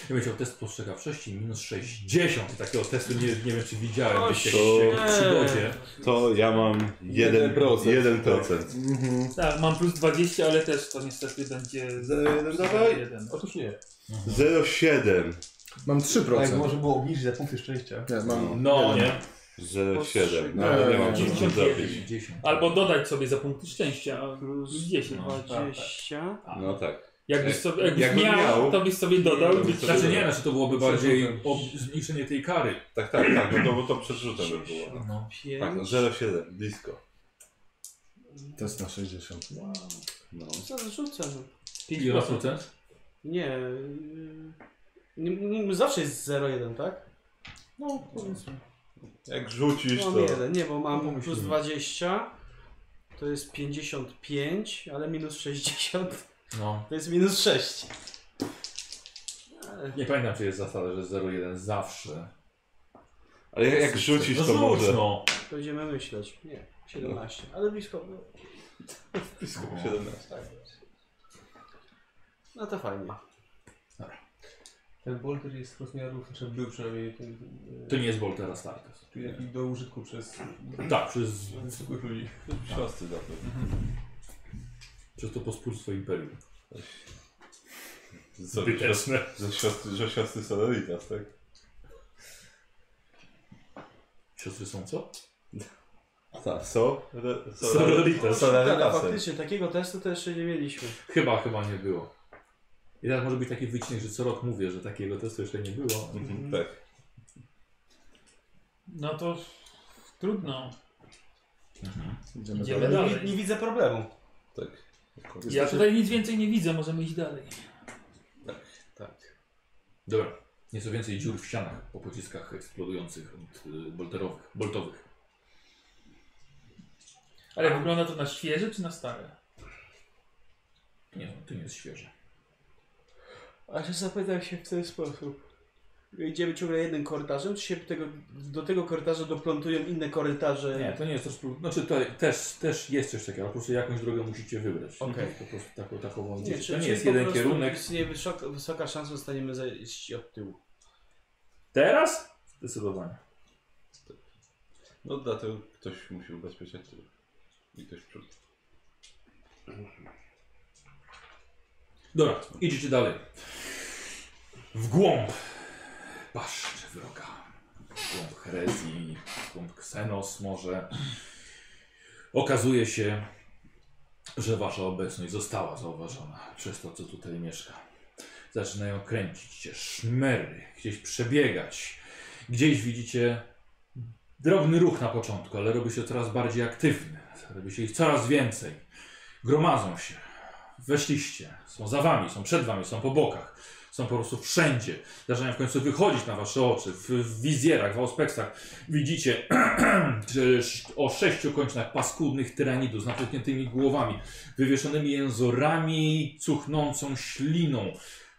Ja bym chciał test spostrzegawczości minus 60. Takiego testu nie, nie wiem czy widziałem
O,
gdzieś jak
to-
w przygodzie.
To ja mam 1%. 1%.
Mhm.
Tak, mam plus 20, ale też to niestety będzie
Zero jeden dawaj.
jeden.
Otóż nie.
07.
Mam
Tak,
3%.
może było obniżyć za punkty szczęścia.
Nie, mam
No, nie?
07. No, ale nie mam co z tym zrobić.
10.
Albo dodać sobie za punkty szczęścia a
Plus
plus 10.
No,
tak, tak.
20.
No tak.
Jakbyś sobie jakbyś
Jakbym
miał,
miał,
to byś sobie dodał i
to
byś
by
Znaczy
raczej
nie,
nie.
znaczy to byłoby bardziej ob- zmniejszenie tej kary.
Tak, tak, tak. No to, bo to przerzutem by było.
No.
Tak, no, 07. Blisko.
test na 60.
No.
Co zarzucę?
Ile procent?
Nie. yy, nie- nie- Zawsze jest 0,1, tak?
No,
Jak rzucisz
Mam
to...
jeden, No, nie, bo mam
Pomyślmy.
plus 20. To jest 55, ale minus 60
no.
to jest minus 6.
Nie pamiętam, czy jest zasada, że 0,1 zawsze.
Ale jak, jak rzucisz
no,
to
rzuć,
może...
No.
Będziemy myśleć. Nie, 17, ale blisko. było.
Blisko 17. tak.
No to fajnie.
Ten bolter jest rozmiarów, czy był przynajmniej ten, e,
To nie jest Boltera Starkest.
czyli taki do użytku przez
Tak, przez,
zwykłych ludzi.
Siostry zapewne.
przez to pospólstwo Imperium.
Co, Że siostry, że siostry Solaritas, tak?
Siostry są co?
Tak. So? Re, so
Sororitas.
Tak, a
Solaritasem.
faktycznie, takiego testu to jeszcze nie mieliśmy.
Chyba, chyba nie było. I teraz może być taki wycinek, że co rok mówię, że takiego testu jeszcze nie było.
Mhm, Tak.
No to trudno.
Idziemy
Idziemy
dalej.
dalej.
Nie, nie widzę problemu.
Tak.
Ja tutaj nic więcej nie widzę, możemy iść dalej.
Dobra. Nieco więcej dziur w ścianach po pociskach eksplodujących od y, bolterowych, boltowych.
Ale wygląda to na świeże czy na stare?
Nie, to nie jest świeże.
A że zapytam się w ten sposób. Idziemy ciągle jednym korytarzem, czy się tego, do tego korytarza doplątują inne korytarze?
Nie, to nie jest też... prób- Znaczy to też, też jest coś takiego, po prostu jakąś drogę musicie wybrać.
Okej.
Po prostu taką, taką
Nie,
nie,
czy-
To nie
czyli
jest
po
jeden
prostu
kierunek.
Istnieje wysoka, wysoka szansa, że zostaniemy zajść od tyłu.
Teraz? Zdecydowanie.
No dlatego ktoś musi ubezpieczać tył. I ktoś przód.
Dobra, idziecie dalej. W głąb paszczy wroga. W głąb herezji, w głąb ksenos może. Okazuje się, że wasza obecność została zauważona przez to, co tutaj mieszka. Zaczynają kręcić się szmery, gdzieś przebiegać. Gdzieś widzicie drobny ruch na początku, ale robi się coraz bardziej aktywny. Robi się ich coraz więcej. Gromadzą się weszliście, są za wami, są przed wami, są po bokach, są po prostu wszędzie. Zaczynają w końcu wychodzić na wasze oczy, w, w wizjerach, w auspeksach. Widzicie że sz- o sześciu kończynach paskudnych tyranidów z napuchniętymi głowami, wywieszonymi jęzorami, cuchnącą śliną.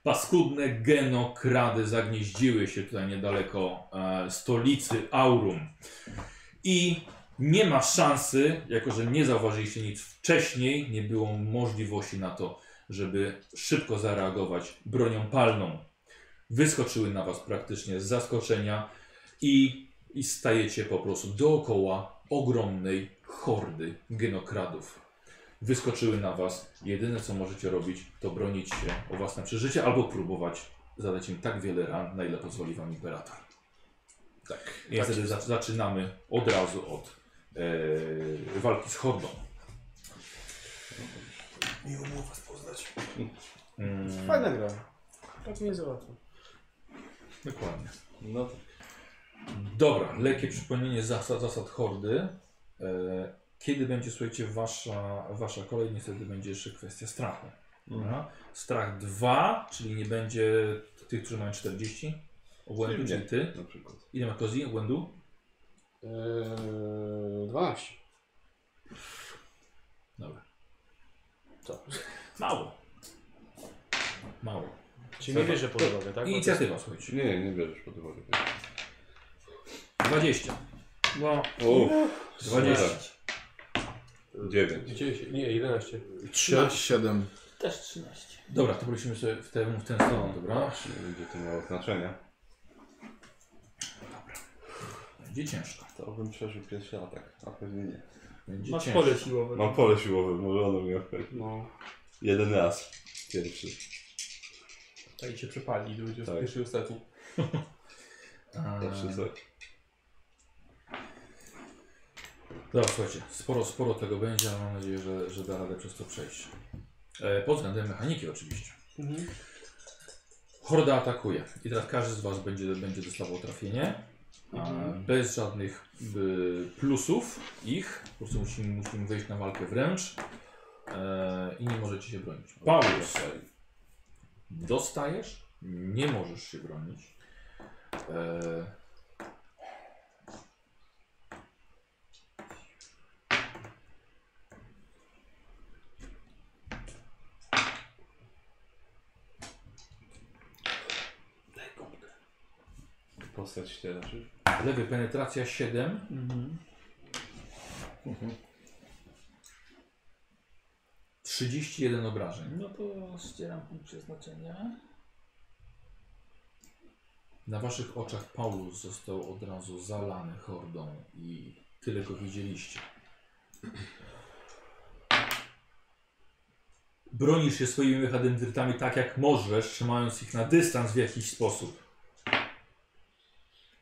Paskudne genokrady zagnieździły się tutaj niedaleko e, stolicy Aurum. I nie ma szansy, jako że nie zauważyliście nic wcześniej, nie było możliwości na to, żeby szybko zareagować bronią palną. Wyskoczyły na was praktycznie z zaskoczenia i, i stajecie po prostu dookoła ogromnej hordy genokradów. Wyskoczyły na was. Jedyne co możecie robić, to bronić się o własne przeżycie albo próbować zadać im tak wiele ran, na ile pozwoli wam imperator. I wtedy zac- zaczynamy od razu od e, walki z hordą.
Miło było was poznać.
Mm,
Fajna gra. Tak nie jest łatwo.
dokładnie.
No tak.
Dobra, lekkie przypomnienie zasad, zasad hordy. E, kiedy będzie, słuchajcie, wasza, wasza kolej, niestety będzie jeszcze kwestia strachu.
Mhm.
Dobra? Strach 2, czyli nie będzie tych, którzy mają 40 obłędu,
Czyli
czyli
mnie.
ty.
Na przykład.
Ile ma Kozi obłędu?
Eee, 12.
Dobra.
Co?
Mało. Mało.
Czyli nie bierze pod uwagę, tak?
Inicjatywa, słuchajcie.
Nie, nie bierzesz pod uwagę.
20. No.
O,
20.
9.
10, nie, 11.
7.
Też 13.
Dobra, to prosimy sobie w ten, w ten
No,
stronę, dobra?
Nie będzie to miało znaczenia.
Będzie ciężko.
To bym przeżył pierwszy atak, a pewnie nie.
Będzie
Masz
ciężko.
pole siłowe.
Mam pole siłowe, może ono mnie obchodzi.
No.
Jeden raz. Pierwszy.
Tutaj się przepali ludzie,
Tak.
tak. pierwszy i ostatni.
E,
Zawsze coś.
Dobra, słuchajcie, sporo, sporo tego będzie, ale mam nadzieję, że, że da radę przez to przejść. E, pod względem mechaniki oczywiście.
Mhm.
Horda atakuje i teraz każdy z Was będzie, będzie dostawał trafienie. A, bez żadnych y, plusów ich. Po prostu musimy, musimy wejść na walkę wręcz. E, I nie możecie się bronić. Paulus. Dostajesz, nie możesz się bronić. E,
Postać się raczy.
Lewy penetracja 7.
Mhm.
31 obrażeń.
No to ścieram punkt przeznaczenia.
Na waszych oczach Paulus został od razu zalany hordą i tyle go widzieliście. Bronisz się swoimi mechadendrytami tak jak możesz, trzymając ich na dystans w jakiś sposób.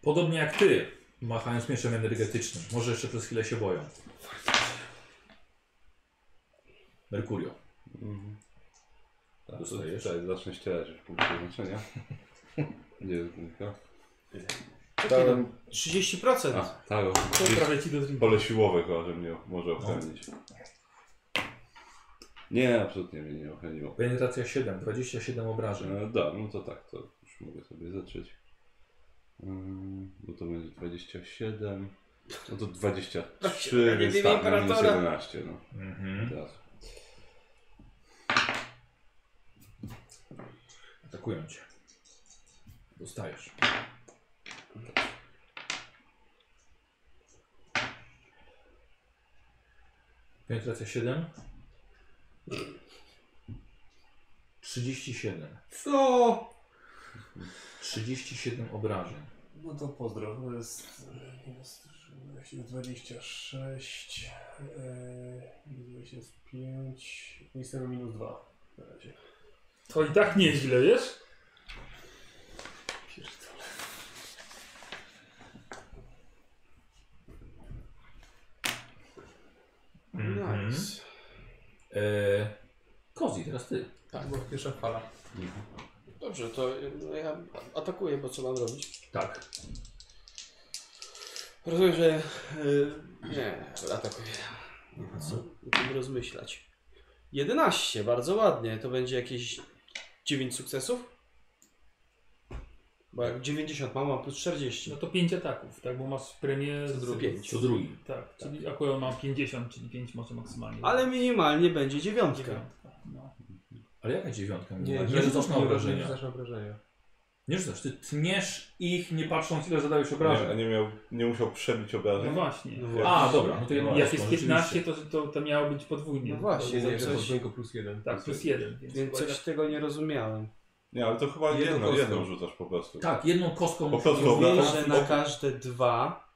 Podobnie jak ty, machając mieczem energetycznym. Może jeszcze przez chwilę się boją. Merkurio.
Mhm. Tak,
Dostajesz?
Dostajesz? Tak, zacznę ścierać już punkt przeznaczenia. Gdzie jest dwójka?
no, 30%.
A, tak, o,
To prawie ci do drinka.
pole siłowe chyba, że mnie może ochronić. Nie, absolutnie mnie nie ochroniło.
Penetracja 7, 27 obrażeń.
E, da, no to tak, to Mm, już mogę sobie zacząć. Ym, Bo to będzie 27. No to 23, więc tak, na minus 11. No.
Mhm.
Teraz.
Atakują cię. Dostajesz. Penetracja 7. 37.
Co?
37 obrażeń.
No to pozdrow. To jest, e, jest, jest 26, e, minus jest 5, jestem minus 2 na razie.
To i tak nieźle, wiesz?
Pierdolę.
Nice.
Eee, Kozi, teraz ty.
Tak. Była pierwsza fala.
Dobrze, to y, no ja atakuję, bo co mam robić?
Tak.
Rozumiem, że... y, nie, atakuję. Nie ma co o tym rozmyślać. 11, bardzo ładnie. To będzie jakieś 9 sukcesów? Bo jak 90 mam, mam plus 40.
No to 5 ataków, tak? Bo masz premię z
drugi.
Co drugi.
Tak, czyli akurat mam 50, czyli 5 może maksymalnie. No.
Ale minimalnie będzie dziewiątka.
Dziewiątka, No.
Ale jaka dziewiątka?
Nie,
nie, nie rzucasz na
Nie
obrażenia.
rzucasz na obrażenia.
Nie rzucasz, ty tniesz ich nie patrząc ile zadałeś
Nie, a
obrażeń.
nie, miał, nie musiał przebić
no
obrażeń.
właśnie.
A, dobra, no to ja mam
Jak jest
jasno,
15, to, to, to miało być podwójnie.
No właśnie,
Zawsze
więc coś,
podwójnego plus jeden.
Tak, plus jeden. Więc,
więc coś tego nie rozumiałem.
Nie, ale to chyba
Jedną
jedną,
kostką.
jedną rzucasz po prostu.
Tak, jedną kostką
Po prostu
rozwijasz-
Dobra,
Wiem,
to-
że na każde dwa.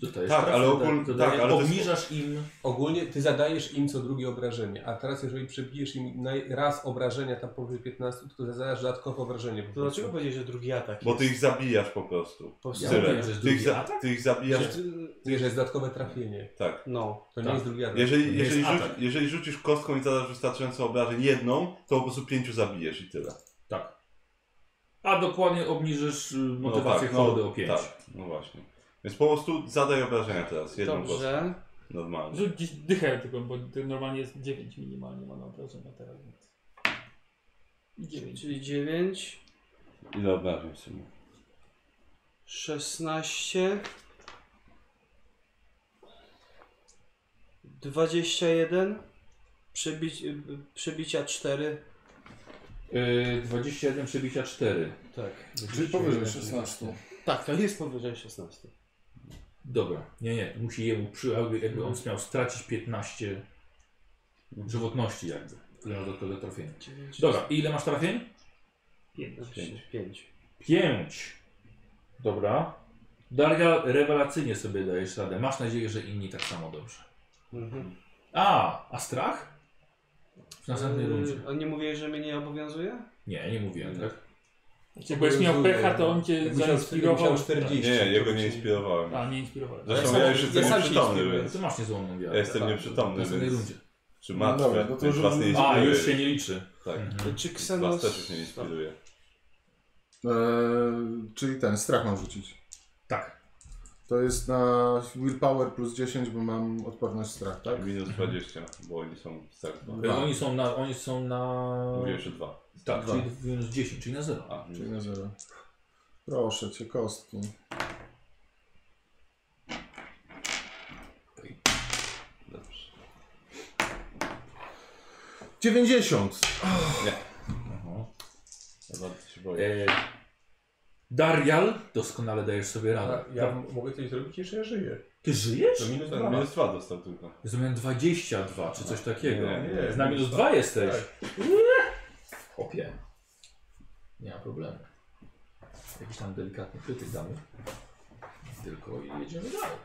Dostajesz
Tak,
trafę,
ale ogólnie-
dodaję-
tak, ale to jest-
obniżasz im.
Ogólnie ty zadajesz im co drugie obrażenie, a teraz jeżeli przebijesz im naj- raz obrażenia tam powyżej 15, to zadajesz dodatkowe obrażenie. po
To dlaczego
prostu.
powiedzieć, że drugi atak?
Bo ty ich
jest?
zabijasz po prostu.
Po
Ja
Tyle.
wiem, że jest
Ty ich,
drugi
za,
atak.
ty ich zabijasz.
Że ty-
Nie, że jest dodatkowe trafienie.
Tak.
No.
To nie
Tak.
jest drugi atak.
Jeżeli,
jest
jeżeli, rzuci,
atak.
jeżeli rzucisz kostką i zadasz wystarczająco obrażeń jedną, to po prostu pięciu zabijesz i tyle.
A dokładnie obniżysz y,
No
motywację
tak,
hordy o 5.
Tak, no właśnie. Więc po prostu zadaj obrażenia teraz, jedną kostką.
Dobrze.
Normalnie.
Rzuć gdzieś dychę tylko, bo to normalnie jest 9 minimalnie ma na obrażenia teraz. Więc... I 9.
Czyli 9,
Ile obrażeń w sumie?
16, 21, przebić, y, przebicia 4.
Yy, 21 przebicia 4.
Tak.
Czyli powyżej 16.
Tak, to jest powyżej 16.
Dobra, nie, nie, musi jemu przy, jakby jakby on miał stracić 15 żywotności jakby. Tyle ma dodatkowe trafienie.
9,
Dobra, i ile masz trafień?
5.
Znaczy 5.
5. Dobra. Daria, rewelacyjnie sobie dajesz radę. Masz nadzieję, że inni tak samo dobrze.
Mhm.
A, a strach? W następnej
Eee,
rundzie.
Y, A nie mówię, że mnie nie obowiązuje?
Nie, nie mówiłem, tak?
Jakbyś miał pecha, to on cię
Jakbyś miał-
zainspirował.
jakbyś miał 40.
Nie, jego nie inspirowałem.
A, nie inspirowałeś.
Zresztą
Ja
ja
sam-
już
ja
jestem
sam się
nieprzytomny,
inspiruję.
więc.
Ty masz niezłomną wiarę.
Ja jestem
tak. W
nieprzytomny,
następnej
więc.
rundzie.
Czy
No
martwy,
dobra, no to
więc
już-
was nie
A,
inspiruje.
już się nie liczy.
Tak.
Mhm.
Czy
Was
Ksenos...
też już nie inspiruje.
Eee, czyli ten, strach mam rzucić.
Tak.
To jest na willpower plus 10, bo mam odporność strach, tak?
Minus 20, bo oni są tak dwa.
Dwa.
E, Oni są na. Oni są na.
Mówiłem, że dwa.
Tak,
Dwa.
czyli minus 10, czyli na 0.
A,
Czyli na 0. Proszę cię, kostki.
dobrze.
90!
Ja bardzo się
E,
boję.
Darial, doskonale dajesz sobie radę.
A Tak, ja m- mogę coś zrobić jeszcze ja żyję.
Ty
To
żyjesz?
minus
Ten
dwa.
minus dwa dostał tylko.
Zrobiłem 22 czy coś takiego.
Nie, nie,
Na minus 2 jesteś.
Tak.
Chłopie. Nie ma problemu. Jakiś tam delikatny krytyk damy. Tylko i jedziemy dalej.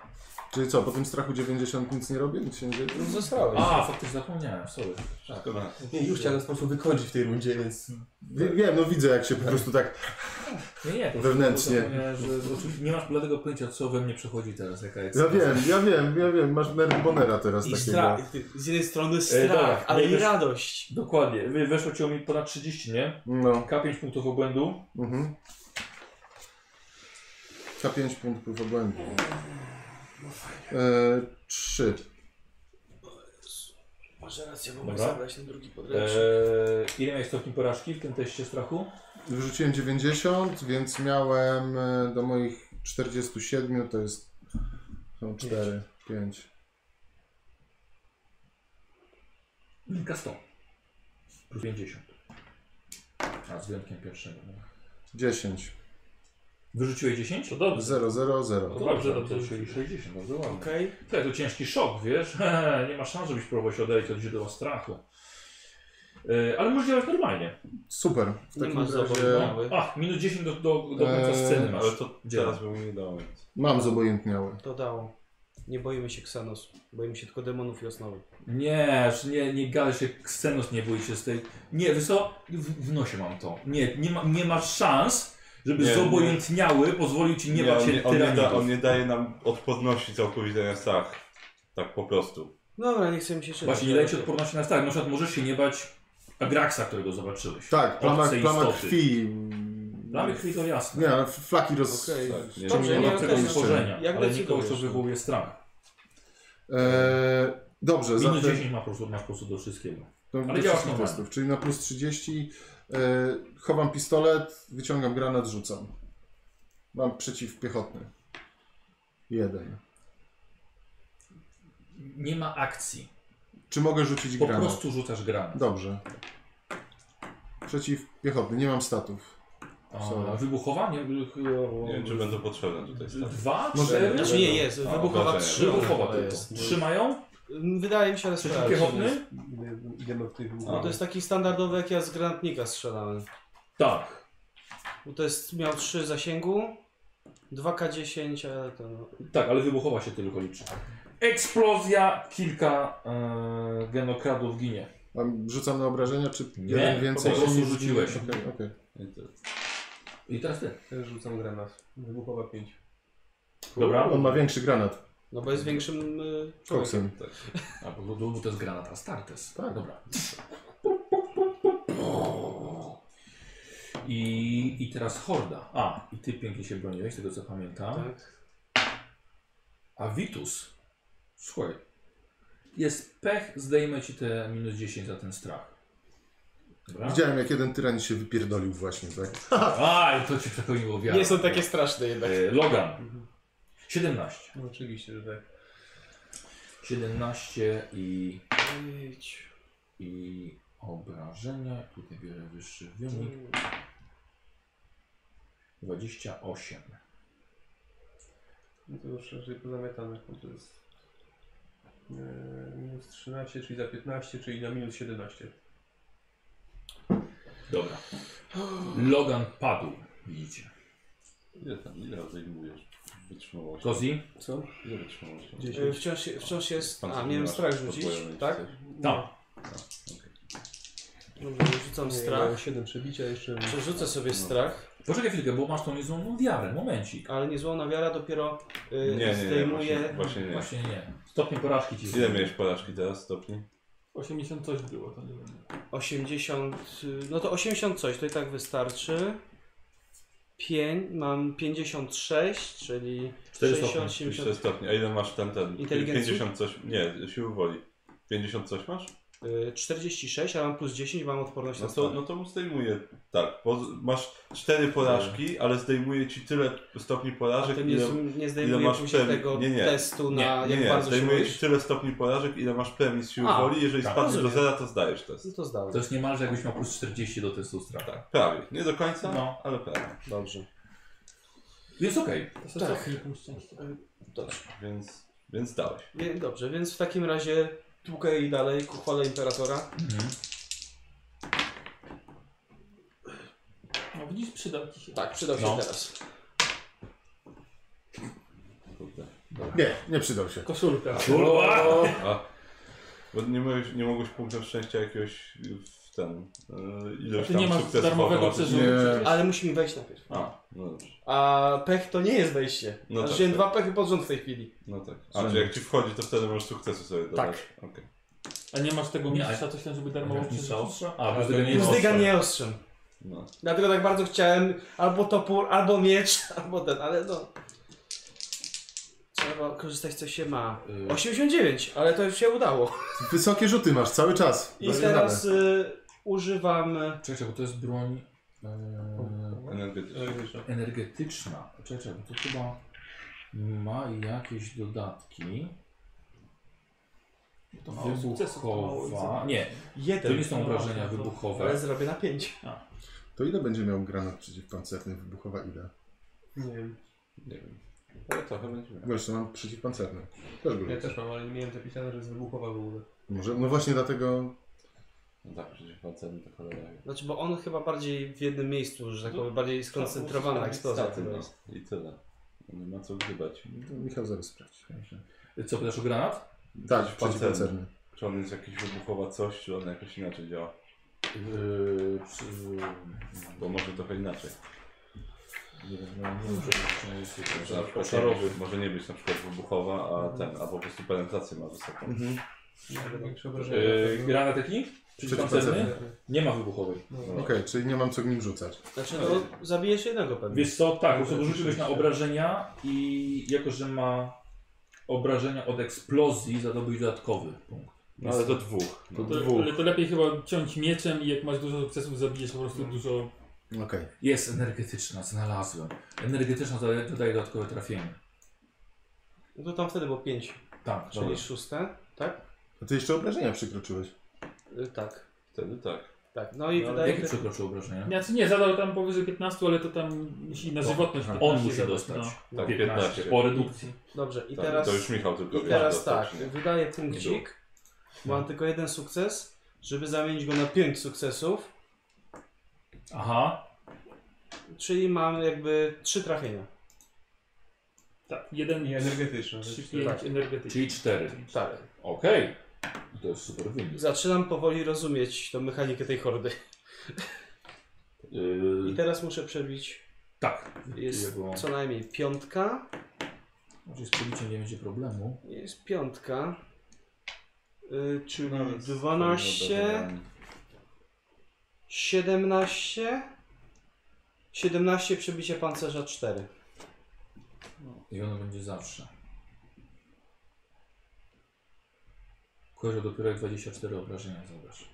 Czyli co, po tym strachu 90 nic nie robię? Nic się nie dzieje?
Zostałeś.
A, faktycznie zapomniałem, sorry.
Wszystko
Tak.
na.
Nie, już chciałem po prostu wykończyć w tej rundzie, więc...
Wie- Wiem, no widzę jak się po prostu tak...
Nie, nie. po
Wewnętrznie.
prostu zapomniałem, Że, oczywiście nie masz bladego pojęcia, co we mnie przechodzi teraz, jaka jest...
Ja wiem, ja wiem, ja wiem, masz nerw Bonera teraz
I
takiego.
strach. Z jednej strony
E, dobra,
strach, ale i
możesz-
radość.
Dokładnie. Wy- Weszło ci o mi ponad 30, nie?
No,
K5 punktów obłędu.
mhm. K5 punktów obłędu. Eee, 3.
Może rację, mogę
Dobra.
zabrać ten drugi
Eee,
podręcznik.
ile miałeś stopni porażki w tym teście strachu?
Wyrzuciłem 90, więc miałem e, do moich 47 to jest e, Są 4, 5.
Linka 100. Plus 50. A z wyjątkiem pierwszego.
10.
Wyrzuciłeś 10?
To dobrze.
0, 0, 0.
To dobrze,
No to
dobrze.
czyli 60, bardzo ładnie.
Okej.
Tak, to ciężki szok, wiesz? nie ma szans, żebyś próbował się odejść od źródła strachu. E, ale możesz działać normalnie. No.
Super. E, W
Nie
takim
masz
razie
zawodu.
Ach, minus 10 do, do, do końca
Eee,
sceny masz.
Ale to
Dzień.
teraz bym nie dał. więc-
mam zobojętniały.
To dało. Nie boimy się Xenos. Boimy się tylko demonów i osnowy.
Nie, że nie, nie gadaj się, Ksenos nie bój się z tej... Nie, wiesz co? W, w nosie mam to. Nie, nie, ma, nie masz szans, żeby
Nie, nie.
zobojętniały pozwolił ci nie, bać
on,
się
nie, on, nie da,
tyranitów.
on nie daje nam odporności całkowitej na strach. Tak po prostu.
Dobra, nie chcemy się czytać.
Właśnie, nie dajcie odporności na strach. Na przykład możesz się nie bać Agraxa, którego zobaczyłeś.
Tak, plama,
Obce
plama
istoty.
krwi.
Dla mnie to jasne.
Nie, ale flaki roz...
Okej.
Tak, nie,
Dobrze,
nie
Nie
ma
ma tego
okej, no.
stworzenia,
Jak
ale
decydujesz?
nikogo, co wywołuje strach.
Eee, dobrze,
Minus
zatem...
10 ma po prostu, masz po prostu do wszystkiego.
To
Ale działa
do No, wszystkich
normalnie.
testów, czyli na plus 30. E, chowam pistolet, wyciągam granat, rzucam. Mam przeciwpiechotny. Jeden.
Nie ma akcji.
Czy mogę rzucić
Po
granat?
prostu rzucasz granat.
Dobrze. Przeciwpiechotny, nie mam statów.
A, wybuchowanie? y,
nie wiem, czy będą potrzebne tutaj straty.
Dwa,
Może-
cztery?
Znaczy nie, jest.
no. A,
Wybuchowa
obrażenia.
trzy.
Wybuchowa
To
tylko.
jest-
Trzymają?
Wydaje mi się, ale
Tak,
strzelałem.
Przeciwpiechotny?
Ile, ile ma w tej
No to jest taki standardowy, jak ja z granatnika strzelałem.
Tak.
Bo to jest, miał 3 zasięgu, 2K10, ale to no.
Tak, ale wybuchowa się tylko liczy. Eksplozja, kilka e, genokradów ginie.
Mam, rzucam na obrażenia, czy
Nie,
jeden więcej?
po prostu
Okej,
rzuciłeś.
Okej, okej.
I teraz ty.
Też rzucam granat. Wybuchowa 5.
Dobra.
On ma większy granat.
No bo jest większym... y,
Koksem.
Tak. A bo, bo, bo to jest granat Astartes.
Tak.
Dobra. I, I teraz horda. A, i ty pięknie się broniłeś, z tego co pamiętam.
Tak.
A Vitus, słuchaj, jest pech, zdejmę ci te minus 10 za ten strach. Dobra?
Widziałem, jak jeden tyran się wypierdolił właśnie, tak?
A, to ci przepełniło wiarę.
Nie są takie straszne jednak.
E, Logan. 17.
No oczywiście, że tak.
17 i,
Idź.
i obrażenia. Tutaj biorę wyższy wynik. 28.
No to już raczej pozamiatamy. bo To jest e, minus 13, czyli za 15, czyli na minus 17.
Dobra. Logan padł. Widzicie.
Ile tam, ile zajmujesz? Wytrzymałości.
Kozi?
Co?
Ile wytrzymałości?
Y, Wciąż, wciąż jest...
Pan
A,
sobie
miałem
masz
strach rzucić,
podwojony
tak?
coś.
Tam.
Dobra, rzucam strach.
7 przebicia jeszcze.
Przerzucę sobie
No.
strach,
Poczekaj chwilkę, bo masz tą niezłomną wiarę. Momencik.
ale niezłomna wiara dopiero
Nie,
y,
nie, nie.
zdejmuje...
Właśnie, właśnie nie.
Właśnie nie. Stopnie porażki ci
Ile miałeś porażki teraz stopni?
80 coś było, to nie wiem.
80, y, no to 80 coś, to i tak wystarczy. Pię, mam 56, czyli
Cztery stopnie.
60,
4
70,
stopnie. A ile masz ten, ten?
Inteligencji?
50 coś, nie, siły woli. 50 coś masz?
y, 46, a mam plus 10, mam odporność
No
na
to,
to,
no to mu zdejmuje, tak, bo z- masz 4 porażki, ale zdejmuje ci tyle stopni
A
porażek,
to nie,
ile,
z- nie zdejmuje
masz
później
przebieg?
tego
Nie, nie.
testu
Nie,
na
nie,
jak
nie,
bardzo się
zdejmuje
boisz.
ci tyle stopni porażek, ile masz premis siły
A,
woli, jeżeli
tak,
spadniesz do
rozumiem.
zera, to zdajesz
No
test.
to zdałem.
To jest niemalże jakbyś miał plus 40 do testu strach.
Tak, prawie, nie do końca,
No.
ale prawie,
Dobrze.
Jest okej.
To się tak. cofnie punkt szczęścia.
więc, więc dałeś.
Wie, dobrze, więc w takim razie tłukę i dalej ku chwale Imperatora.
Mhm.
No widzisz, przydał ci się.
Tak, przydał się
No.
teraz.
Kurde.
Nie, nie przydał się.
Koszulka.
Kurwa!
A, bo nie mogłeś, nie mogłeś punktem szczęścia jakiegoś w ten, yy, ilość
Ty
tam
nie masz
sukcesów
darmowego
automatycznie.
przeżycia.
Nie.
przecież.
Ale musi mi wejść najpierw.
A, no dobrze,
A pech to nie jest wejście.
No
No
tak,
Rzuciłem
tak.
dwa pechy pod rząd w tej chwili.
no tak. A, czy jak ci wchodzi, to wtedy możesz sukcesu sobie dodać. Tak. Okay.
A nie masz tego
Nie,
mistrza, coś tam, żeby darmowo
Jak mistrza
przeżyć?
ostrza? A, plus
Nie
Zdyga
dyga nie
nie ostrzem.
No.
Dlatego tak bardzo chciałem albo topór, albo miecz, albo ten, ale no.
Trzeba korzystać co się ma.
Y.
89, ale to już się udało.
Wysokie rzuty masz cały czas.
I
Doskonale.
teraz y, używam... y,
Czekaj, czekaj, bo to jest broń e,
Energetycznie.
energetyczna. Czekaj, czekaj, bo to chyba... ma jakieś dodatki.
To mało sukcesu, to mało
Wybuchowa.
sukcesu.
Nie, to
Jeden.
nie są obrażenia
to-
wybuchowe.
Ale zrobię na pięć.
To ile będzie miał granat przeciwpancerny? Wybuchowa ile?
Nie wiem.
Nie wiem. Ale trochę będzie miał.
Gość, mam przeciwpancerny. Też go
Ja też mam, ale nie miałem zapisane, że jest wybuchowa w ogóle.
Może, no właśnie dlatego
No tak, przecież pancerny to cholera. wie.
Znaczy, bo on chyba bardziej w jednym miejscu, że tak powiem, bardziej skoncentrowana eksplozja.
Staty,
chyba
no.
jest.
I tyle. Nie ma co gdybać.
to Michał zaraz sprawdzi.
Co pytasz o granat?
Tak,
Przeciwpancerny.
przeciwpancerny.
Czy on jest jakiś wybuchowa coś, czy on jakoś inaczej działa?
Yy, przy-
Bo może trochę inaczej.
Nie wiem, no, nie muszę
Że na przykład szarowy może nie być na przykład wybuchowa,
Mhm.
a ten, a po prostu penetrację ma wysoką.
Większe obrażenia.
Yy, granat jaki? Przeciwpancerny?
Przeciwpancerny.
Nie ma wybuchowej.
Okej, czyli nie mam co nim rzucać.
Znaczy, no, zabijesz jednego pewnie.
Wiesz co, tak, po prostu rzuciłeś na obrażenia i jako, że ma obrażenia od eksplozji, zadobyć dodatkowy punkt.
No ale do dwóch.
To
To, ale to lepiej chyba ciąć mieczem i jak masz dużo sukcesów, zabijesz po
No.
prostu dużo.
Okej.
Jest energetyczna, znalazłem. Energetyczna dodaje, dodaje dodatkowe trafienie.
No to tam wtedy było pięć.
Tak,
Czyli
dobra.
szóste, tak?
A ty jeszcze obrażenia przekroczyłeś.
Y, tak.
Wtedy tak.
Tak. No i wydaje
Jakie
mi się.
przekroczył obrażenia?
Znaczy nie, zadał tam powyżej 15, ale to tam musi na
To-
żywotność.
Aha.
15
On musi
zadać, no.
dostać.
no.
Tak,
15.
15.
Po redukcji.
Dobrze, i
Tak,
teraz.
To już Michał tylko
I
wie,
teraz
czy dostał,
tak,
czy nie.
wydaję punkcik. Mam tylko jeden sukces, żeby zamienić go na pięć sukcesów,
Aha.
czyli mam jakby trzy trafienia.
Tak, jeden,
Nie, energetyczne.
trzy,
wiesz,
pięć,
tak.
energetyczny.
Czyli 4.
Tak.
Okej. To jest super wynik.
Zaczynam powoli rozumieć tą mechanikę tej hordy.
Yy,
I teraz muszę przebić.
tak.
Jest
Jego-
co najmniej piątka.
Może z przebiciem nie będzie problemu.
Jest piątka. Y, czyli
No, więc powinno
12,
do wygrania.
17, 17 przebicie pancerza 4.
I ono będzie zawsze. Kozioł dopiero jak 24 obrażenia zadasz.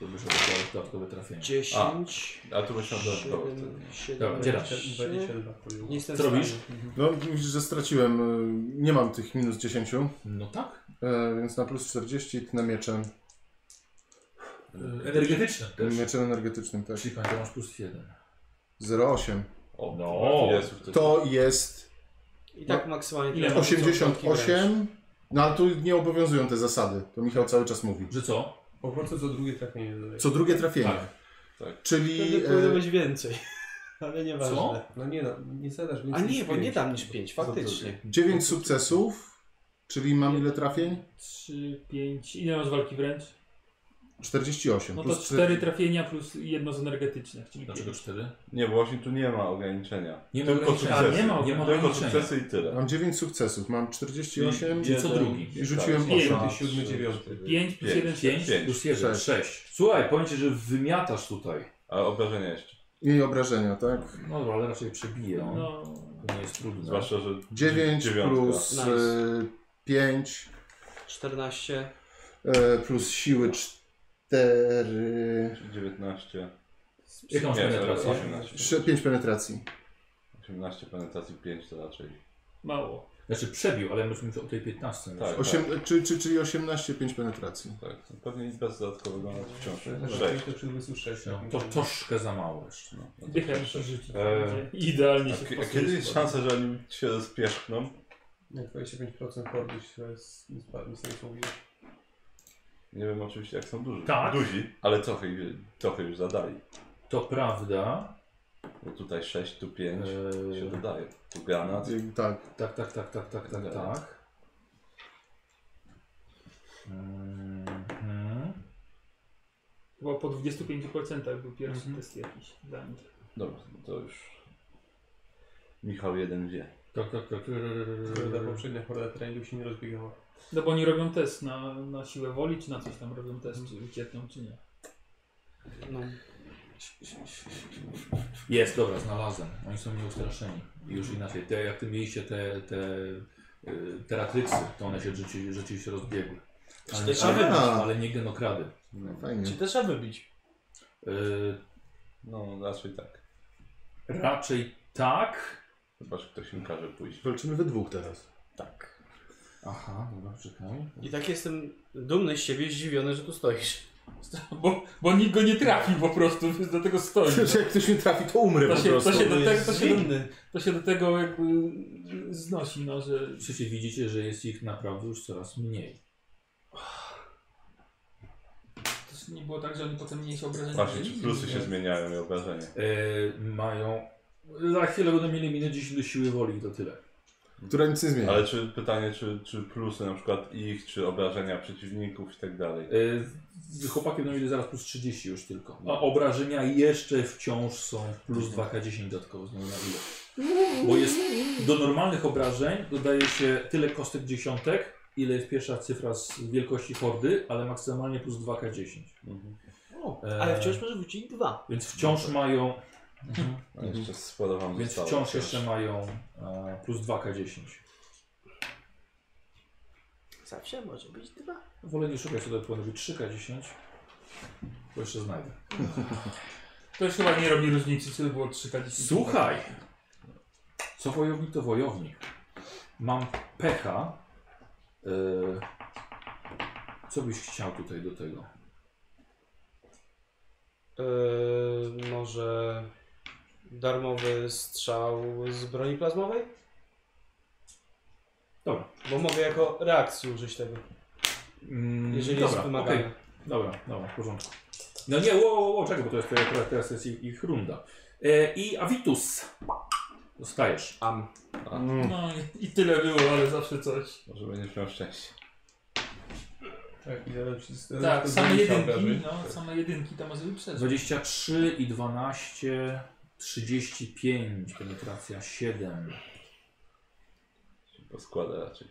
To byś odebrał dodatkowe trafienie.
10,
A tu byś miał dodatkowy.
7,
Dobra, gdzie raz?
17.
22
Nie
kuli.
jestem
Co robisz?
w stanie.
No widzisz, że straciłem. y, Nie mam tych minus 10, y,
No tak.
więc na plus 40 tnę mieczem.
E,
Energetyczne też.
Mieczem energetycznym tak. też.
Czyli końca masz plus 1.
0,8.
O,
No.
jest już
To jest
I tak maksymalnie
Ile
tyle.
mam?
88. No ale tu nie obowiązują te zasady. To Michał cały czas mówi.
Że co?
Po prostu co drugie tak trafienie dodaję.
Co drugie trafienie.
Tak.
Tak.
Czyli.
Wtedy powinno
y,
być więcej. Ale nieważne.
e, Co?
No nie no, nie zadasz
A
więcej
nie,
niż
bo nie
pięć.
dam niż 5,
znaczy?
faktycznie.
9 sukcesów, czyli mam ile trafień?
3, 5. Ile masz walki wręcz?
48.
No to
plus
4 trafienia plus jedno z energetycznych, czyli
Dlaczego
5.
4?
Nie, bo właśnie tu nie ma ograniczenia.
Nie ma
tylko
ograniczenia.
sukcesy.
A, nie ma
tylko
ograniczenia.
sukcesy i tyle.
Mam 9 sukcesów, mam 48
Czyli co drugi?
i rzuciłem
Pięć.
8.
Piąty, siódmy, dziewiąty.
5 plus
Pięć.
1, 6.
5
Pięć.
plus 1,
Sześć.
6. Słuchaj, powiem ci, że wymiatasz tutaj.
A obrażenia jeszcze.
Jej obrażenia, tak?
No dobra, ale raczej przebije on.
No,
To nie jest trudne.
Zwłaszcza, że
9
Dziewiątka.
plus e,
Nice.
5
14,
e, plus siły 4.
19.
Jaką masz
Nie,
penetrację?
18.
5 penetracji.
18 penetracji 5 to raczej.
mało.
Znaczy przebił, ale myślimy o tej 15.
Tak.
Osiem, czy, czy, czyli 18, 5 penetracji.
Tak. No Pewnie nic bez dodatkowego nawet wciąż.
Dobra,
6.
pięć to przy 26.
No, to troszkę za mało jeszcze.
No, no to
Dychę
sześć.
muszę rzucić.
Eee,
Idealnie
A
się
ki- a
wpasujesz
kiedy jest
chyba.
szansa, że oni się rozpieszkną?
Na 25% podnieść, to jest niesamowite.
Nie wiem oczywiście jak są duży.
Tak.
Duzi, ale trochę, ich- trochę już zadali.
To prawda.
Bo tutaj 6, tu 5 się
Eee,
dodaje. Tu granat.
Y, Tak.
tak, tak, tak, tak, tak, tak,
Dobra.
tak. Mhm.
Chyba po 25% był pierwszy
Mhm.
test jakiś dla nich.
Dobra, no to już. Michał jeden wie.
Tak, tak, tak.
Horda poprzednia horda treningu się nie rozbiegała.
No bo oni robią test na, na siłę woli, czy na coś tam robią test, czy uciekną, czy nie.
no,
Jest, dobra, znalazłem. Oni są nieustraszeni. I Już inaczej. Te, jak ty mieliście te, te y, teratryksy, to one się rzeczywiście, rzeczywiście rozbiegły. Ale,
Czy-
ale,
a.
ale nie genokrady.
Fajnie.
Czy też trzeba wybić?
Y,
No raczej tak.
Raczej tak.
Chyba, że ktoś im każe pójść.
Walczymy we dwóch teraz.
Tak.
Aha, dobra, czekaj.
I tak jestem dumny z siebie, zdziwiony, że tu stoisz.
Bo, bo nikt go nie trafił po prostu, więc dlatego stoi.
Że jak ktoś mnie trafi, to umrę
no. To
po
się,
prostu.
to, się do tego, to, się do,
Winny.
to się do tego jakby znosi, no, że
Przecież widzicie, że jest ich naprawdę już coraz mniej.
też nie było tak, że oni potem mniejsze obrażenia
Właśnie,
mieli?
czy plusy się
Nie.
zmieniają i obrażenia.
E, mają... Za chwilę będą mieli minus 10 do siły woli i to tyle.
Która nic nie zmienia.
Ale czy pytanie, czy, czy plusy na przykład ich, czy obrażenia przeciwników i tak dalej.
E, z chłopakiem będą mieli zaraz plus 30 już tylko. A obrażenia jeszcze wciąż są plus 2k10 dodatkowo znowu na ile. Bo jest do normalnych obrażeń dodaje się tyle kostek dziesiątek, ile jest pierwsza cyfra z wielkości hordy, ale maksymalnie plus 2k10. E,
Ale wciąż może wrócić dwa.
Więc wciąż mają,
A jeszcze sporo wam
więc
zostało.
wciąż jeszcze mają e, plus 2k10.
Zawsze może być dwa.
Wolę nie szukać sobie odpowiedzi 3k10, bo jeszcze znajdę.
To już chyba nie robi różnicy, czy to było 3
Słuchaj! Co wojownik to wojownik. Mam pecha. E, co byś chciał tutaj do tego?
Yy, może darmowy strzał z broni plazmowej?
Dobra.
Bo mogę jako reakcji użyć tego,
Mm,
jeżeli
dobra,
jest wymagane.
okej, dobra, dobra, w porządku. No nie, ło, ło, ło, czego, bo to jest, teraz, teraz jest ich, ich runda. E, I Avitus. Dostajesz.
Am.
Mm.
No i, i tyle było, ale zawsze coś.
Może będziesz miał szczęście.
Tak, i zaraz wszyscy-
Tak,
to
same
zmniejsza
jedynki,
obrażeń.
no, same jedynki to może wyprzedzać.
23 i 12, 35, penetracja 7.
Poskłada raczej.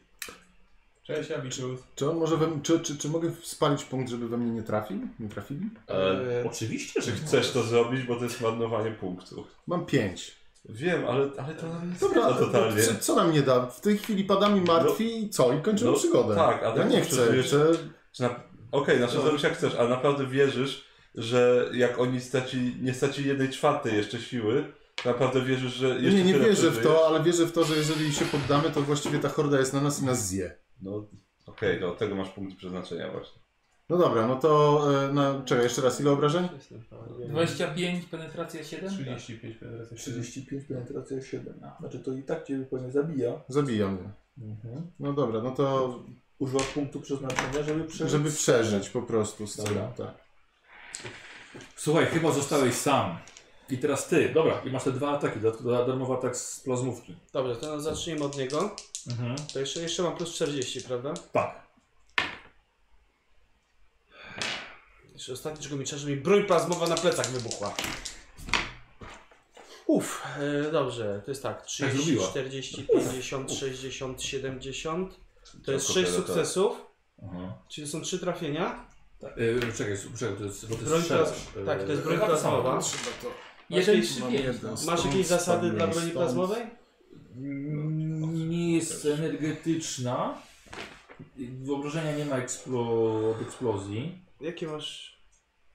Cześć, Abiczów.
Czy, on może we, czy, czy, czy mogę spalić punkt, żeby we mnie nie trafił? Nie trafili?
Ale
Yy,
Oczywiście, że
czy
chcesz.
chcesz to zrobić, bo to jest marnowanie punktu.
Mam pięć.
Wiem, ale, ale to nam nie
Dobra,
Dobra, No, totalnie.
co, co nam nie da? W tej chwili pada mi martwi i co? I kończymy
no,
przygodę.
tak, a
ja
tak
nie
to
chcę.
przecież-
chcę...
Czy na... Okej, znaczy zrobisz jak chcesz, ale naprawdę wierzysz, że jak oni straci, nie stracili jednej czwartej jeszcze siły, to naprawdę wierzysz, że
Nie,
jeszcze
nie
tyle
wierzę w
przeżyjesz?
to, ale wierzę w to, że jeżeli się poddamy, to właściwie ta horda jest na nas i nas zje.
No, okej, do tego masz punkt przeznaczenia właśnie.
No dobra, no to... E, na, czekaj, jeszcze raz, ile obrażeń?
jestem faul.
25, penetracja 7?
35 penetracji.
35, penetracja 7. Znaczy to i tak cię pewnie zabija.
Zabija mnie.
Mhm.
No dobra, no to
Używasz punktu przeznaczenia, żeby przeżyć.
żeby przeżyć po prostu z
Dobra.
tym. Tak.
Słuchaj, chyba zostałeś sam. I teraz ty, dobra, i masz te dwa ataki, dodatkowo darmowy atak z plazmówki.
Dobrze, to zaczniemy od niego. To jeszcze, jeszcze mam plus 40, prawda?
Tak.
Jeszcze ostatnio czego mi trzeba, że mi broń plazmowa na plecach wybuchła. Uff, e, dobrze, to jest tak, 30,
zrobiła.
40, 50, 60, 70. To jest 6
Tylko tyle,
sukcesów,
Aha.
czyli są 3 trafienia.
Y, czekaj, su- czekaj, to jest, bo to
Broń
jest strzelasz.
plaz- tak, to jest
Y,
broń
tak samo.
plazmowa.
Trzeba to.
Jeden
Masz
czy
Mam
pięć?
jeden
Masz
stąd,
jakieś zasady
spadłem
dla broni
stąd.
plazmowej?
Mm, Nie jest energetyczna. Wyobrażenia nie ma eksplo- od eksplozji.
Jakie masz?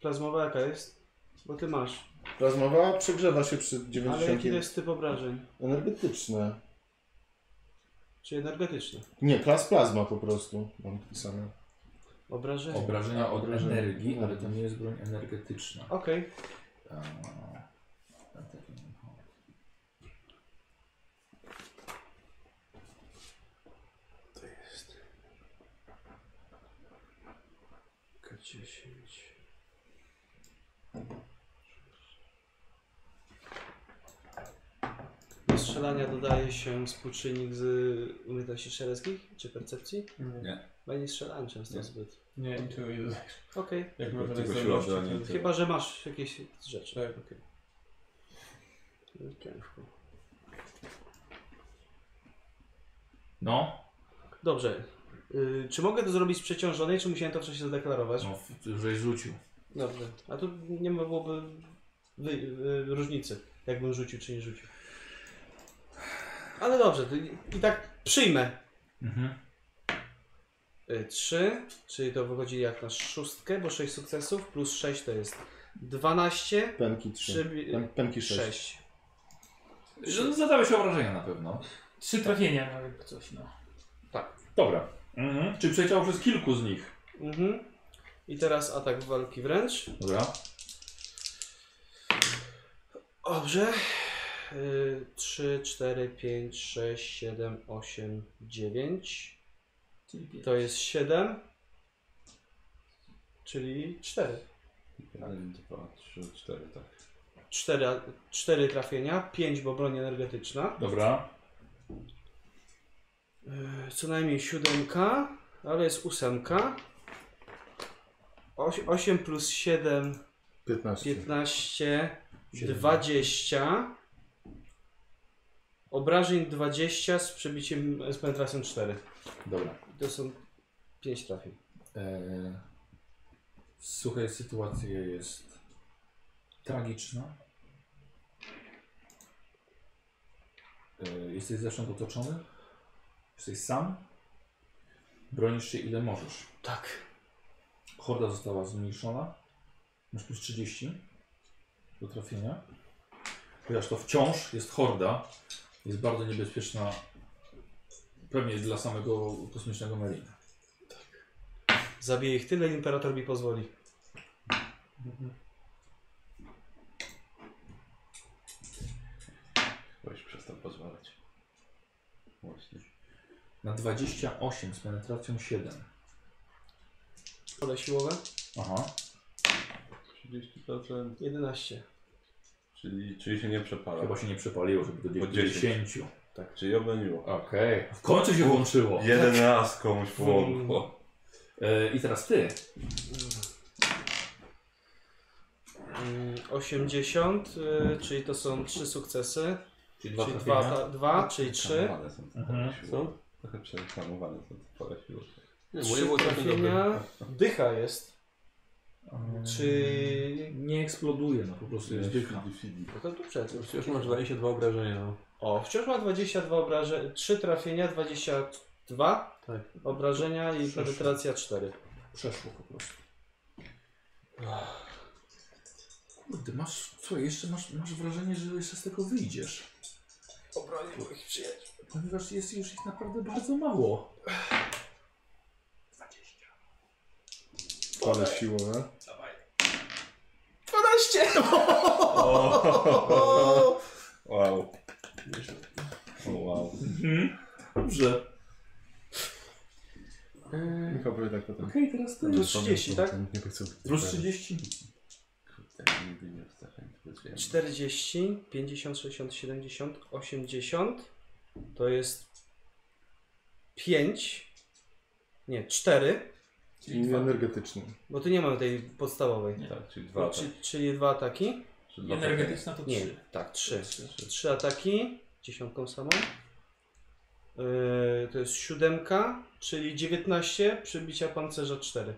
Plazmowa jaka jest? Bo ty masz.
Plazmowa przegrzewa się przy
Ale jaki to
90.
jest typ obrażeń?
Energetyczne.
Czy energetyczny?
Nie, plas plazma po prostu mam pisane.
Obrażenie.
Obrażenia od
Obrażenia.
energii, ale to nie jest broń energetyczna.
Okej.
Eee, a tak nie wiem.
K10. Do strzelania dodaje się współczynnik z umiejętności strzeleckich czy percepcji?
Nie.
Bo ja nie strzelałem często
Nie.
zbyt.
Nie, niczego nie dodaj.
Okej.
Jak masz
Tylko
tak
siła
zdolności,
broni.
to-
Chyba, że masz jakieś rzeczy.
Tak.
Okej.
No,
Dobrze. Y, czy mogę to zrobić z przeciążonej, czy musiałem to wcześniej zadeklarować?
no f- żeś rzucił.
Dobrze. A tu nie ma byłoby wy, y, różnicy, jakbym rzucił czy nie rzucił. Ale dobrze, to i, i tak przyjmę.
Mhm.
Y, Trzy, czyli to wychodzi jak na szóstkę, bo sześć sukcesów, plus sześć to jest 12,
Penki 3.
trzy, y,
Penki 6.
sześć.
No, zadałeś obrażenia na pewno.
Trzy trafienia miał jakby coś, no.
Dobra. Mhm. Czy przeciął przez kilku z nich?
Mhm. I teraz atak walki wręcz.
Dobra.
Dobrze. Y, 3, 4, 5, 6, 7, 8, 9.
Czyli pięć.
To jest 7. Czyli 4.
Jeden, dwa, trzy, cztery, tak.
4, 4 trafienia, 5 bo broń energetyczna.
Dobra.
Y, Co najmniej 7, ale jest 8. 8 plus 7
15.
15, 20. Obrażeń 20 z przebiciem, z penetracją 4.
Dobra.
To są 5 trafień.
Eee, słuchaj, sytuacja jest tragiczna. Eee, jesteś zewsząd otoczony. Jesteś sam. Bronisz się ile możesz.
Tak.
Horda została zmniejszona. Masz plus 30 do trafienia. Ponieważ to wciąż jest horda, jest bardzo niebezpieczna. Pewnie dla samego kosmicznego Marina.
Zabiję ich tyle, imperator mi pozwoli.
Weź przestań pozwalać. Właśnie.
Na 28 z penetracją 7.
Pole siłowe?
Aha.
30%,
11.
czyli, czyli się nie przepala.
Chyba się nie przepaliło, żeby dobiegł
Po
do
10.
10.
Tak, czyli obroniło.
Okej. W końcu się włączyło.
Jeden raz komuś
Mm,
połąkło.
E, I teraz ty.
Mm, 80, y, czyli to są 3 sukcesy.
Czyli dwa
czyli
trafienia.
2, 2 czyli 3.
Przehamowane są te
Mhm.
pole siłowe. Trochę przehamowane są te pole siłowe.
Nie,
3 trafienia. Dycha jest.
Mm,
Czy...
Nie eksploduje, no po prostu jest dycha.
No to tu przed.
No Przecież masz 22 obrażenia, no.
O, wciąż ma 22 obrażenia, 3 trafienia, 22
Tak.
obrażenia i
Przeszło.
penetracja 4.
Przeszło po prostu. Kurde, masz, co, jeszcze masz, masz wrażenie, że jeszcze z tego wyjdziesz.
Obronię moich przyjaciół.
Ponieważ jest już ich naprawdę bardzo mało. 20.
Pole siłowe.
12!
O! Wow. O, wow.
Dobrze.
Michał powie tak potem.
Okej, teraz ty.
Plus 30, tak?
Nie chcę
Plus 30.
Kurde, nigdy nie wstałem, tylko wiem.
40, 50, 60, 70, 80 to jest 5, nie 4,
I energetyczny.
bo tu nie mamy tej podstawowej.
Tak, czyli dwa.
No,
ataki.
Znaczy,
czy, czyli dwa ataki?
Czy dwa ataki.
Energetyczna to
Nie,
trzy.
tak, trzy. Trzy ataki, dziesiątką samą. Yy, to jest siódemka, czyli 19, przybicia pancerza 4.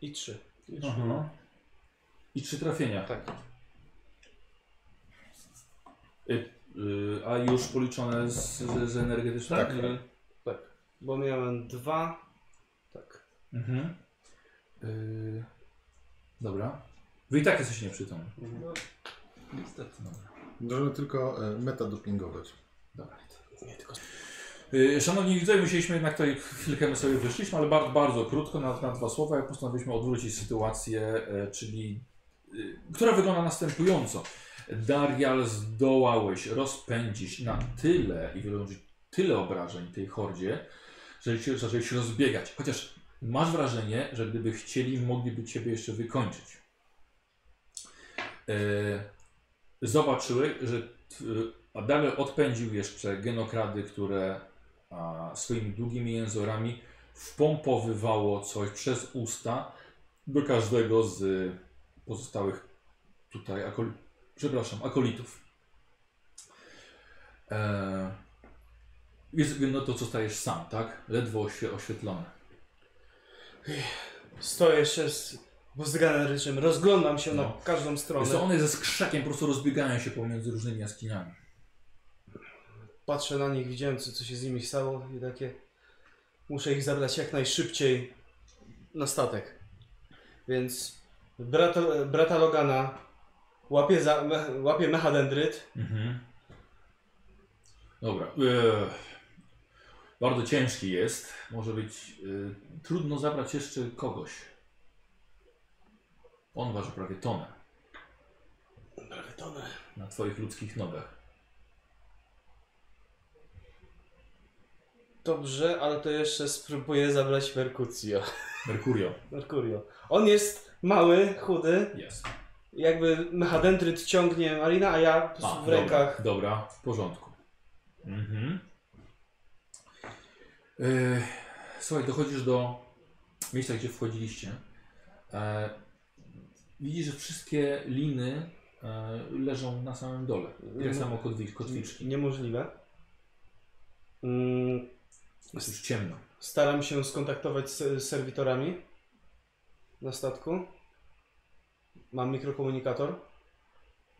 I 3.
Aha. I trzy trafienia.
Tak.
Y, y, a już policzone z, z, z energetycznej?
Tak,
Y,
Bo miałem dwa. Tak.
Mhm. Y, dobra. Wy i tak jesteś nieprzytomny. Niestety. Dobra.
Można tylko e, meta dopingować.
dobra. Y, Szanowni widzowie, musieliśmy jednak tutaj chwilkę my sobie wyszliśmy, ale bardzo, bardzo krótko, na, na dwa słowa, jak postanowiliśmy odwrócić sytuację, e, czyli y, która wygląda następująco. Darial zdołałeś rozpędzić na tyle i wyrządzić tyle obrażeń tej hordzie, że się, zaczęli się rozbiegać. Chociaż masz wrażenie, że gdyby chcieli, mogliby ciebie jeszcze wykończyć. E, zobaczyły, że t- a Daniel odpędził jeszcze genokrady, które a, swoimi długimi jęzorami wpompowywało coś przez usta do każdego z pozostałych tutaj akol... przepraszam, akolitów. E... Więc no to zostajesz sam, tak? Ledwo oświe- oświetlony.
Stoję jeszcze z, z galeryczem, rozglądam się na
No.
każdą
Więc to
stronę.
one ze skrzakiem po prostu rozbiegają się pomiędzy różnymi jaskiniami.
Patrzę na nich, widziałem co, co się z nimi stało i takie. Muszę ich zabrać jak najszybciej na statek. Więc brata, brata Logana Łapie, za, me, łapie mechadendryt.
Mhm. Dobra. Eee, bardzo ciężki jest. Może być e, trudno zabrać jeszcze kogoś. On waży prawie tonę
Prawie tonę.
na twoich ludzkich nogach.
Dobrze, ale to jeszcze spróbuję zabrać Merkucio.
Merkurio.
Merkurio. On jest mały, chudy,
Jest.
jakby mechadendryt ciągnie Marina, a ja po prostu
A,
w rękach.
Dobra, dobra, w porządku. Mhm. E, słuchaj, dochodzisz do miejsca, gdzie wchodziliście. E, widzisz, że wszystkie liny e, leżą na samym dole.
Nie
Tak
ma-
samo kotwi- kotwiczki.
Niemożliwe. Mm,
Jest już ciemno.
Staram się skontaktować z z serwitorami na statku. Mam mikrokomunikator.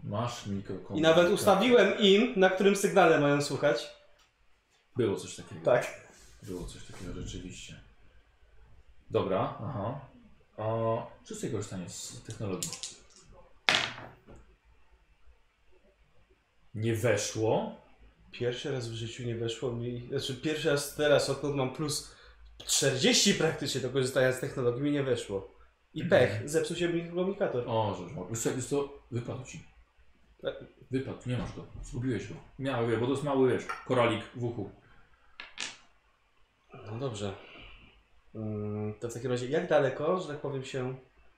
Masz mikrokomunikator.
I nawet ustawiłem im, na którym sygnale mają słuchać.
Było coś takiego.
Tak.
Było coś takiego rzeczywiście. Dobra, aha. A wszyscy korzystają z technologii. Nie weszło.
Pierwszy raz w życiu nie weszło mi. Znaczy, pierwszy raz teraz, odkąd mam plus 40 praktycznie do korzystania z technologii, mi nie weszło. I pech, zepsuł się mi komunikator.
O, że że- wiesz co, wiesz co, wypadł ci. Wypadł, nie masz go. Zgubiłeś go. Miałeś, bo to jest mały, wiesz, koralik w uchu.
No dobrze. Mm, To w takim razie, jak daleko, że tak powiem, się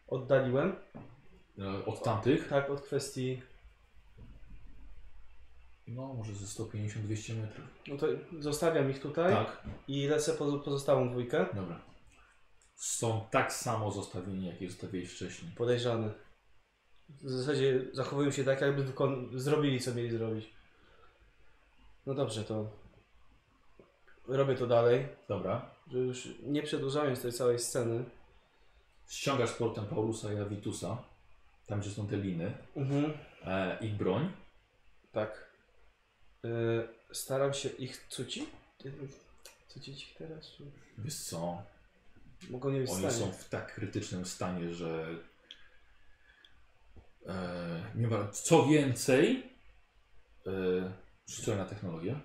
oddaliłem?
E, Od tamtych.
Tak, od kwestii.
No, może ze 150-200 metrów.
No to zostawiam ich tutaj
Tak,
i lecę po pozostałą dwójkę.
dobra. Są tak samo zostawieni, jak je zostawiłeś wcześniej.
Podejrzany. W zasadzie zachowują się tak, jakby wykon- zrobili, co mieli zrobić. No dobrze, to robię to dalej,
Dobra.
że już nie przedłużając tej całej sceny.
ściągasz z portem Paulusa i Avitusa, tam gdzie są te liny,
Mhm.
e, ich broń.
Tak. Y, staram się ich cucić. Cucić ich teraz? Czy...
Wiesz co,
Mogą nie być w
oni
stanie.
są w tak krytycznym stanie, że e, nie ma, co więcej, e, rzucę na technologię,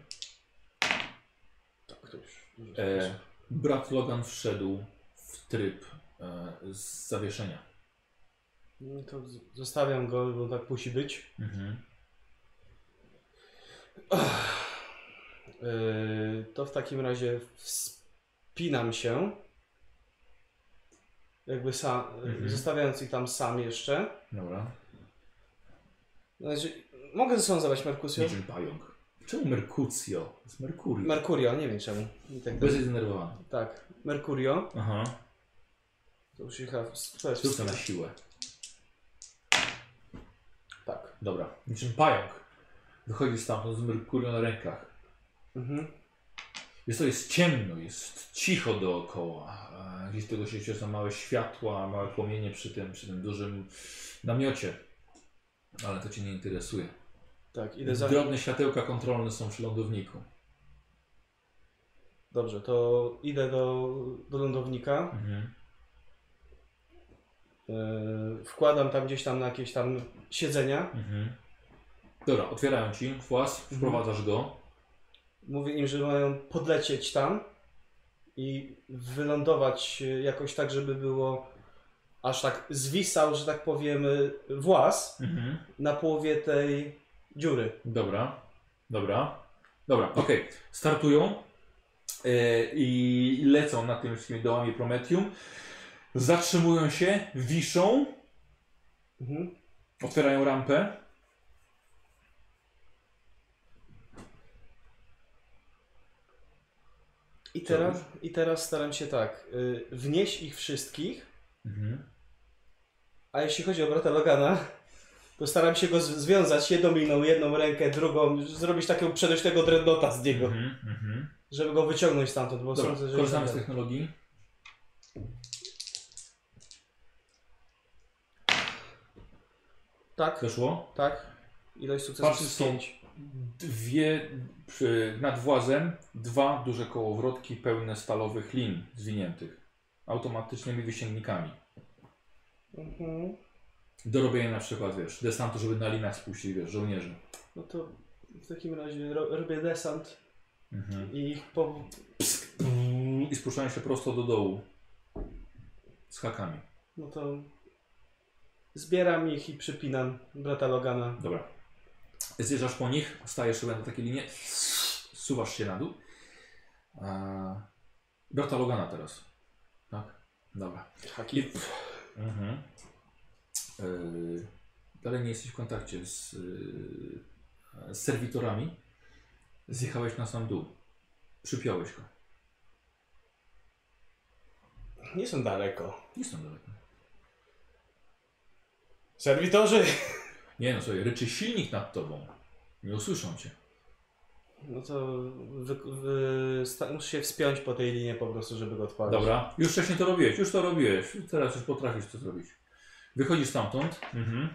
Tak, to już.
e, brat Logan wszedł w tryb e, z zawieszenia.
No to z- zostawiam go, bo tak musi być.
Mhm.
Y, to w takim razie wspinam się. Jakby sam,
Mhm.
zostawiając ich tam sam jeszcze.
Dobra,
Znaczy, mogę ze sobą zabrać Merkucjo?
niczym pająk. Czemu Merkucjo? To jest Merkurio.
Merkurio, nie wiem czemu. I tak,
Bez jest zdenerwowany.
tak, Merkurio.
Aha,
To już chyba w- to jest
rzucę na siłę.
Tak.
Dobra, niczym pająk. Wychodzi stamtąd z Merkurio na rękach.
Mhm.
Jest to jest ciemno, jest cicho dookoła. E, Gdzieś tego się cieszą małe światła, małe płomienie przy tym, przy tym dużym namiocie. Ale to cię nie interesuje.
Tak, idę za...
Drobne światełka kontrolne są przy lądowniku.
Dobrze, to idę do, do lądownika.
Mhm.
Yy, wkładam tam gdzieś tam na jakieś tam siedzenia.
Mhm. Dobra, otwierają ci włas, wprowadzasz go.
Mówię im, że mają podlecieć tam i wylądować yy, jakoś tak, żeby było aż tak zwisał, że tak powiem, yy, włas
Mhm.
na połowie tej dziury.
Dobra, dobra, dobra, okej. Startują e, i i lecą na tym wszystkimi dołami Prometium. Zatrzymują się, wiszą,
Mhm.
otwierają rampę.
I teraz, I teraz staram się tak, yy, wnieść ich wszystkich,
Mhm.
a jeśli chodzi o brata Logana, to staram się go z- związać jedną liną, jedną rękę, drugą, zrobić takiego przedośnego dreadnota z niego,
Mhm. Mhm.
żeby go wyciągnąć stamtąd, bo
Dobra,
sądzę, że...
korzystamy z technologii.
Tak,
Weszło.
tak. Ilość sukcesów
Patrz,
jest
są
pięć.
dwie przy, nad włazem, dwa duże kołowrotki pełne stalowych lin zwiniętych automatycznymi wysięgnikami.
Mhm.
Do robienia na przykład, wiesz, desantu, żeby na linach spuścić, wiesz, żołnierzy.
No to w takim razie ro, robię desant
Mhm.
i ich po...
I spuszczają się prosto do dołu. Z hakami.
No to... Zbieram ich i przypinam brata Logana.
Dobra. Zjeżdżasz po nich, stajesz sobie na takiej linie, suwasz się na dół. Eee, Brata Logana teraz. Tak? Dobra.
Haki.
Mhm. Eee, dalej nie jesteś w kontakcie z, eee, z serwitorami. Zjechałeś na sam dół. Przypiąłeś go.
Nie są daleko.
Nie są daleko.
Serwitorzy!
Nie no, sobie ryczy silnik nad tobą. Nie usłyszą cię.
No to wy, wy, sta, muszę się wspiąć po tej linie po prostu, żeby go odpalić.
Dobra, już wcześniej to robiłeś, już to robiłeś. Teraz już potrafisz to zrobić. Wychodzisz stamtąd. Mhm.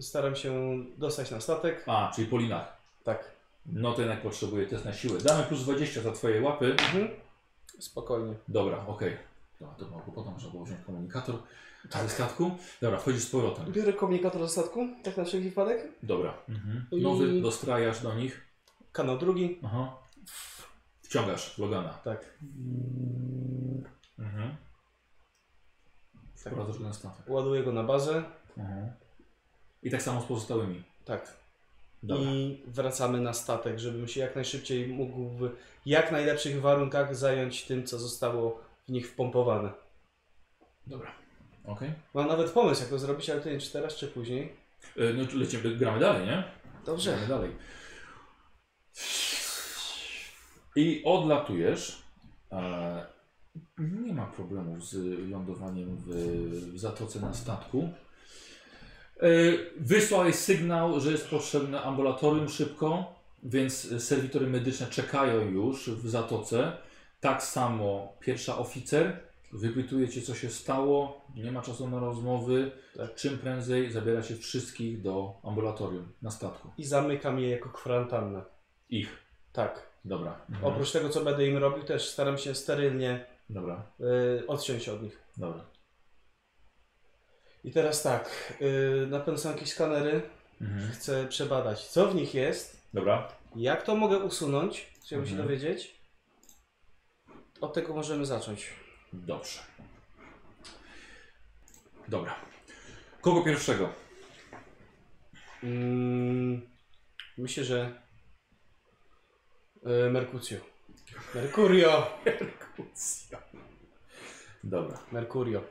Staram się dostać na statek.
A, czyli po linach.
Tak.
No to jednak potrzebuję test na siłę. Damy plus 20 za twoje łapy.
Mhm. Spokojnie.
Dobra, okej. No to mało potem trzeba było wziąć komunikator Tak. ze statku. Dobra, wchodzisz z powrotem.
Biorę komunikator ze statku, tak na wszelki wypadek.
Dobra. Mhm. Nowy dostrajasz do nich.
Kanał drugi.
Aha. Wciągasz Logana.
Tak.
Mhm. Wprowadzasz go na statek.
Ładuję go na bazę.
Mhm. I tak samo z pozostałymi.
Tak.
Dobra.
I wracamy na statek, żebym się jak najszybciej mógł w jak najlepszych warunkach zająć tym, co zostało w nich wpompowane.
Dobra. Okej.
Mam nawet pomysł, jak to zrobić, ale to nie wiem, czy teraz, czy później.
Y, No to lecimy, gramy dalej, nie?
Dobrze.
Idziemy dalej. I odlatujesz. E, Nie ma problemu z lądowaniem w, w zatoce na statku. E, Wysłałeś sygnał, że jest potrzebne ambulatorium szybko, więc serwitory medyczne czekają już w zatoce. Tak samo pierwsza oficer. Wypytuje cię, co się stało. Nie ma czasu na rozmowy. Czym prędzej zabiera się wszystkich do ambulatorium na statku.
I zamykam je jako kwarantannę.
Ich.
Tak.
Dobra.
Oprócz tego, co będę im robił, też staram się sterylnie
Dobra,
y, odciąć od nich.
dobra.
I teraz tak, yy, na pewno są jakieś skanery.
Mhm.
Chcę przebadać, co w nich jest,
Dobra.
jak to mogę usunąć, chciałbym się
Mhm.
dowiedzieć. Od tego możemy zacząć.
Dobrze. Dobra. Kogo pierwszego?
Mm, myślę, że yy, Merkucjo. Mercurio!
Dobra.
Mercurio.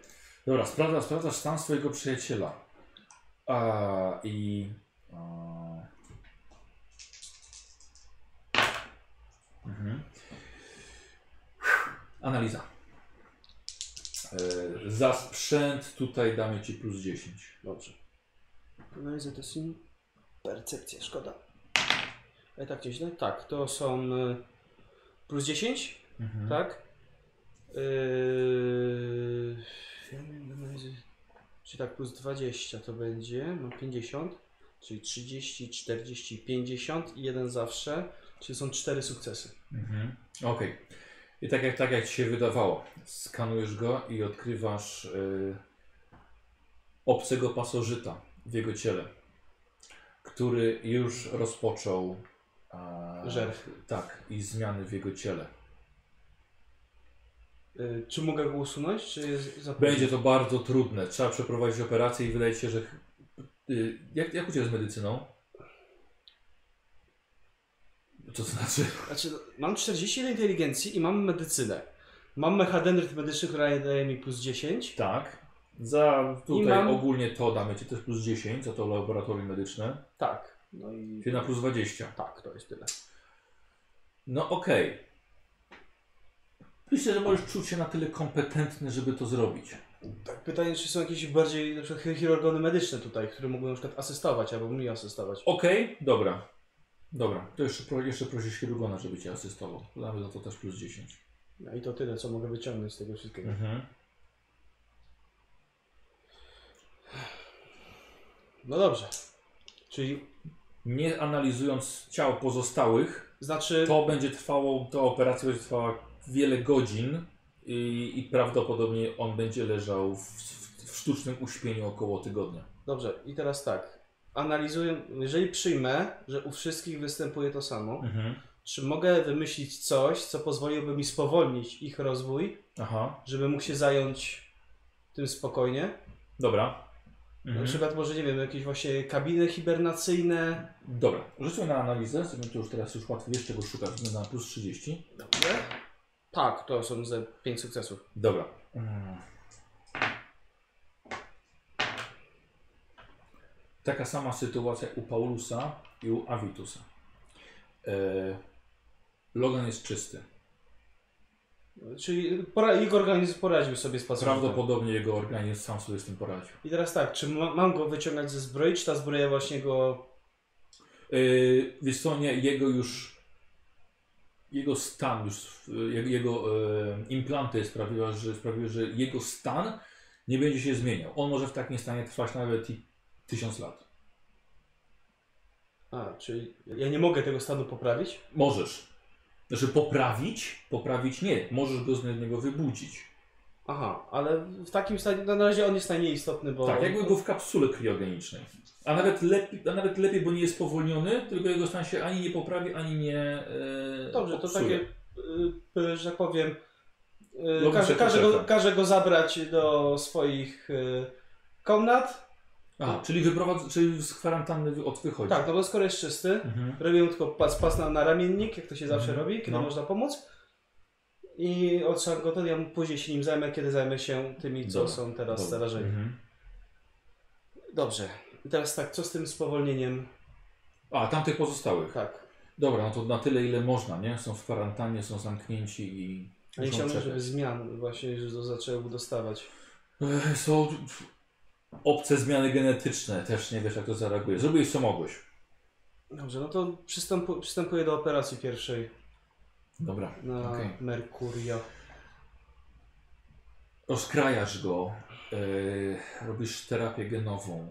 Dobra, sprawdzasz, sprawdzasz stan swojego przyjaciela. A, I. A... Mhm. Analiza. E, za sprzęt tutaj damy ci plus 10.
Dobrze. Analiza to sim. Percepcja, szkoda. Ale tak nieźle? Tak, to są y, plus 10.
Mhm.
Tak? Yy... Ja miałem na razie- Czyli tak, plus 20 to będzie, mam 50, czyli 30, 40, 50 i jeden zawsze, czyli są cztery sukcesy.
Mhm. Okej. I tak jak, tak jak ci się wydawało, skanujesz go i odkrywasz y, obcego pasożyta w jego ciele, który już rozpoczął a,
Żerw.
Tak, i zmiany w jego ciele.
Yy, czy mogę go usunąć, czy jest za późno?
Będzie to bardzo trudne. Trzeba przeprowadzić operację i wydaje się, że. y, jak, jak u Ciebie z medycyną? Co to znaczy?
Znaczy, mam 41 inteligencji i mam medycynę. Mam mechadendryt medyczny, który daje mi plus 10.
Tak. Za tutaj
mam-
ogólnie to damy Ci też plus 10 za to laboratorium medyczne.
Tak. No i...
Czyli na plus 20.
Tak, to jest tyle.
No okej. Myślę, że możesz czuć się na tyle kompetentny, żeby to zrobić.
Tak, pytanie, czy są jakieś bardziej na przykład chirurgony medyczne tutaj, które mogą na przykład asystować albo mi asystować.
Okej, dobra. Dobra, to jeszcze, pro- jeszcze prosisz chirurgona, żeby cię asystował. Damy za to też plus 10.
No i to tyle, co mogę wyciągnąć z tego wszystkiego.
Mhm.
No dobrze. Czyli
Nie analizując ciał pozostałych,
znaczy.
to będzie trwało, ta operacja będzie trwała wiele godzin. I, I prawdopodobnie on będzie leżał w, w, w sztucznym uśpieniu około tygodnia.
Dobrze, i teraz tak. Analizuję, jeżeli przyjmę, że u wszystkich występuje to samo, czy mogę wymyślić coś, co pozwoliłoby mi spowolnić ich rozwój,
Aha,
żeby mógł się zająć tym spokojnie?
dobra. Mhm.
Na przykład może, nie wiem, jakieś właśnie kabiny hibernacyjne.
Dobra, rzucę na analizę, sobie to już teraz już łatwiej wiesz czego szukać, względu na plus 30.
Dobrze. Tak, to są ze pięć sukcesów.
Dobra. Mm. Taka sama sytuacja u Paulusa i u Avitusa. E, Logan jest czysty.
Czyli pora- jego organizm poradził sobie z pasożytem.
Prawdopodobnie jego organizm sam sobie z tym poradził.
I teraz tak, czy ma, mam go wyciągać ze zbroi, czy ta zbroja właśnie go...
Yy, wiesz co, nie, jego już jego stan już, yy, jego, jego yy, implanty sprawiły, że, sprawiły, że jego stan nie będzie się zmieniał. On może w takim stanie trwać nawet i tysiąc lat.
A, czyli ja nie mogę tego stanu poprawić?
Możesz. Znaczy poprawić? Poprawić nie. Możesz go z niego wybudzić.
Aha, ale w takim stanie, no na razie on jest najnieistotny, bo...
Tak, jakby był w kapsule kriogenicznej. A nawet, lepiej, a nawet lepiej, bo nie jest powolniony, tylko jego stan się ani nie poprawi, ani nie. Yy,
Dobrze, to
popsuje.
takie, y, y, że tak powiem, y,
Logiczne
każe, każe, go,
potrzeby.
każe go zabrać do swoich y, komnat.
Aha, czyli wyprowadz, czyli z kwarantanny wy- od wychodzi.
Tak, no bo skoro jest czysty,
Mhm.
robię mu tylko pas, pas na, na ramiennik, jak to się zawsze
Mhm,
robi, kiedy
no.
można pomóc. I odszłam go, to ja mu później się nim zajmę, kiedy zajmę się tymi, co
Dobra,
są teraz
Dobra.
zarażeni.
Mhm.
Dobrze. I teraz tak, co z tym spowolnieniem?
A, tamtych pozostałych.
Tak.
Dobra, no to na tyle, ile można, nie? Są w kwarantannie, są zamknięci i.
Nie
muszą
No chciałbym,
czekać.
żeby zmian właśnie że to zaczęły dostawać.
Ech, Są obce zmiany genetyczne, też nie wiesz, jak to zareaguje. Zrobiłeś co mogłeś.
Dobrze, no to przystępu, przystępuję do operacji pierwszej
Dobra,
na
okej.
Merkurio.
Rozkrajasz go, e, robisz terapię genową.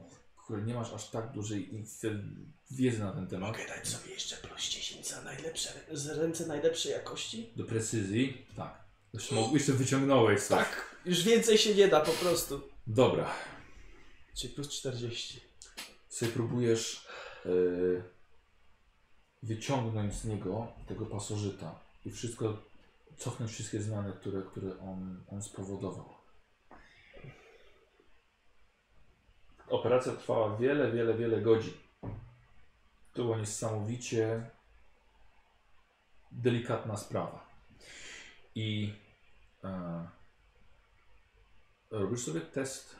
Kurde, nie masz aż tak dużej inf- wiedzy na ten temat.
dać sobie jeszcze plus 10 za najlepsze, z ręce najlepszej jakości?
Do precyzji, tak. Jeszcze, mo- jeszcze wyciągnąłeś coś.
Tak, już więcej się nie da po prostu.
Dobra,
Czyli plus 40.
sobie próbujesz yy, wyciągnąć z niego tego pasożyta i wszystko, cofnąć wszystkie zmiany, które, które on, on spowodował. Operacja trwała wiele, wiele, wiele godzin. To była niesamowicie delikatna sprawa. I e, robisz sobie test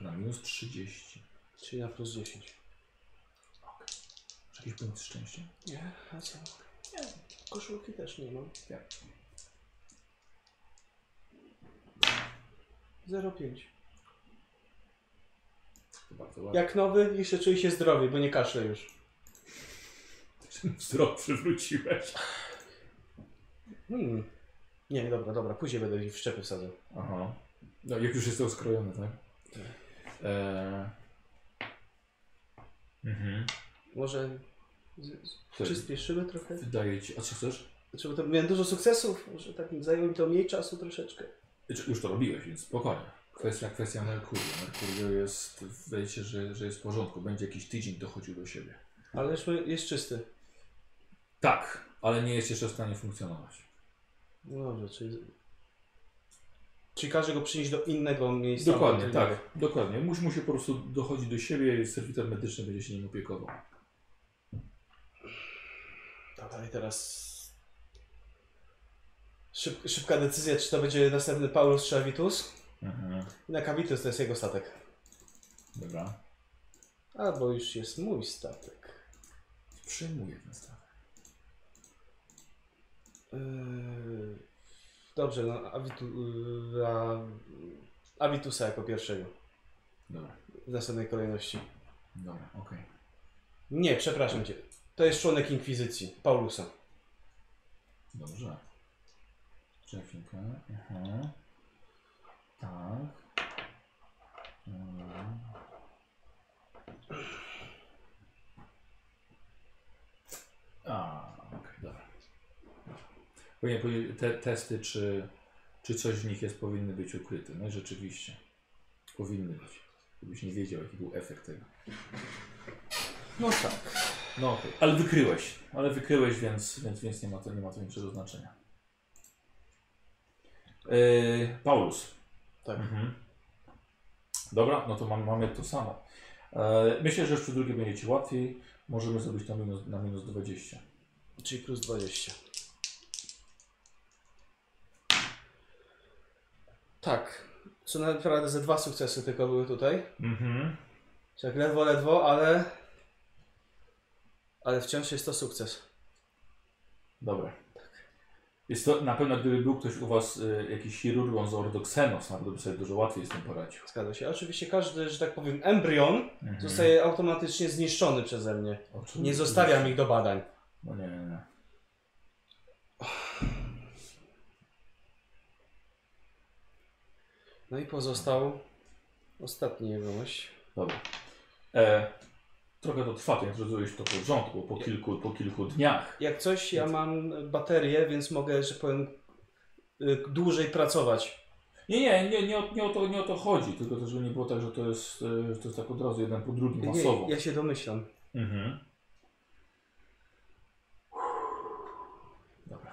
na minus 30.
Czyli na plus 10.
Czy jakiś punkt szczęścia?
Nie, a co? Nie, koszulki też nie mam.
Nie.
0,5.
To bardzo ładnie.
Jak nowy, jeszcze czuję się zdrowy, bo nie kaszle już.
Wzrok przywróciłeś.
Hmm. Nie, dobra, dobra, później będę ich w szczepy wsadzał.
Aha. No jak już jest to uskrojone, tak? Eee... Mhm.
Może z- z-
Czy...
przyspieszymy trochę?
Wydaje ci... A co chcesz?
Znaczy, bo to miałem dużo sukcesów, może tak zajęło mi to mniej czasu troszeczkę.
Znaczy, Już to robiłeś, więc spokojnie. Kwestia, kwestia Merkurio. Merkurio jest... Wydaje się, że, że jest w porządku. Będzie jakiś tydzień dochodził do siebie.
Ale już my- jest czysty.
Tak, ale nie jest jeszcze w stanie funkcjonować.
No dobrze, czyli... Czyli każe go przynieść do innego miejsca.
Dokładnie,
Innego.
tak. Dokładnie. Musi mu się po prostu dochodzi do siebie i serwitor medyczny będzie się nim opiekował.
Dobra, i teraz... Szyb, szybka decyzja, czy to będzie następny Paulus czy Avitus.
Mhm.
Na Kavitus to jest jego statek.
Dobra.
Albo już jest mój statek.
Przyjmuję ten staw.
Yy, Dobrze, no Avitu, yy, a, Avitusa jako pierwszego
Dobra,
w następnej kolejności.
dobra, okej.
Nie, przepraszam cię. To jest członek Inkwizycji, Paulusa.
Dobrze. Czekajkę. Aha. Tak. Mm. A, okej, dobra. Powinien powiedzieć te testy, czy, Czy coś w nich jest powinny być ukryte? No i rzeczywiście. Powinny być. Gdybyś nie wiedział, jaki był efekt tego.
No tak.
No, okej. ale wykryłeś. Ale wykryłeś, więc, więc, więc nie, ma to, nie ma to większego znaczenia. Yy, Paulus.
Tak.
Mhm. Dobra, no to mam, mamy to samo. E, myślę, że przy drugiej będzie ci łatwiej. Możemy zrobić na minus, na minus 20.
Czyli plus 20. Tak. Co naprawdę ze dwa sukcesy tylko były tutaj.
Mhm.
Czyli jak ledwo, ledwo, ale... Ale wciąż jest to sukces.
Dobra. Jest to na pewno, gdyby był ktoś u was y, jakiś chirurgon z ordoksenos, na pewno by sobie dużo łatwiej z tym poradził. Mhm.
Zgadza się. Oczywiście każdy, że tak powiem, embrion zostaje automatycznie zniszczony przeze mnie.
Oczywiście.
Nie zostawiam ich do badań.
No nie, nie, nie.
No i pozostał ostatni jegomość.
Dobra. E, trochę to trwa, to jak zrozumiałeś to w porządku, bo po kilku, po kilku dniach.
Jak coś, ja mam baterię, więc mogę, że powiem, y, dłużej pracować.
Nie, nie, nie, nie, o, nie, o, to, nie o to chodzi, tylko to, żeby nie było tak, że to jest, e, że to jest tak od razu jeden po drugim
Nie,
masowo.
ja się domyślam.
Mhm. Dobra.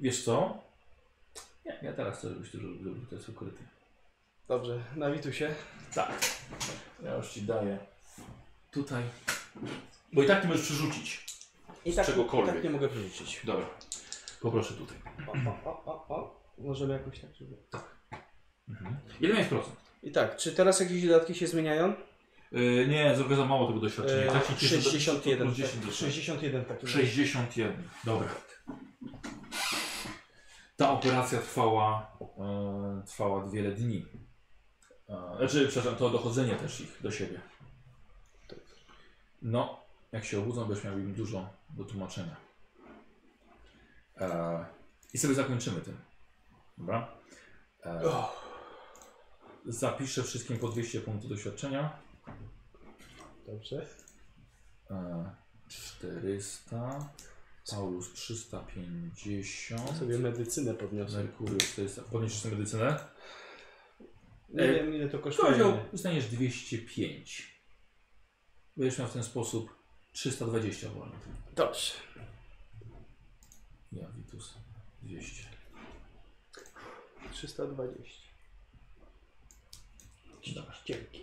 Wiesz co? Nie, ja teraz chcę, żebyś to zrobił, żeby to jest ukryte.
Dobrze, na Witusie.
Tak. Ja już ci daję. Tutaj. Bo i tak nie możesz przerzucić.
I tak,
czegokolwiek.
tak nie mogę przerzucić.
Dobra. Poproszę tutaj.
O, o, o, o, o. Możemy jakoś tak, żeby...
Ile miałeś procent?
I tak, czy teraz jakieś dodatki się zmieniają?
Yy, nie, trochę za mało tego doświadczenia.
E,
tak się cieszę, że- no,
61.
plus 10
tak,
dostałem.
61 w takim razie.
61. Dobra. Ta operacja trwała, e, trwała wiele dni. E, znaczy, przepraszam, to dochodzenie też ich do siebie. No, jak się obudzą, będziesz miał im dużo do tłumaczenia. E, I sobie zakończymy tym. Dobra? E, zapiszę wszystkim po 200 punktów doświadczenia.
Dobrze.
E, 400. Paulus 350.
Sobie medycynę podniosę.
Merkuriusz 400. Podniesiesz sobie medycynę?
Nie
Ej,
wiem ile to
Kozioł
kosztuje.
dostaniesz 205. Będziesz miał w ten sposób 320 wolnych.
Dobrze.
Ja, Vitus. 200.
320.
Dobra.
Dzięki.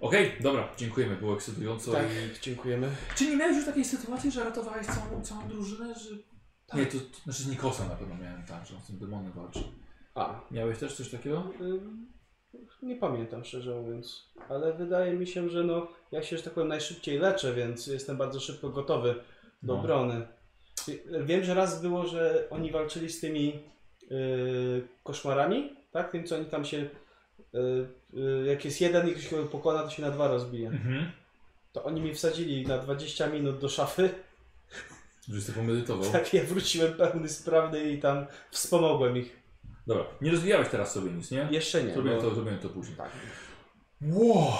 Okej, dobra, dziękujemy, było ekscytująco.
Tak, dziękujemy.
Czy nie miałeś już takiej sytuacji, że ratowałeś całą, całą drużynę, że... Nie, to, to znaczy z Nikosem na pewno miałem tak, że on z tym demonem walczy.
A,
Miałeś też coś takiego?
Ym, Nie pamiętam szczerze mówiąc, ale wydaje mi się, że no, ja się, że tak powiem, najszybciej leczę, więc jestem bardzo szybko gotowy do
No.
obrony. Y- Wiem, że raz było, że oni walczyli z tymi y, koszmarami, tak? Tym, co oni tam się. y, y, jak jest jeden i ktoś go pokona, to się na dwa rozbije.
Mhm.
To oni mi wsadzili na 20 minut do szafy,
Żebyś sobie pomedytował.
tak ja wróciłem pełny sprawny i tam wspomogłem ich.
Dobra, nie rozwijałeś teraz sobie nic, nie? no.
Jeszcze nie.
Zrobię
bo-
to, zrobię to później.
Tak.
Wow,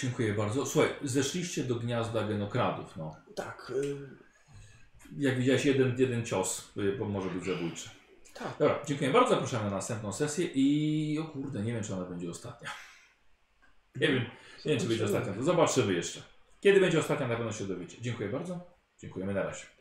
dziękuję bardzo. Słuchaj, zeszliście do gniazda genokradów. No.
Tak. y,
Jak widziałeś, jeden, jeden cios y, bo może być zabójczy.
Tak.
Dobra, dziękuję bardzo. Zapraszamy na następną sesję i o kurde, nie wiem, czy ona będzie ostatnia. Nie wiem, nie wiem, czy będzie ostatnia. To zobaczymy jeszcze. Kiedy będzie ostatnia, na pewno się dowiecie. Dziękuję bardzo. Dziękujemy na razie.